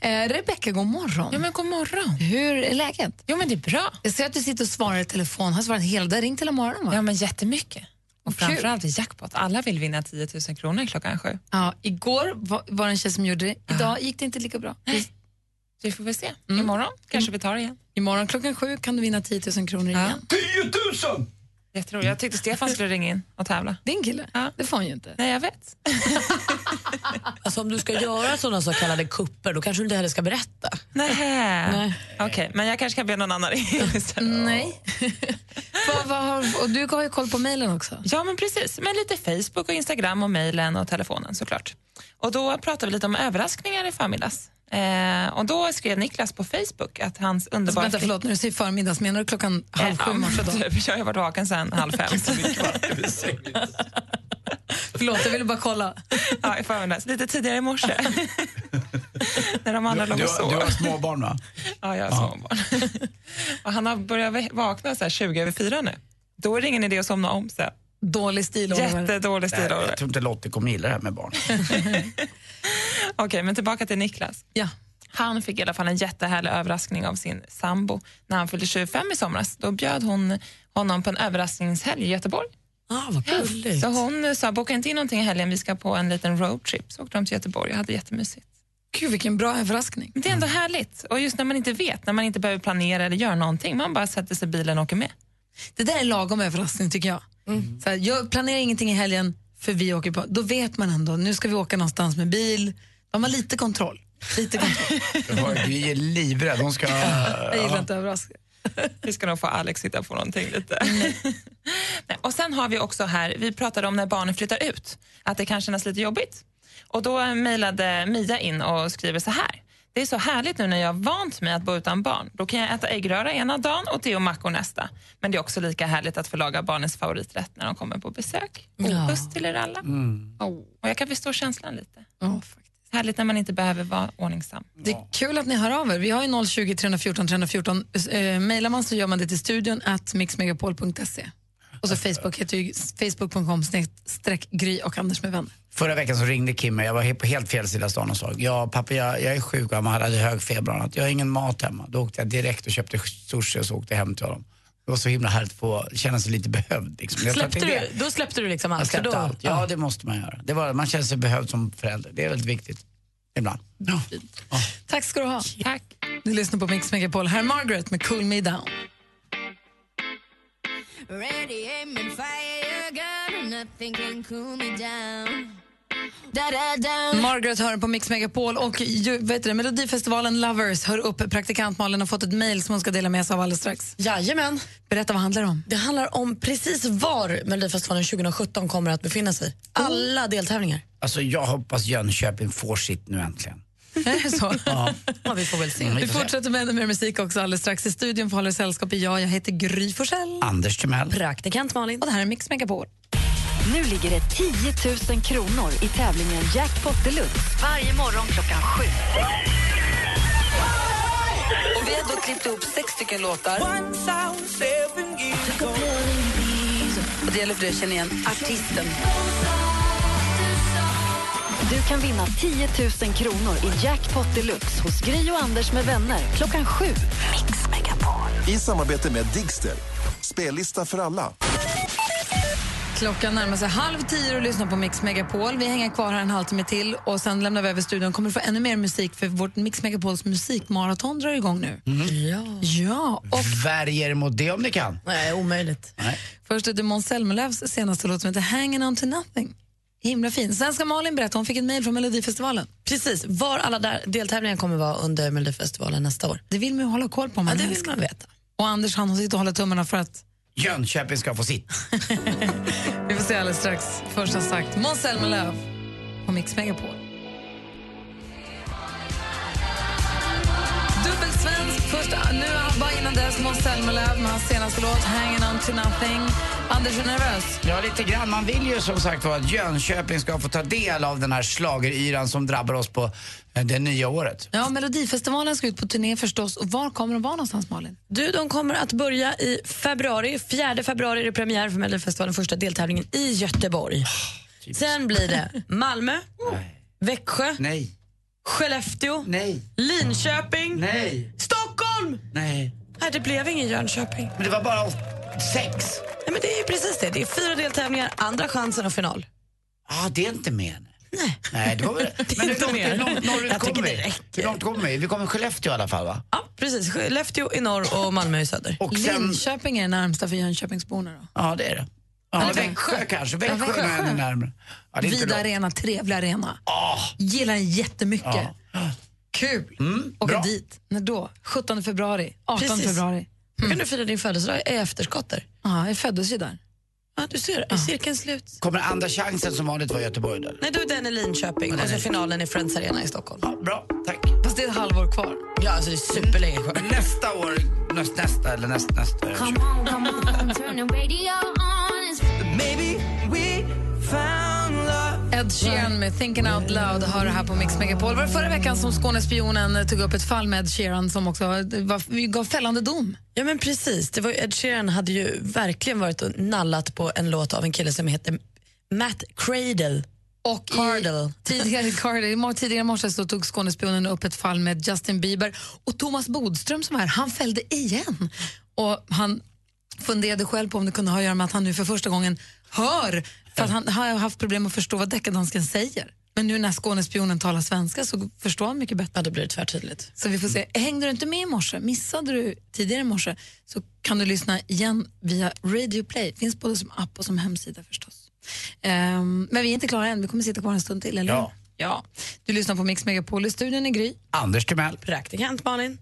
B: Eh, Rebecka, god morgon. Ja, men god morgon. Hur är läget? Jo, men det är bra. Jag ser att du sitter och svarar i telefon. Har svarat hela dagen. Ringt hela morgonen, va? Ja, men jättemycket.
V: Och framförallt är jackpot. Alla vill vinna 10 000 kronor klockan sju.
B: Ja, igår var, var det en tjej som gjorde det. Idag gick det inte lika bra. Mm.
V: Vi får väl se. Imorgon kanske vi tar det igen.
B: Imorgon klockan sju kan du vinna 10 000 kronor igen.
V: 10 000! Jätteroligt. Jag tyckte Stefan skulle ringa in och tävla.
B: Din kille? Det får han ju inte.
V: Nej, jag vet.
C: Alltså om du ska göra sådana så kallade kupper då kanske du inte heller ska berätta.
V: Nej. Okej, men jag kanske kan be någon annan ringa istället.
B: Nej. Vad- vad har- och du har ju koll på mejlen också.
V: Ja, men precis. Men lite Facebook och Instagram och mejlen och telefonen såklart. Och då pratade vi lite om överraskningar i förmiddags. Eh, och då skrev Niklas på Facebook att hans underbara...
B: Vänta, förlåt, när du säger förmiddags, menar du klockan halv sju i morse då?
V: Typ, jag har varit vaken sen halv fem.
B: Förlåt, jag ville bara kolla.
V: ja, i förmiddags. Lite tidigare i morse. När de
D: Du,
V: andra
D: du,
V: låg och sov.
D: du har småbarn va?
V: Ja, jag har småbarn. och han har börjat vä- vakna så här 20 över fyra nu. Då är det ingen idé att somna om sen.
B: Dålig stil, Oliver.
V: Jättedålig stil,
D: Nej,
V: Oliver.
D: Jag tror inte Lottie kommer gilla det här med barn.
V: Okej, men tillbaka till Niklas.
B: Ja.
V: Han fick i alla fall en jättehärlig överraskning av sin sambo när han fyllde 25 i somras. Då bjöd hon honom på en överraskningshelg i Göteborg.
C: Ah, vad gulligt.
V: Så hon sa, boka inte in någonting i helgen, vi ska på en liten roadtrip. Så åkte de till Göteborg och hade jättemysigt.
B: Gud, vilken bra överraskning. Mm.
V: Det är ändå härligt. Och just när man inte vet, när man inte behöver planera eller göra någonting, man bara sätter sig i bilen och åker med.
B: Det där är lagom överraskning tycker jag. Mm. Så här, jag planerar ingenting i helgen för vi åker på, då vet man ändå, nu ska vi åka någonstans med bil. Då har man lite kontroll. Lite kontroll.
D: Vi är livrädd. Hon ska...
B: jag gillar inte överraskningar.
V: Vi ska nog få Alex hitta på någonting lite.
B: Mm.
V: Nej, och sen har vi också här, vi pratade om när barnen flyttar ut, att det kan kännas lite jobbigt. Och då mejlade Mia in och skriver så här. Det är så härligt nu när jag har vant mig att bo utan barn. Då kan jag äta äggröra ena dagen och te och mackor nästa. Men det är också lika härligt att få laga barnens favoriträtt när de kommer på besök.
B: Ja.
V: Puss till er alla.
B: Mm.
V: Och jag kan förstå känslan lite.
B: Ja,
V: Härligt när man inte behöver vara ordningsam.
B: Det är kul att ni hör av er. Vi har ju 020 314 314. Eh, mailar man så gör man det till studion at mixmegapol.se. Och så Facebook heter ju facebook.com streck gry och Anders med vänner.
D: Förra veckan så ringde Kim mig, jag var he- på helt fel sida av stan och sa ja pappa jag, jag är sjuk och han hade hög feber och annat. Jag har ingen mat hemma. Då åkte jag direkt och köpte sushi och så åkte jag hem till honom. Det var så himla härligt att få känna sig lite behövd. Liksom. Jag
C: Släppte
D: tänkte det.
C: du, då släppte du liksom allt?
D: Jag släppte
C: för då,
D: allt. Ja, det måste man göra. Det var, man känner sig behövd som förälder. Det är väldigt viktigt. Ibland.
B: Tack ska du ha.
V: Tack.
B: Du lyssnar på Mix Megapol. Här är Margaret med Cool Me Down.
I: Ready, aim, and fire your gun, and nothing can cool me down. Da da down.
B: Margaret hör på Mix Megapol och ju, vet du, det, Melodifestivalen Lovers hör upp. Praktikant Malin har fått ett mejl som hon ska dela med sig av alldeles strax.
C: Jajamän.
B: Berätta, vad handlar det om?
C: Det handlar om precis var Melodifestivalen 2017 kommer att befinna sig.
B: Oh.
C: Alla deltävlingar.
D: Alltså jag hoppas Jönköping får sitt nu äntligen.
C: Mm,
B: Är det så?
D: Ja.
C: Ja, vi får väl se.
D: Mm, vi
B: Vi
D: får se.
B: fortsätter med ännu mer musik också alldeles strax. I studion för Håller sällskap är jag, jag heter Gry Forssell.
D: Anders Timell.
C: Praktikant Malin.
B: Och det här är Mix Megapol.
A: Nu ligger det 10 000 kronor i tävlingen Jackpot Deluxe. Varje morgon klockan sju.
M: Och vi har då klippt ihop sex stycken låtar.
A: Och det gäller för dig att känna igen artisten. Du kan vinna 10 000 kronor i Jackpot Deluxe hos Gry och Anders med vänner klockan sju. Mix Megapol.
G: I samarbete med Digster. Spellista för alla.
B: Klockan närmar sig halv tio och lyssnar på Mix Megapol. Vi hänger kvar här en halvtimme till och sen lämnar vi över studion. Kommer du få ännu mer musik för vårt Mix Megapols musikmaraton drar igång nu.
D: Mm.
C: Ja.
B: Ja, och
D: Värj er mot det om ni kan.
C: Nej, omöjligt.
B: Först är det Måns Zelmerlöws senaste låt som heter Hanging on to nothing. Himla fin. Sen ska Malin berätta, hon fick ett mejl från Melodifestivalen.
C: Precis, var alla där deltävlingar kommer vara under Melodifestivalen nästa år.
B: Det vill man ju hålla koll på. Man
C: ja, det vill man veta.
B: Och Anders han sitter och håller tummarna för att
D: Jönköping ska få sitt.
B: vi får se alldeles strax. Först som sagt, Måns Zelmerlöw på Mix Megapol. Dubbelsvensk. Först nu ABBA, innan dess Måns Zelmerlöw med hans senaste låt Hanging on to nothing. Anders, är du nervös?
D: Ja, lite grann. Man vill ju som sagt vara att Jönköping ska få ta del av den här schlageryran som drabbar oss på eh, det nya året.
B: Ja, Melodifestivalen ska ut på turné förstås. Och var kommer de vara någonstans, Malin?
C: Du, de kommer att börja i februari. 4 februari är det premiär för Melodifestivalen, första deltävlingen i
D: Ah,
C: Göteborg. Sen blir det Malmö, Växjö,
D: Nej.
C: Skellefteå,
D: Nej.
C: Linköping,
D: Nej.
C: Stockholm!
D: Nej.
C: Nej, det blev ingen Jönköping.
D: Men det var bara sex.
C: Nej, men det är ju precis det. Det är fyra deltävlingar, andra chansen och final.
D: Ja, ah, det är inte mer. Nej. Nej, det var väl...
C: Det är
D: Men hur
C: inte
D: långt,
C: mer.
D: hur långt norrut
C: Jag tycker
D: kommer
C: det
D: vi? Hur långt kommer vi? Vi kommer Skellefteå i alla fall, va?
C: Ja, precis. Skellefteå i norr och Malmö i söder.
D: Och
B: Linköping är det närmsta för Jönköpingsborna. Då.
D: Ja, det är det. Ja,
B: Eller
D: Växjö kanske.
B: Ja,
D: Växjö är ännu närmare. Ja, det är inte
B: Vid
D: långt. Ah,
B: arena, trevlig arena. Gillar den jättemycket. Kul!
D: Mm,
B: Åka
D: bra.
B: dit. När då? 17 februari, 18
C: Precis. Mm.
B: februari.
C: Då kan du fira din födelsedag i efterskott där.
B: Ja, jag föddes ju där.
C: Ja, du ser. Är cirkeln slut?
D: Kommer andra chansen som vanligt vara i Göteborg då?
C: Nej, då är den i Linköping och så finalen i Friends Arena i Stockholm.
D: bra, tack.
B: Fast det är ett halvår kvar.
C: Ja, alltså det är superlänge kvar.
D: Men Mm. nästa år, näst, nästa eller näst, nästa.
I: Come on, come on, turn the radio on. It's Maybe we found love.
B: Ed Sheeran med Thinking Out Loud har det här på Mix Megapol. Var det förra veckan som Skånespionen tog upp ett fall med Ed Sheeran som också var, gav fällande dom?
C: Ja men precis, det var ju, Ed Sheeran hade ju verkligen varit och nallat på en låt av en kille som heter Matt Cradle.
B: Och
C: Cardle.
B: Tidigare, Carl, i mor- tidigare i morse så tog Skånespionen upp ett fall med Justin Bieber och Thomas Bodström som är här, han fällde igen. Och han funderade själv på om det kunde ha att göra med att han nu för första gången hör, för att han har haft problem att förstå vad deckardansken säger. Men nu när Skånespionen talar svenska så förstår han mycket bättre.
C: Ja, då blir det tvärtydligt.
B: Så vi får se. Hängde du inte med i morse, missade du tidigare i morse så kan du lyssna igen via Radio Play. Finns både som app och som hemsida förstås. Ehm, men vi är inte klara än, vi kommer sitta kvar en stund till, eller
D: Ja.
B: ja. Du lyssnar på Mix Megapol i studion i Gry.
D: Anders Timell.
C: Praktikant Malin.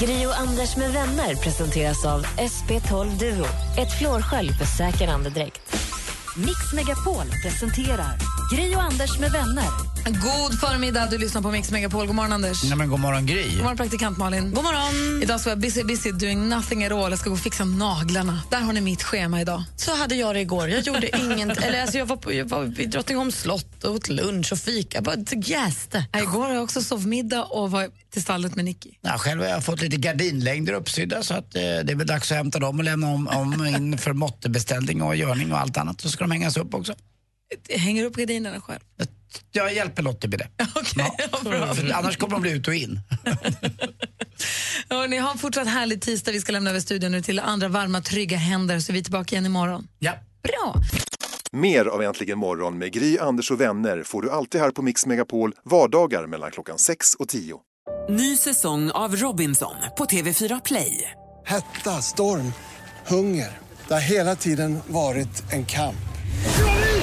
H: Gri och Anders med vänner presenteras av SP12 Duo. Ett flårskölj för säker andedräkt.
A: Mix Megapol presenterar Gri och Anders med vänner.
B: God förmiddag, du lyssnar på Mix Megapol. God morgon Anders.
D: Nej, men god morgon, Gry.
B: God morgon praktikant Malin. God morgon. Idag så är jag busy, busy doing nothing at all. Jag ska gå och fixa naglarna. Där har ni mitt schema idag.
C: Så hade jag det igår. Jag gjorde inget, eller alltså jag var, på, jag var vid Drottningholms slott och åt lunch och fika. Jag bara jäste.
B: Nej, Igår har jag också sovmiddag och var till stallet med Nicky.
D: Ja, själv har jag fått lite gardinlängder uppsydda så att eh, det är väl dags att hämta dem och lämna om, om in för måttebeställning och görning och allt annat. Så ska de hängas upp också.
B: Jag hänger upp gardinerna själv.
D: Jag hjälper Lottie med det. ja, för Annars kommer de bli ut och in.
B: Hörrni, ha en fortsatt härlig tisdag. Vi ska lämna över studion nu till andra varma, trygga händer så vi är tillbaka igen imorgon.
D: Ja.
B: Bra!
F: Mer av Äntligen morgon med Gry, Anders och vänner får du alltid här på Mix Megapol vardagar mellan klockan 6 och 10.
J: Ny säsong av Robinson på TV4 Play.
S: Hetta, storm, hunger. Det har hela tiden varit en kamp.